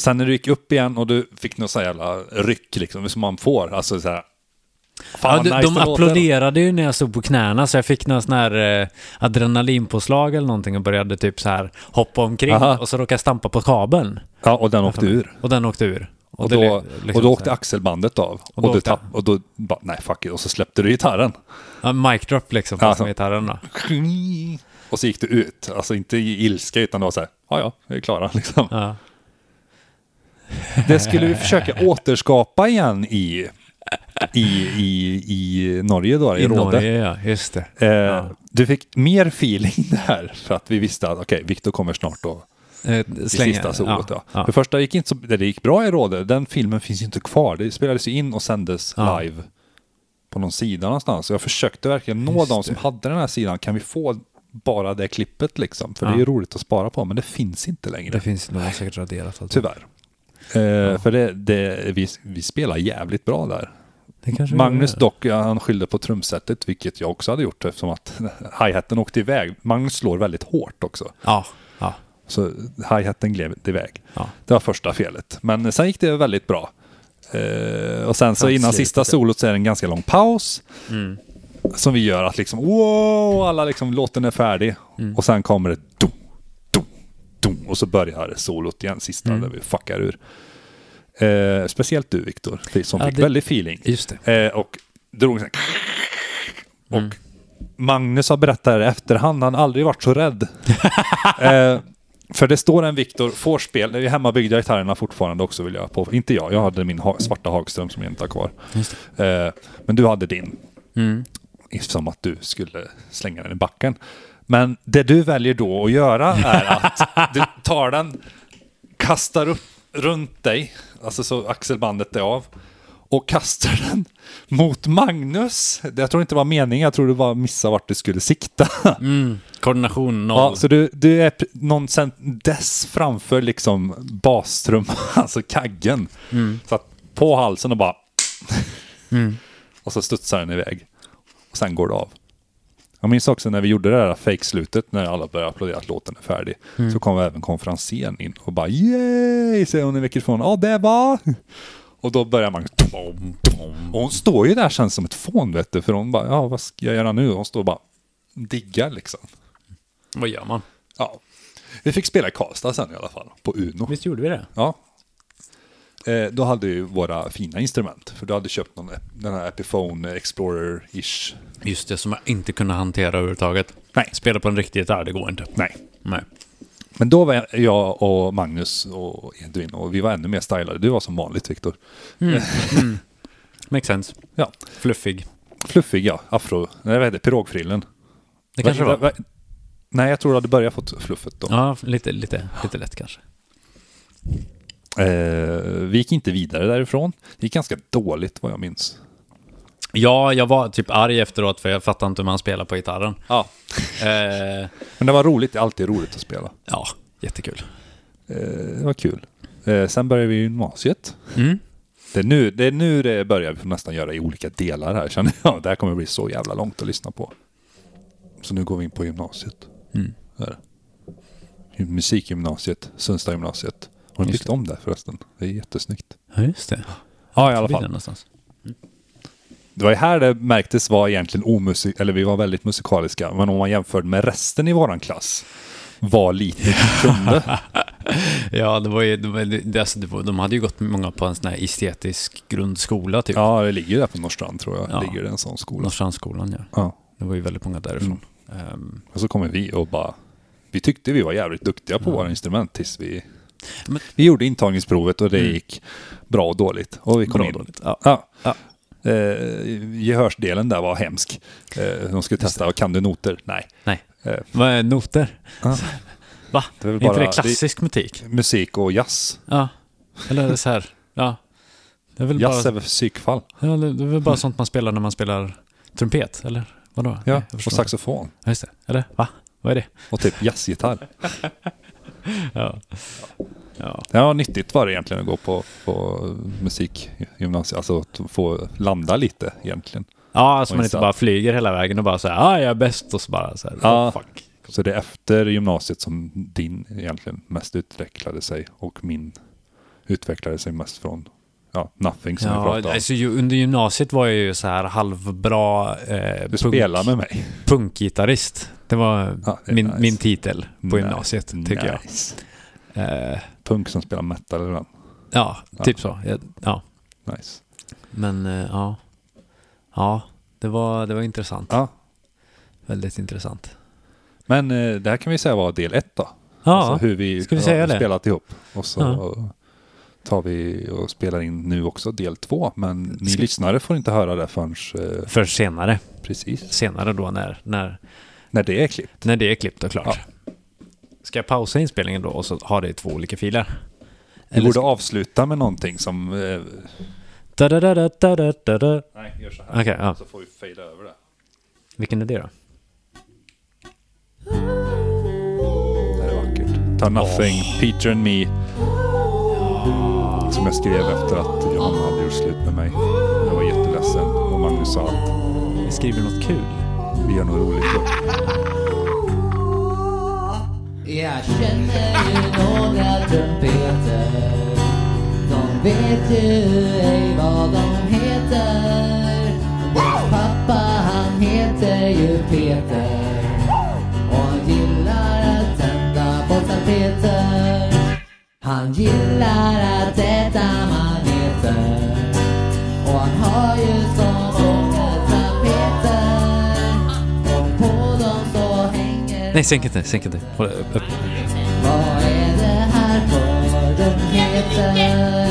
Speaker 2: sen när du gick upp igen och du fick något så här jävla ryck liksom, som man får. Alltså så här, fan
Speaker 3: Ja,
Speaker 2: vad
Speaker 3: de
Speaker 2: nice
Speaker 3: de
Speaker 2: det låter.
Speaker 3: applåderade ju när jag stod på knäna så jag fick någon sån här eh, adrenalinpåslag eller någonting och började typ så här hoppa omkring
Speaker 2: Aha.
Speaker 3: och så råkade jag stampa på kabeln.
Speaker 2: Ja, och den åkte ur.
Speaker 3: Och den åkte ur.
Speaker 2: Och
Speaker 3: det
Speaker 2: då,
Speaker 3: blev liksom
Speaker 2: och då
Speaker 3: så
Speaker 2: åkte
Speaker 3: här-
Speaker 2: axelbandet av. Och,
Speaker 3: då
Speaker 2: du
Speaker 3: åkte-
Speaker 2: tapp, och då bara, nej fuck it. Och så släppte du gitarren.
Speaker 3: Ja, mic drop liksom, fast
Speaker 2: Ja.
Speaker 3: med gitarren då.
Speaker 2: Och så gick du ut. Alltså inte i ilska utan det var så här, ja ja, vi är klara liksom.
Speaker 3: Ja.
Speaker 2: Det skulle vi försöka återskapa igen i, i, i, i Norge då, i,
Speaker 3: I
Speaker 2: Råde.
Speaker 3: Norge, ja. Just det.
Speaker 2: Eh, Du fick mer feeling där för att vi visste att okej, Viktor kommer snart då.
Speaker 3: Eh,
Speaker 2: I
Speaker 3: slänga-
Speaker 2: sista solot ja.
Speaker 3: ja.
Speaker 2: För första gick inte så, det gick bra i Råde. Den filmen finns ju inte kvar. Det spelades ju in och sändes
Speaker 3: Ja.
Speaker 2: live på någon sida någonstans. Så jag försökte verkligen nå
Speaker 3: Just
Speaker 2: de som
Speaker 3: det.
Speaker 2: hade den här sidan. Kan vi få bara det klippet liksom? För det är
Speaker 3: Ja.
Speaker 2: ju roligt att spara på, men det finns inte längre.
Speaker 3: Det finns nog säkert raderat. Alltså.
Speaker 2: Tyvärr. Eh, För det, det, vi, vi spelar jävligt bra där.
Speaker 3: Det kanske
Speaker 2: Magnus
Speaker 3: är-
Speaker 2: dock, ja, han skyllde på trumsetet, vilket jag också hade gjort eftersom att hi-haten åkte iväg. Magnus slår väldigt hårt också,
Speaker 3: Ja. ja.
Speaker 2: så hi-haten gled iväg.
Speaker 3: Ja.
Speaker 2: Det var första felet, men sen gick det väldigt bra. Eh, och sen så
Speaker 3: Fram
Speaker 2: innan
Speaker 3: slutet.
Speaker 2: sista solot så är det en ganska lång paus
Speaker 3: Mm.
Speaker 2: som vi gör att liksom wow, alla liksom låten är färdig
Speaker 3: Mm.
Speaker 2: och sen kommer det dum, dum, dum, och så börjar solot igen, sista
Speaker 3: Mm.
Speaker 2: där vi fuckar ur. Eh, speciellt du Viktor, som
Speaker 3: Ja,
Speaker 2: fick
Speaker 3: det-
Speaker 2: väldigt feeling.
Speaker 3: Just det.
Speaker 2: Eh, och drog sen. Och Magnus har berättat det i efterhand, han har aldrig varit så rädd. eh, för det står en Viktor Forspel, det är hemmabyggda gitarrerna fortfarande också vill jag på. Inte jag, jag hade min ha svarta Hagström som jag inte har kvar. Eh, men du hade din. Som att du skulle slänga den i backen. Men det du väljer då att göra är att du tar den, kastar upp runt dig, alltså så axelbandet är av, och kastar den mot Magnus. Jag tror inte det var meningen, jag tror du bara missade vart du skulle sikta.
Speaker 3: Koordination noll.
Speaker 2: Ja, så du, du är p- någon cent dess framför liksom bastrumman, alltså kaggen. Så att på halsen och bara... Och så studsar den iväg. Och sen går det av. Jag minns också när vi gjorde det där fake-slutet när alla började applådera att låten är färdig. Så kom även konferensen in och bara yay, säger hon i mikrofonen. Ja, det var... Och då börjar man... Och hon står ju där känns som ett fån vet du. För hon bara, ja vad ska jag göra nu? Hon står och bara diggar liksom.
Speaker 3: Vad gör man?
Speaker 2: Ja. Vi fick spela i Karlstad sen i alla fall, på Uno.
Speaker 3: Visst gjorde vi det?
Speaker 2: Ja. Eh, då hade ju våra fina instrument, för du hade köpt någon, ep- den här Epiphone Explorer-ish.
Speaker 3: Just det, som jag inte kunde hantera överhuvudtaget.
Speaker 2: Nej.
Speaker 3: Spela på en riktig gitarr, det går inte.
Speaker 2: Nej.
Speaker 3: Nej.
Speaker 2: Men då var jag och Magnus och Edvin och vi var ännu mer stylade. Du var som vanligt Viktor.
Speaker 3: Mm. Makes sense.
Speaker 2: Ja.
Speaker 3: Fluffig.
Speaker 2: Fluffig ja, afro, nej vad heter det, pirogfrillen.
Speaker 3: Det kanske
Speaker 2: Va-
Speaker 3: var.
Speaker 2: va- Nej, jag tror du hade börjat fått fluffet då.
Speaker 3: Ja, lite, lite, lite lätt kanske.
Speaker 2: Eh, vi gick inte vidare därifrån. Det gick ganska dåligt vad jag minns.
Speaker 3: Ja, jag var typ arg efteråt för jag fattade inte hur man spelar på gitarren.
Speaker 2: Ja.
Speaker 3: Eh,
Speaker 2: Men det var roligt, det är alltid roligt att spela.
Speaker 3: ja, jättekul.
Speaker 2: Det var kul. Eh, sen började vi i gymnasiet.
Speaker 3: Mm.
Speaker 2: Det är, nu, det är nu det börjar vi nästan göra i olika delar här känner jag. Det här kommer bli så jävla långt att lyssna på. Så nu går vi in på gymnasiet. Här. Musikgymnasiet, Sundstadsgymnasiet. Har de byggt om det förresten? Det är jättesnyggt.
Speaker 3: Ja, just det.
Speaker 2: Ja, i alla
Speaker 3: Förbi
Speaker 2: fall.
Speaker 3: den någonstans.
Speaker 2: Det var ju här det märktes var egentligen omusik, eller vi var väldigt musikaliska, men om man jämförde med resten i våran klass var lite vi kunde. typ.
Speaker 3: Ja, det var ju, det var, det, alltså, det var, de hade ju gått många på en sån här estetisk grundskola typ.
Speaker 2: Ja, det ligger ju där på Norrstrand tror jag.
Speaker 3: Ja.
Speaker 2: Ligger det en sån skola.
Speaker 3: Norrstrandsskolan ja.
Speaker 2: Ja.
Speaker 3: Det var ju väldigt många därifrån. Ehm,
Speaker 2: Och så kommer vi och bara... Vi tyckte vi var jävligt duktiga på våra instrument tills vi...
Speaker 3: Men- Mm.
Speaker 2: Vi gjorde intagningsprovet och det gick bra och dåligt. Och vi kom
Speaker 3: Bra
Speaker 2: in.
Speaker 3: och dåligt, ja.
Speaker 2: Ja.
Speaker 3: Ja.
Speaker 2: Eh, gehörsdelen där var hemsk. Eh, de skulle testa, kan du noter? Nej.
Speaker 3: nej.
Speaker 2: Eh.
Speaker 3: Vad är noter?
Speaker 2: Ja.
Speaker 3: Va?
Speaker 2: Det är
Speaker 3: är
Speaker 2: väl
Speaker 3: inte
Speaker 2: bara-
Speaker 3: det klassisk musik?
Speaker 2: Musik och jazz.
Speaker 3: Ja. Eller så här. Ja. Det är väl
Speaker 2: Jazz är
Speaker 3: bara,
Speaker 2: väl för psykfall.
Speaker 3: ja, det det är väl bara sånt man spelar när man spelar trumpet, eller? Vadå? Nej,
Speaker 2: Ja,
Speaker 3: jag förstår
Speaker 2: och
Speaker 3: inte.
Speaker 2: saxofon.
Speaker 3: Ja, just det. Eller? Va? Vad är det?
Speaker 2: Och typ jazzgitarr.
Speaker 3: Ja. Ja.
Speaker 2: Ja, nyttigt var det egentligen att gå på, på musikgymnasiet. Alltså att få landa lite egentligen.
Speaker 3: ja, så man inte
Speaker 2: Insatt.
Speaker 3: bara flyger hela vägen och bara så här, ah, jag är bäst och så bara så här,
Speaker 2: Ja.
Speaker 3: oh, fuck.
Speaker 2: Så det är efter gymnasiet som din egentligen mest utvecklade sig och min utvecklade sig mest från ja, nothing som vi
Speaker 3: Ja,
Speaker 2: pratade om.
Speaker 3: alltså, ju, under gymnasiet var jag ju så här halvbra eh,
Speaker 2: Du
Speaker 3: punk-
Speaker 2: spelar med mig.
Speaker 3: punkgitarrist. Det var
Speaker 2: Ja, det är
Speaker 3: min,
Speaker 2: nice.
Speaker 3: min titel på
Speaker 2: Nice,
Speaker 3: gymnasiet, tycker jag.
Speaker 2: nice.
Speaker 3: Eh,
Speaker 2: Punk som spelar metal eller något.
Speaker 3: ja, typ så. Jag, ja.
Speaker 2: Nice.
Speaker 3: Men eh, ja, ja det, var, det var intressant.
Speaker 2: Ja.
Speaker 3: Väldigt intressant.
Speaker 2: Men eh, det här kan vi säga var del ett då.
Speaker 3: Ja,
Speaker 2: alltså hur vi
Speaker 3: ska vi
Speaker 2: har
Speaker 3: säga det?
Speaker 2: spelat ihop. Och så tar vi och spelar in nu också del två. Men ni
Speaker 3: Ska-
Speaker 2: lyssnare får inte höra det förrän eh,
Speaker 3: för senare.
Speaker 2: precis
Speaker 3: Senare då när, när,
Speaker 2: när det är klippt.
Speaker 3: när det är klippt och klart. Ska jag pausa inspelningen då och så ha det i två olika filer?
Speaker 2: Vi borde avsluta med någonting som... Eh,
Speaker 3: Da, da, da, da, da, da, da, da.
Speaker 2: nej, gör så här.
Speaker 3: Okej, ja.
Speaker 2: Så får vi fejda över det.
Speaker 3: Vilken är det då?
Speaker 2: Det här är vackert. Ta Nothing, Peter and Me. Som jag skrev efter att Johanna hade gjort slut med mig. Jag var jätteledsen och Magnus sa att
Speaker 3: Vi skriver något kul.
Speaker 2: vi gör något roligt då.
Speaker 5: Jag känner ju några trumpeter De vet ju ej vad de heter Deras pappa han heter ju Peter Och han gillar att tända på tapeter Han gillar att äta maneter Och han har ju så många tapeter Och på dem så hänger
Speaker 3: Nej, sänk inte, sänk inte. Håll upp.
Speaker 5: vad är det här för dumheter?